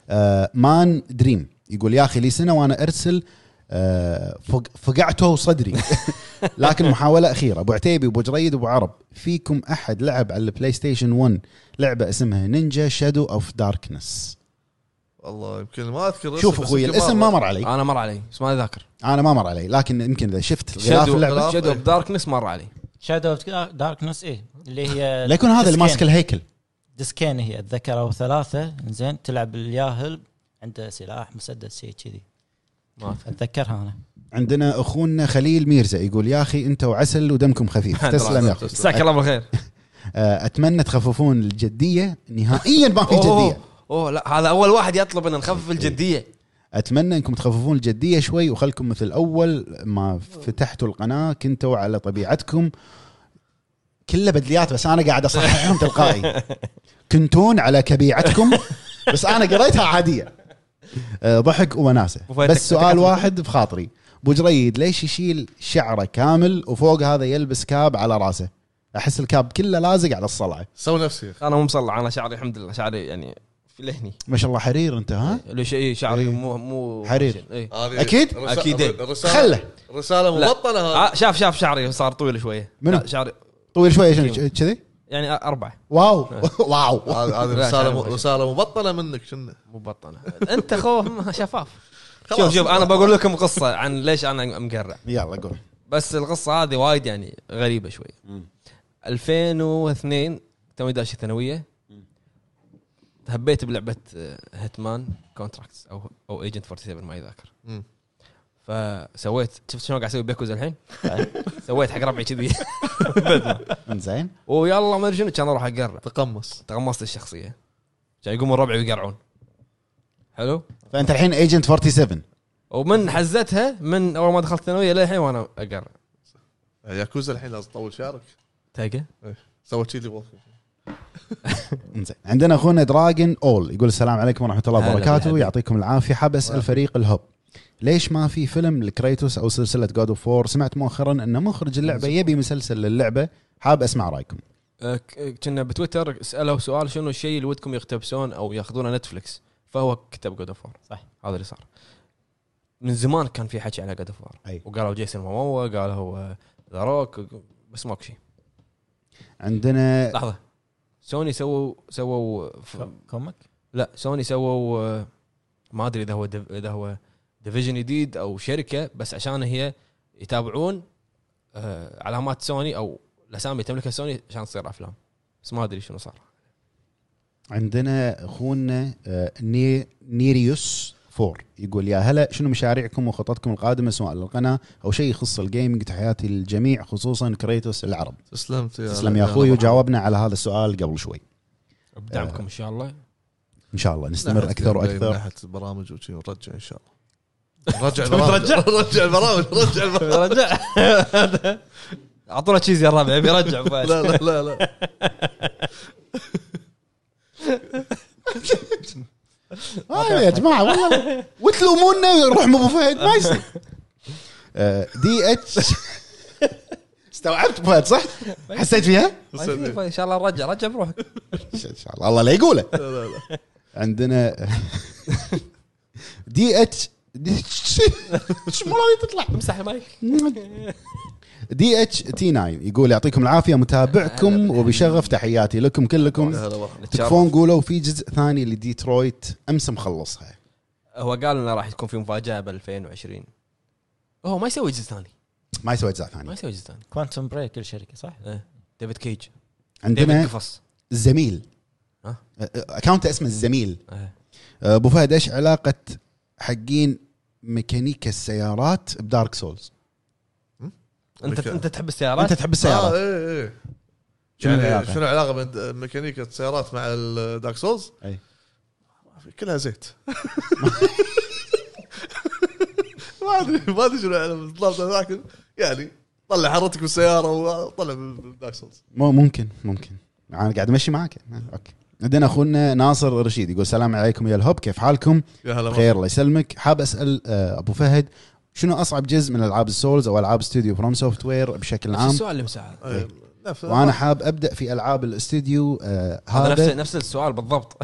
آه، مان دريم يقول يا اخي لي سنه وانا ارسل آه، فق- فقعته صدري (laughs) لكن محاوله اخيره ابو عتيبي ابو جريد ابو عرب فيكم احد لعب على البلاي ستيشن 1 لعبه اسمها نينجا شادو اوف داركنس والله يمكن ما اذكر الاسم، شوف بس اخوي يمكن الاسم ما مر علي انا مر علي بس ما ذاكر انا ما مر علي لكن يمكن اذا شفت غلاف شادو اللعبه شادو اوف داركنس مر علي شادو اوف داركنس ايه اللي هي لا يكون هذا اللي ديسكين. ماسك الهيكل ديسكين هي اتذكر او ثلاثه زين تلعب الياهل عنده سلاح مسدس شيء كذي ما أذكر. اتذكرها انا عندنا اخونا خليل ميرزا يقول يا اخي انت وعسل ودمكم خفيف تسلم يا اخوي جزاك الله بالخير آه، اتمنى تخففون الجديه نهائيا ما في إيه. جديه أوه، اوه لا هذا اول واحد يطلب ان نخفف الجديه اتمنى انكم تخففون الجديه شوي وخلكم مثل اول ما فتحتوا القناه كنتوا على طبيعتكم كله بدليات بس انا قاعد اصححهم تلقائي كنتون على كبيعتكم بس انا قريتها عاديه آه، ضحك ووناسه وفايتك- بس سؤال واحد بخاطري ابو جريد ليش يشيل شعره كامل وفوق هذا يلبس كاب على راسه احس الكاب كله لازق على الصلعه سوي نفسي يا أخي. انا مو مصلع انا شعري الحمد لله شعري يعني في لهني ما شاء الله حرير انت ها لو شيء شعري إيه. مو مو حرير. إيه. هذه أكيد؟ رسا- أكيد. رسالة خله رسالة لا. مبطنة هذه آه شاف شاف شعري صار طويل شويه منو؟ لا، شعري طويل شوي عشان كذي يعني أ- اربعه واو واو هذه هذه لا، رسالة شعري م- مبطنة. رسالة مبطنة منك شنو مو بطنه انت خوف شفاف خلاص. شوف شوف انا بقول لكم قصه عن ليش انا مقرع يلا قول بس القصه هذه وايد يعني غريبه شوي 2002 توي داش الثانويه هبيت بلعبه آه، هيتمان كونتراكتس او او ايجنت 47 ما يذاكر مم. فسويت شفت شلون قاعد اسوي بيكوز الحين؟ (laughs) سويت حق ربعي كذي (laughs) بدلة. انزين ويلا ما ادري شنو كان اروح اقرع تقمص تغمصت الشخصيه كان يقومون ربعي ويقرعون حلو فانت الحين ايجنت 47 ومن حزتها من اول ما دخلت الثانويه للحين وانا اقرع ياكوزا الحين لازم تطول شعرك تلقى سوي كذي وظفه انزين عندنا اخونا دراجن اول يقول السلام عليكم ورحمه الله هلا وبركاته بالحبيب. يعطيكم العافيه حاب اسال ولا. فريق الهب ليش ما في فيلم لكريتوس او سلسله جود اوف وور سمعت مؤخرا ان مخرج اللعبه يبي مسلسل للعبه حاب اسمع رايكم أه، ك- كنا بتويتر سالوا سؤال شنو الشيء اللي ودكم يقتبسون او ياخذونه نتفلكس فهو كتب جود اوف صح. هذا اللي صار من زمان كان في حكي على جود اوف أي. وقالوا جيسون موموا قالوا ذا روك بس ماكو شيء عندنا لحظه سوني سووا سووا ف- كوميك لا سوني سووا آه، ما ادري اذا هو دف- اذا هو ديفيجن جديد او شركه بس عشان هي يتابعون آه، علامات سوني او الاسامي تملكها سوني عشان تصير افلام بس ما ادري شنو صار عندنا اخونا آه، ني نيريوس فور يقول يا هلا شنو مشاريعكم وخططكم القادمه سواء للقناه او شيء يخص الجيمنج تحياتي للجميع خصوصا كريتوس العرب تسلمت يا تسلم يا اخوي وجاوبنا على هذا السؤال قبل شوي بدعمكم ان شاء الله ان شاء الله نستمر اكثر من واكثر ناحيه البرامج وشي نرجع ان شاء (laughs) الله رجع البرامج رجع البرامج رجع البرامج (laughs) رجع اعطونا تشيز يا الرابع يبي يرجع فايز (laughs) لا لا لا (laughs) لا آه يا جماعه والله وتلومونا نروح مو ابو فهد ما يصير آه، دي اتش (laughs) استوعبت أبو فهد صح؟ حسيت فيها؟ ان شاء الله رجع رجع بروحك ان شاء الله الله لا يقوله لا آه، لا عندنا (laughs) دي اتش دي اتش (laughs) شو مرة تطلع امسح المايك دي اتش تي 9 يقول يعطيكم العافيه متابعكم وبشغف تحياتي لكم كلكم هلا والله. تكفون قولوا في جزء ثاني لديترويت امس مخلصها هو قال انه راح يكون في مفاجاه ب 2020 هو ما يسوي جزء ثاني ما يسوي اجزاء ما ثانيه يسوي جزء ثاني كوانتم بريك الشركه صح؟ إيه. ديفيد كيج ديفيد عندنا قفص الزميل ها؟ اكونت اسمه الزميل إيه. ابو فهد ايش علاقه حقين ميكانيكا السيارات بدارك سولز انت انت تحب السيارات انت تحب اه السيارات ايه ايه شنو يعني العلاقة؟ شنو العلاقه بين ميكانيكا السيارات مع الدارك سولز؟ آه. أي. ما في، كلها زيت (laughs) ما ادري ما ادري شنو العلاقه لكن يعني طلع حرتك بالسياره وطلع بالدارك سولز مو ممكن ممكن انا قاعد امشي معك اوكي عندنا اخونا ناصر رشيد يقول السلام عليكم يا الهب كيف حالكم؟ يا هلا بخير الله يسلمك حاب اسال آه، ابو فهد شنو اصعب جزء من العاب السولز او العاب استوديو فروم سوفت وير بشكل نفس عام السؤال اللي مساعد آه، نفس- وانا حاب ابدا في العاب الاستوديو آه، هذا نفس هذا نفس السؤال (laughs) بالضبط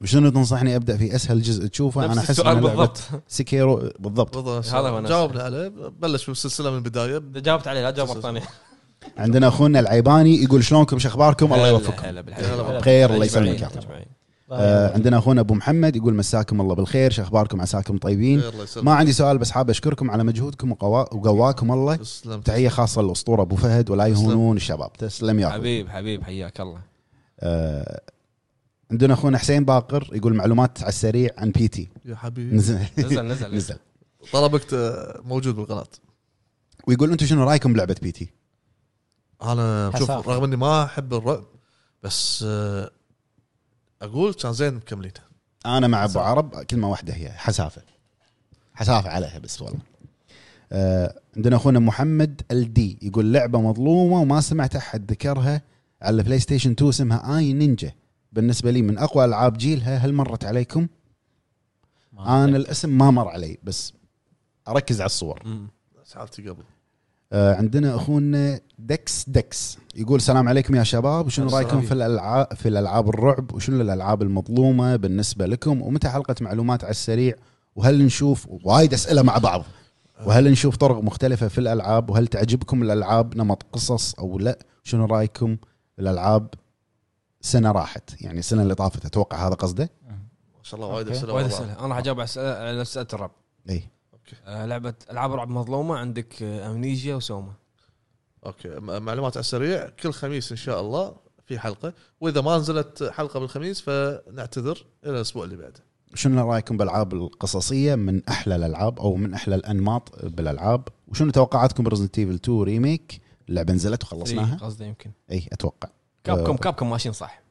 وشنو تنصحني ابدا في اسهل جزء تشوفه انا نفس احس السؤال إن لعبة بالضبط سكيرو بالضبط بالضبط نفس- هذا هو نفسه. جاوبنا عليه بلش بالسلسله من البدايه إذا جاوبت عليه لا تجاوب مره ثانيه عندنا اخونا العيباني يقول شلونكم شو اخباركم الله هلا- يوفقكم هلا بالحبيب. هلا بخير الله أجمعين. يسلمك يا حبيبي. أجمعين. آه، عندنا اخونا ابو محمد يقول مساكم الله بالخير شو اخباركم عساكم طيبين خير الله يسلمك ما عندي سؤال بس حاب اشكركم على مجهودكم وقوا- وقواكم الله تسلم تحيه خاصه للاسطوره ابو فهد ولا تسلم. يهونون الشباب تسلم يا أخوي. حبيب حبيب حياك (laughs) الله آه، عندنا اخونا حسين باقر يقول معلومات على السريع عن بي تي يا حبيبي نزل نزل نزل (laughs) نزل طلبك آه، موجود بالقناه ويقول انتم شنو رايكم بلعبه بي تي؟ انا شوف حسافة. رغم اني ما احب الرعب بس آه، اقول كان زين مكملينه انا مع ابو حسافة. عرب كلمه واحده هي حسافه حسافه عليها بس والله آه، عندنا اخونا محمد الدي يقول لعبه مظلومه وما سمعت احد ذكرها على البلاي ستيشن 2 اسمها اي نينجا بالنسبه لي من اقوى العاب جيلها هل مرت عليكم؟ آه، إيه. انا الاسم ما مر علي بس اركز على الصور مم. سحبتي قبل آه، عندنا اخونا دكس دكس يقول السلام عليكم يا شباب وشنو السلام رايكم في عليكم. الالعاب في الالعاب الرعب وشنو الالعاب المظلومه بالنسبه لكم ومتى حلقه معلومات على السريع وهل نشوف وايد اسئله مع بعض وهل نشوف طرق مختلفه في الالعاب وهل تعجبكم الالعاب نمط قصص او لا شنو رايكم الالعاب سنه راحت يعني السنه اللي طافت اتوقع هذا قصده ما شاء الله وايد أوكي. اسئله وايد والله. اسئله انا راح اجاوب على اسئله على اسئله الرعب إيه. اي آه، لعبه العاب رعب مظلومه عندك آه، امنيجيا وسوما اوكي م- معلومات على السريع كل خميس ان شاء الله في حلقه واذا ما نزلت حلقه بالخميس فنعتذر الى الاسبوع اللي بعده شنو رايكم بالالعاب القصصيه من احلى الالعاب او من احلى الانماط بالالعاب وشنو توقعاتكم برزنت ايفل 2 ريميك اللعبه نزلت وخلصناها إيه، قصدي يمكن اي اتوقع آه. كابكم كابكم ماشيين صح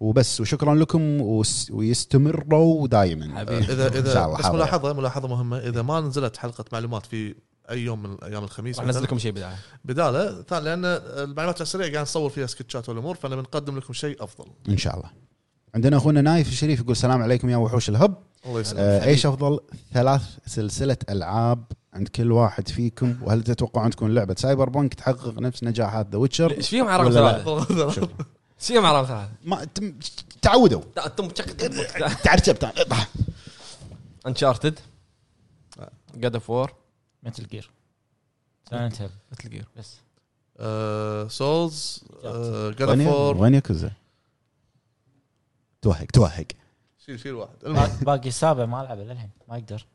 وبس وشكرا لكم وس- ويستمروا دائما حبيبي اذا إن شاء اذا الله آه، بس حاضر. ملاحظه ملاحظه مهمه اذا ما نزلت حلقه معلومات في اي يوم من ايام الخميس راح مثلاً، انزل لكم شيء بدايه بداله ثاني- لان المعلومات على السريع قاعد نصور فيها سكتشات والامور فانا بنقدم لكم شيء افضل ان شاء الله عندنا اخونا نايف الشريف يقول السلام عليكم يا وحوش الهب الله يسلمك آه، ايش افضل ثلاث سلسله العاب عند كل واحد فيكم وهل تتوقعون تكون لعبه سايبر بانك تحقق نفس نجاحات ذا ويتشر ايش فيهم على رقم ولا لا؟ ثلاثه؟ ايش (laughs) فيهم على رقم ثلاثه؟ ما تم- تعودوا تا- انتم تشك- تعرف انشارتد جاد اوف وور مثل جير سايلنت هيل مثل جير بس آه، سولز آه، جاد وين فور وين ياكوزا؟ توهق توهق شيل شيل آه، واحد باقي- باقي السابع ما العبه للحين ما اقدر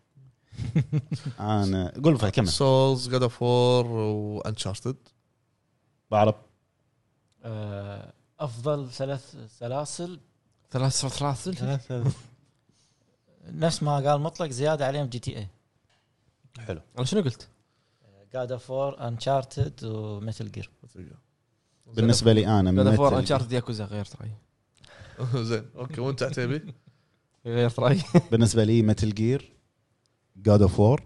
انا قول فهد كمل سولز جاد فور وانشارتد بعرف آه، افضل ثلاث سلاسل ثلاث سلاسل نفس ما قال مطلق زياده عليهم جي تي إيه. اي حلو انا شنو قلت؟ جاد اوف وور انشارتد ومثل جير بالنسبه لي انا جاد من اوف وور متل- انشارتد ياكوزا غيرت رايي (laughs) زين اوكي وانت (laughs) عتيبي غيرت رايي بالنسبه لي متل جير جاد اوف وور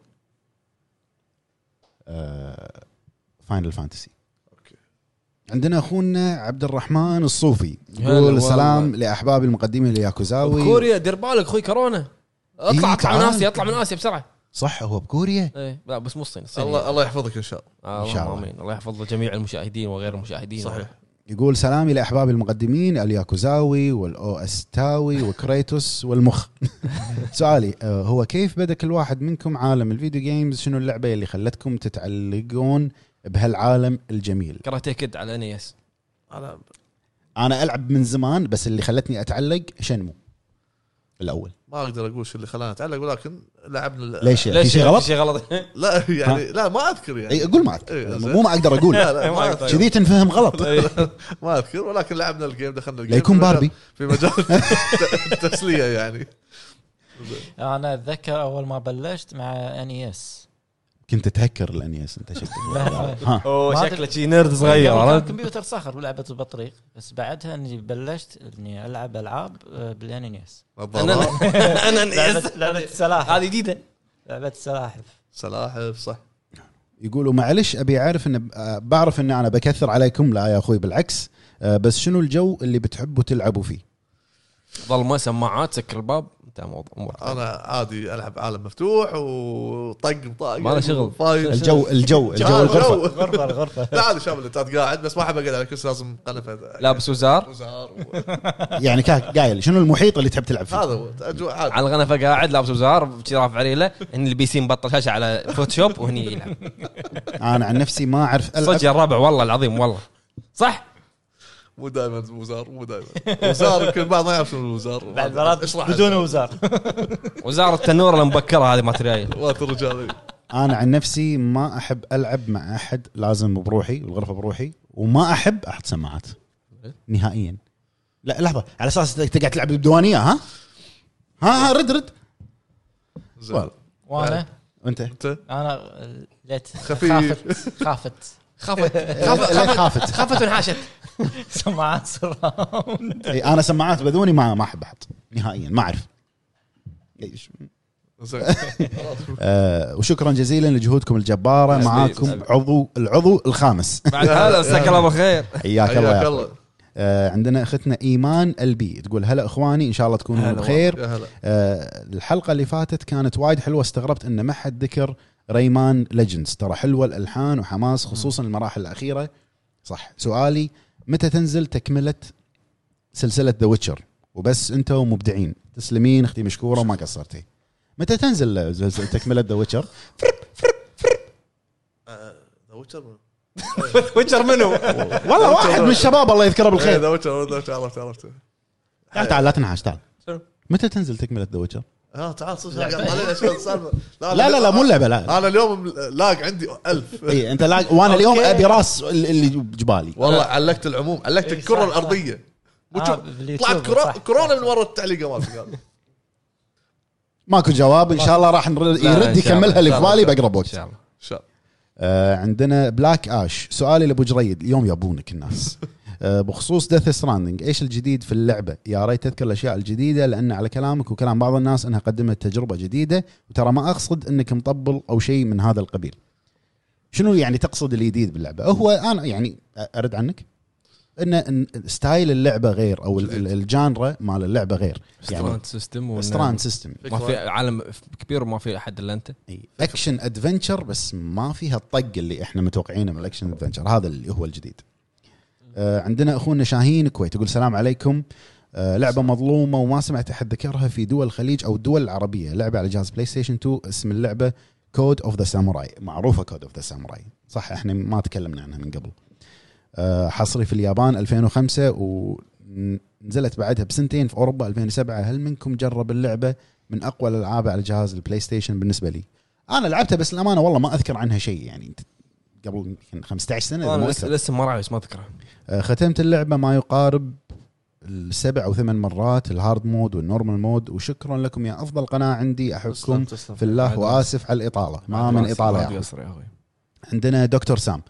فاينل فانتسي أوكي. آه، عندنا اخونا عبد الرحمن الصوفي هلا يقول والله. السلام لاحبابي المقدمين لياكوزاوي كوريا دير بالك اخوي كورونا اطلع إيه، اطلع من تعال. اسيا اطلع من اسيا بسرعه صح هو بكوريا ايه لا بس مو الصين الصين الله الله يحفظك ان شاء الله آه، إن شاء اللهم الله. امين الله يحفظ جميع المشاهدين وغير المشاهدين إيوه. صحيح يقول سلامي لاحبابي المقدمين الياكوزاوي والاو استاوي وكريتوس والمخ (laughs) سؤالي آه، هو كيف بدا كل واحد منكم عالم الفيديو جيمز شنو اللعبه اللي خلتكم تتعلقون بهالعالم الجميل كراتيه كد على انيس انا انا العب من زمان بس اللي خلتني اتعلق شنمو الاول ما اقدر اقول شو اللي خلاني اتعلق ولكن لعبنا ال- ليش يعني؟ في شيء غلط شيء غلط (laughs) لا يعني لا ما اذكر يعني اي إيه، قول ما إي، اذكر زين. طيب. مو ما اقدر (laughs) اقول لا لا ما اذكر كذي تنفهم (laughs) غلط ما اذكر ولكن لعبنا الجيم دخلنا الجيم لا يكون (laughs) في مجال- باربي. في مجال (laughs) التسليه يعني انا اتذكر اول ما بلشت مع E ان اس كنت اتهكر الانيس انت شكلك (laughs) ها اوه ما شكله شي نيرد صغير كان عرفت؟ كمبيوتر صخر ولعبه البطريق بس بعدها اني بلشت اني العب العاب بالان اس نظارات (laughs) انا انيس لعبه E لعبة السلاحف E هذه جديده لعبه السلاحف سلاحف صح يقولوا معلش ابي اعرف ان آه، بعرف ان انا بكثر عليكم لا يا اخوي بالعكس آه، بس شنو الجو اللي بتحبوا تلعبوا فيه ظلمه سماعات سكر الباب انتهى الموضوع أمور. انا عادي العب عالم مفتوح وطق مطاق ما له شغل. فايت. الجو الجو الجو جو- الغرفه جو. غرفه الغرفه لا عادي شامل انت قاعد بس ما احب اقعد على كرسي لازم قنفه لابس وزار وزار و- يعني كا- قايل شنو المحيط اللي تحب تلعب فيه هذا هو اجواء عادي على الغنفه قاعد لابس وزار شي رافع ريله ان البي سي مبطل شاشه على فوتوشوب وهني (laughs) يلعب انا عن نفسي ما اعرف العب صدق يا الربع والله العظيم والله صح مو دائما وزار مو دائما وزار يمكن بعض ما يعرف شنو الوزار بعد مرات اشرح بدون وزار وزار التنور المبكره هذه ما تريايل مرات الرجال انا عن نفسي ما احب العب مع احد لازم بروحي والغرفه بروحي وما احب احط سماعات نهائيا لا لحظه على اساس انت قاعد تلعب بالديوانيه ها؟ ها ها رد رد زين. وانا وانت انت انا ليت خفيف. خافت خافت خافت (laughs) لا خافت خافت وانحاشت سماعات سراوند إي، انا إيه، سماعات بذوني ما ما احب احط نهائيا ما اعرف إيش. زين آه وشكرا جزيلا لجهودكم الجباره حبيبي، معاكم حبيبي. عضو العضو الخامس بعد هذا مساك الله بالخير حياك الله يا حياك أخوي. الله آه عندنا اختنا ايمان البي تقول هلا اخواني ان شاء الله تكونوا هلا بخير يا هلا آه، الحلقه اللي فاتت كانت وايد حلوه استغربت ان ما حد ذكر ريمان ليجندز ترى حلوه الالحان وحماس خصوصا المراحل الاخيره صح سؤالي متى تنزل تكمله سلسله ذا ويتشر وبس انت ومبدعين تسلمين اختي مشكوره وما قصرتي متى تنزل سلسلة- تكمله ذا ويتشر ذا ويتشر ويتشر منو؟ (laughs) والله واحد من الشباب الله يذكره بالخير إيه، (laughs) ذا ويتشر ذا ويتشر عرفت عرفت تعال تعال لا تنحاش تعال شنو؟ متى تنزل تكمله ذا ويتشر اه تعال صدق قاعد طالعنا شو السالفه لا لا لا مو اللعبه لا (laughs) انا اليوم لاق عندي ألف اي انت لا وانا اليوم أوكي. ابي راس ال- اللي جبالي والله علقت العموم علقت إيه، الكره صح، صح. الارضيه آه، (laughs) وشو- باليوتيوب، طلعت كرو- صح. كورونا من ورا التعليقه مالتك ماكو جواب ان شاء الله راح نر- لا، إن شاء يرد يكملها الله، اللي إن شاء في الله، بالي إن شاء باقرب ان وقت شاء الله آه عندنا بلاك اش سؤالي لابو جريد اليوم (laughs) يابونك الناس آه بخصوص ديث ستراندنج ايش الجديد في اللعبه يا ريت تذكر الاشياء الجديده لان على كلامك وكلام بعض الناس انها قدمت تجربه جديده وترى ما اقصد انك مطبل او شيء من هذا القبيل شنو يعني تقصد الجديد باللعبه هو انا يعني ارد عنك ان إن ستايل اللعبه غير او ال- ال- الجانرا مال اللعبه غير يعني ستراند سيستم وإنه ستراند سيستم ما في عالم كبير وما في احد الا انت إي، اكشن ادفنتشر بس ما فيها الطق اللي احنا متوقعينه من الاكشن ادفنتشر هذا اللي هو الجديد آه، عندنا اخونا شاهين كويت يقول السلام عليكم آه، لعبه مظلومه وما سمعت احد ذكرها في دول الخليج او الدول العربيه لعبه على جهاز بلاي ستيشن 2 اسم اللعبه كود اوف ذا ساموراي معروفه كود اوف ذا ساموراي صح احنا ما تكلمنا عنها من قبل آه، حصري في اليابان 2005 ونزلت بعدها بسنتين في اوروبا 2007 هل منكم جرب اللعبه من اقوى الالعاب على جهاز البلاي ستيشن بالنسبه لي انا لعبتها بس الامانه والله ما اذكر عنها شيء يعني قبل يمكن 15 سنه إذا مو انا أكثر. لسه ما راعي بس ما اذكره آه، ختمت اللعبه ما يقارب السبع او ثمان مرات الهارد مود والنورمال مود وشكرا لكم يا افضل قناه عندي احبكم في الله واسف على الاطاله ما من اطاله يا ما أخوي. أقصر يا اخوي عندنا دكتور سام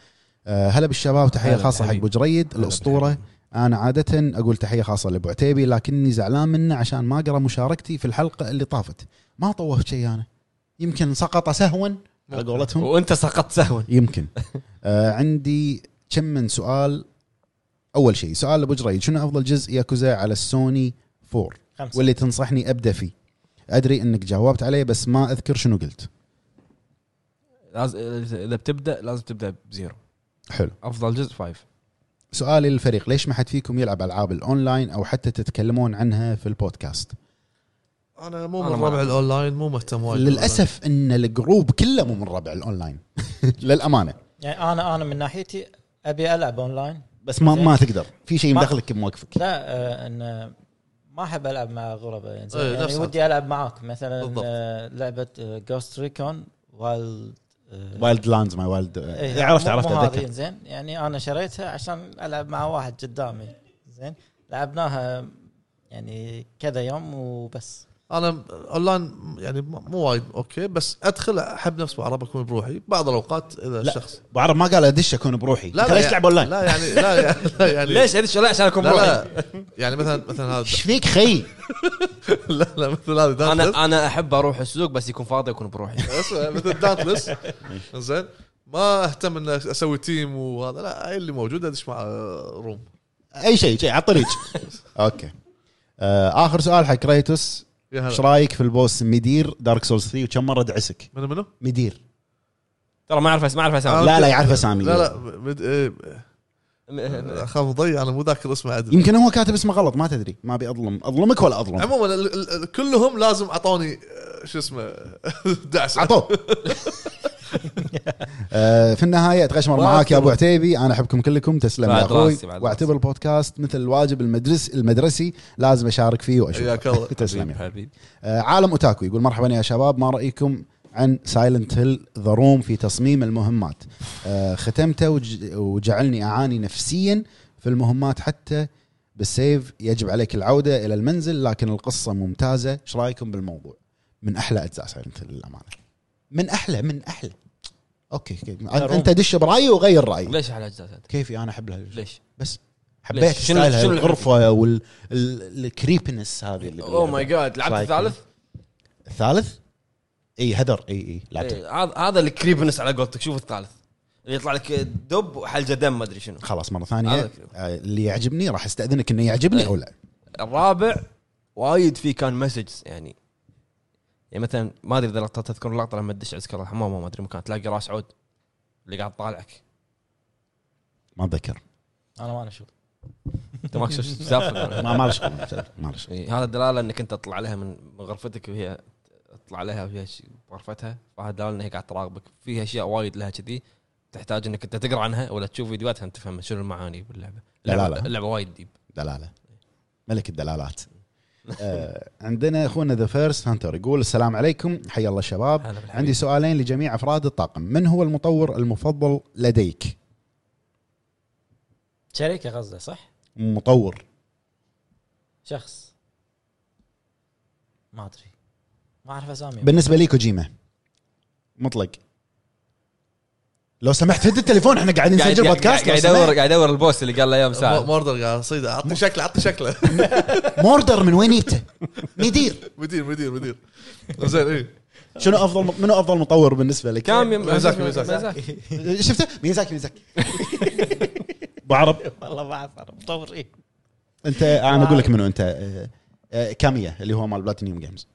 آه، هلا بالشباب تحيه هلا خاصه حق بالحبيب. ابو جريد هلا (laughs) الاسطوره بالحبيب. انا عاده اقول تحيه خاصه لابو عتيبي لكني زعلان منه عشان ما قرا مشاركتي في الحلقه اللي طافت ما طوفت شيء انا يمكن سقط سهوا على قولتهم وانت سقطت سهوا يمكن آه عندي كم من سؤال اول شيء سؤال لابو جريد شنو افضل جزء ياكوزا على السوني 4 خمسة. واللي تنصحني ابدا فيه ادري انك جاوبت عليه بس ما اذكر شنو قلت لازم اذا بتبدا لازم تبدا بزيرو حلو افضل جزء فايف سؤالي للفريق ليش ما حد فيكم يلعب العاب الاونلاين او حتى تتكلمون عنها في البودكاست انا مو أنا من ما ربع أعرف. الاونلاين مو مهتم وايد للاسف ان الجروب كله مو من ربع (laughs) الاونلاين للامانه يعني انا انا من ناحيتي ابي العب اونلاين بس ما ما تقدر في شيء ما- مدخلك بموقفك لا آه، ان آه، ما احب العب مع غرباء يعني, إيه، زين. يعني نفس ودي العب معاك مثلا بالضبط. آه، لعبه جوست ريكون وايلد آه، وايلد لاندز ماي وايلد إيه. يعني عرفت عرفت اتذكر زين يعني انا شريتها عشان العب مع واحد قدامي زين لعبناها يعني كذا يوم وبس انا اونلاين يعني م- مو وايد اوكي بس ادخل احب نفس بعرب اكون بروحي بعض الاوقات اذا لا. الشخص بعرف ما قال ادش اكون بروحي لا ليش يعني- تلعب اونلاين؟ لا يعني لا يعني, لا يعني ليش ادش لا عشان اكون لا, بروحي لا يعني مثلا مثلا هذا ايش فيك (laughs) خي؟ لا لا مثل هذا دانتلس انا انا احب اروح السوق بس يكون فاضي اكون بروحي اسمع مثل دانتلس زين ما اهتم ان اسوي تيم وهذا لا أي اللي موجود ادش مع روم اي شيء شيء على (laughs) الطريق اوكي آه، اخر سؤال حق كريتوس يا ايش هلا رايك في البوس ميدير دارك سولز 3 وكم مره دعسك؟ منو منو؟ ميدير ترى ما اعرف ما اعرف اسامي آه. لا لا يعرف اسامي لا لا مد... إيه آه، اخاف مضيع انا مو ذاكر اسمه عدل يمكن هو كاتب اسمه غلط ما تدري ما ابي اظلم اظلمك ولا (laughs) اظلم عموما ال- ال- ال- كلهم لازم اعطوني آه، شو اسمه (laughs) دعس عطوه (laughs) آه، في النهايه اتغشمر ما معاك يا ابو أذكر. عتيبي انا احبكم كلكم تسلم يا بعد اخوي راسي، بعد راسي. واعتبر البودكاست مثل الواجب المدرس المدرسي لازم اشارك فيه حياك واشوفه الله. (laughs) تسلم يا حبيبي آه، عالم اوتاكو يقول مرحبا يا شباب ما رايكم عن سايلنت هيل ذا روم في تصميم المهمات آه، ختمته وج- وجعلني اعاني نفسيا في المهمات حتى بالسيف يجب عليك العوده الى المنزل لكن القصه ممتازه ايش رايكم بالموضوع من احلى اجزاء سايلنت هيل للامانه من احلى من احلى اوكي, أوكي. روم. انت دش برايي وغير رايي ليش احلى اجزاء أنت؟ كيفي انا احب هالشيء. ليش؟ بس ليش؟ حبيت شنو- ستايلها شنو اللي الغرفه والكريبنس هذه اللي اوه باللعبة. ماي جاد Oh لعبت شايف؟ الثالث؟ الثالث اي هدر اي اي لعبته إيه، هذا هذا الكريبنس على قولتك شوف الثالث اللي يطلع لك دب وحلقه دم ما ادري شنو خلاص مره هذا ثانيه كذا. آه، اللي يعجبني راح استاذنك انه يعجبني إيه. او لا الرابع وايد فيه كان مسجز يعني يعني مثلا ما ادري اذا لقطه تذكر اللقطه لما تدش عسكر الحمام ما ادري مكان تلاقي راس عود اللي قاعد طالعك ما اتذكر انا ما اشوف انت ماك شفت سالفه (laughs) ما ما له شغل ما له شغل إي، هذا دلاله انك انت تطلع لها من من غرفتك وهي تطلع لها وهي ش- بغرفتها فهذا دلاله انها قاعد تراقبك فيها اشياء وايد لها كذي تحتاج انك انت تقرا عنها ولا تشوف فيديوهات عشان تفهم شنو المعاني باللعبه اللعبه, دلالة. اللعبة وايد ديب دلاله (laughs) ملك الدلالات آه، عندنا اخونا ذا فيرست هانتر يقول السلام عليكم حيا الله شباب هلا بالحبيب. عندي سؤالين لجميع افراد الطاقم من هو المطور المفضل لديك شركه قصده صح؟ مطور شخص ما ادري ما اعرف اسامي بالنسبه لي كوجيما مطلق لو سمحت هد التليفون احنا قاعدين قاعد نسجل قاعد- بودكاست لو قاعد يدور سمحت. قاعد يدور البوس اللي قال له يوم مو- ساعه موردر قاعد صيده اعطني شكله اعطني شكله (laughs) موردر من وين جبته (laughs) مدير مدير مدير مدير زين إيه، اي شنو افضل منو افضل مطور بالنسبه لك كم يم- ميزاكي- ميزاكي. ميزاكي. (laughs) شفته ميزاكي ميزاكي (laughs) ابو عرب (laughs) والله ما اعرف انا مطور ايه انت انا اقول لك منو انت آه، آه، كاميا اللي هو مال بلاتينيوم جيمز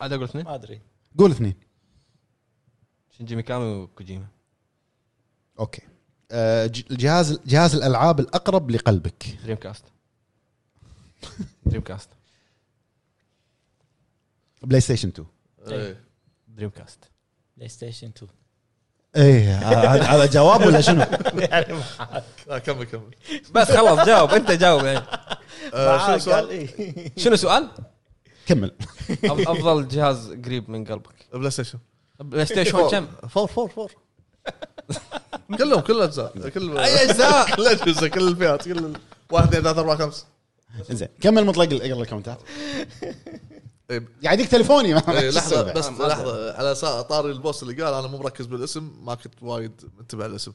عاد اقول اثنين ما ادري قول اثنين شنجي ميكامي وكوجيما اوكي آه، ج- جهاز جهاز الالعاب الاقرب لقلبك دريم كاست دريم كاست بلاي ستيشن 2 إيه. إي. دريم كاست بلاي ستيشن 2 ايه هذا (laughs) هذا جواب ولا شنو؟ آه، كمل كمل بس خلاص جاوب انت جاوب يعني آه، شنو قال السؤال؟ ايه شنو سؤال؟ كمل (laughs) أف- افضل جهاز قريب من قلبك بلاي ستيشن بلاي Oh. ستيشن كم؟ فور فور فور كلهم كل الاجزاء كل أي أجزاء؟ (laughs) كل الاجزاء كل الفئات كل ال- واحد اثنين ثلاثة أربعة خمسة زين كمل مطلق اقرا الكومنتات إيه، قاعد يديك تليفوني ما- إيه، شو لحظة السالفة؟ بس ما أدري. لحظة على سا- طاري البوس اللي قال أنا مو مركز بالاسم ما كنت وايد منتبه على الاسم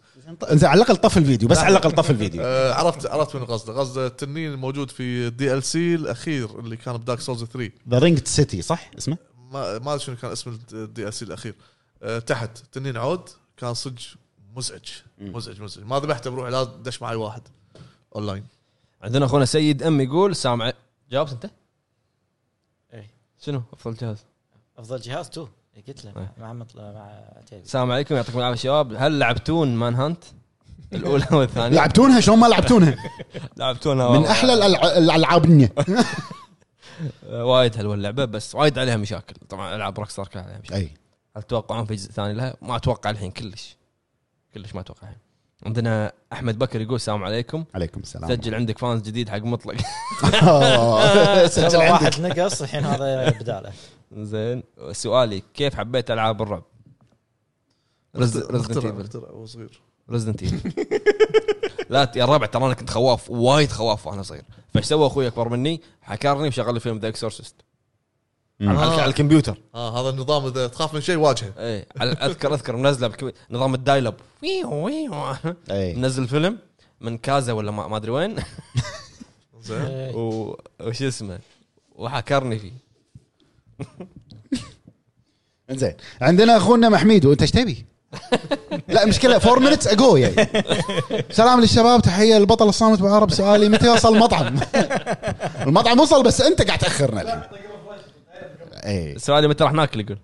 زين على الاقل طف الفيديو بس على الاقل طف (laughs) الفيديو آه، عرفت عرفت من قصده قصده التنين الموجود في الدي ال سي الأخير اللي كان بدارك سولز 3 ذا رينج سيتي صح اسمه؟ ما ما ادري شنو كان اسم الدي اس الاخير أه تحت تنين عود كان صدق مزعج مزعج مزعج ما ذبحته بروحي لا دش معي واحد اونلاين عندنا اخونا سيد ام يقول سامع جاوبت انت؟ إيه. شنو افضل جهاز؟ افضل جهاز 2 قلت له إيه. مع مطل... مع تيبي السلام عليكم يعطيكم العافيه شباب هل لعبتون مان هانت؟ الاولى (laughs) يعني- والثانيه لعبتونها شلون ما لعبتونها؟ لعبتونها من آه. والله. احلى الألع- الالعاب النية. (laughs) آه، وايد حلوه اللعبه بس وايد عليها مشاكل طبعا العاب روك ستار كان عليها مشاكل اي هل تتوقعون في جزء ثاني لها؟ ما اتوقع الحين كلش كلش ما اتوقع الحين عندنا احمد بكر يقول السلام عليكم عليكم السلام سجل عندك فانز جديد حق مطلق (laughs) (laughs) (laughs) آه، سجل سجل عندك واحد نقص الحين هذا بداله زين سؤالي كيف حبيت العاب الرعب؟ رزدنت مخترع ايفل مخترع وصغير ريزدنت ايفل (laughs) لا يا الربع ترى انا كنت خواف وايد خواف وانا صغير فايش سوى اخوي اكبر مني حكرني وشغل لي فيلم ذا اكسورسست على, آه. على الكمبيوتر اه هذا النظام اذا تخاف من شيء واجهه اي على- اذكر اذكر منزله بكوي- نظام الدايل اب ويو ويو اي منزل فيلم من كازا ولا ما ما ادري وين (laughs) زين و- وش اسمه وحكرني فيه زين عندنا اخونا محميد وانت ايش تبي؟ لا مشكله 4 مينتس اجو يعني سلام للشباب تحيه للبطل الصامت ابو عرب سؤالي متى يوصل المطعم؟ المطعم وصل بس انت قاعد إيه، تاخرنا الحين اي سؤالي متى راح ناكل يقول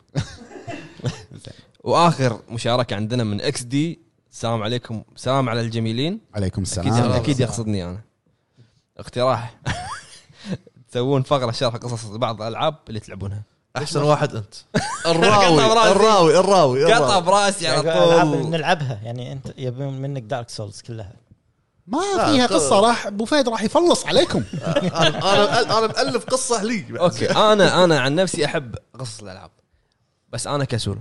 واخر مشاركه عندنا من اكس دي السلام عليكم سلام على الجميلين عليكم اكيد السلام اكيد يقصدني انا اقتراح (laughs) تسوون فقره شرح قصص بعض الالعاب اللي تلعبونها احسن واحد انت (laughs) الراوي (laughs) قطع براسي. الراوي الراوي قطع الراوي براسي يعني على ألعاب طول نلعبها يعني انت يبون منك دارك سولز كلها ما فيها قصه راح ابو فهد راح يفلص عليكم انا انا انا مالف قصه لي بعد. اوكي انا انا عن نفسي احب قصص الالعاب بس انا كسول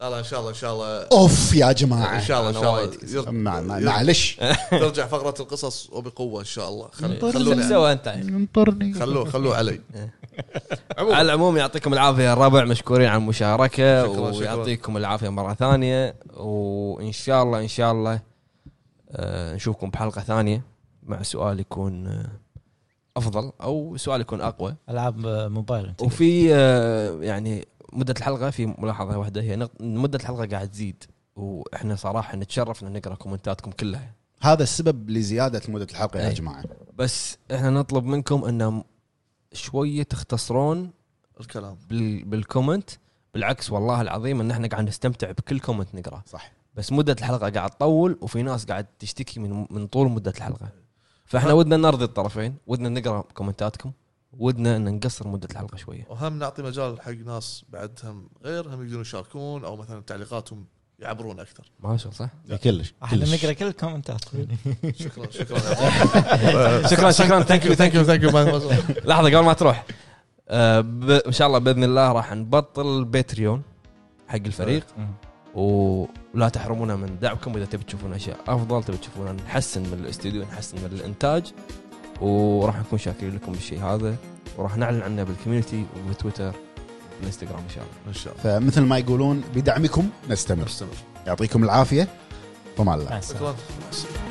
لا لا ان شاء الله ان شاء الله اوف يا ان جماعه شاء الله ان أنا شاء وايد الله يرجع- مع- مع- معلش ترجع فقره القصص وبقوه ان شاء الله خل- شو خلونا سوى انت انطرني خلوه خلوه علي على العموم يعطيكم العافيه يا الربع مشكورين على المشاركه شكراً، شكراً. ويعطيكم العافيه مره ثانيه وان شاء الله ان شاء الله آه، نشوفكم بحلقه ثانيه مع سؤال يكون آه، افضل او سؤال يكون اقوى العاب موبايل انت وفي آه، يعني مده الحلقه في ملاحظه واحده هي نق- مده الحلقه قاعد تزيد واحنا صراحه نتشرف ان نقرا كومنتاتكم كلها هذا السبب لزياده مده الحلقه يا أي. جماعه بس احنا نطلب منكم ان شويه تختصرون الكلام بال- بالكومنت بالعكس والله العظيم ان احنا قاعد نستمتع بكل كومنت نقراه صح. بس مده الحلقه قاعد تطول وفي ناس قاعد تشتكي من من طول مده الحلقه فاحنا ودنا نرضي الطرفين ودنا نقرا كومنتاتكم ودنا ان نقصر مده الحلقه شويه وهم نعطي مجال حق ناس بعدهم غير هم يقدرون يشاركون او مثلا تعليقاتهم يعبرون (laughs) اكثر ما شغل صح كلش احنا كلش نقرا كل الكومنتات شكرا (laughs) شكرا شكرا شكرا ثانك يو ثانك يو ثانك يو لحظه قبل ما تروح آه، ب- ان شاء الله باذن الله راح نبطل باتريون حق الفريق ولا تحرمونا من دعمكم اذا تبي تشوفون اشياء افضل تبي تشوفون نحسن من الاستوديو نحسن من الانتاج وراح نكون شاكرين لكم بالشيء هذا وراح نعلن عنه بالكوميونتي وبتويتر والانستغرام ان شاء الله ان شاء الله فمثل ما يقولون بدعمكم نستمر نستمر يعطيكم العافيه فما الله مع السلامه شكرا مع السلامة.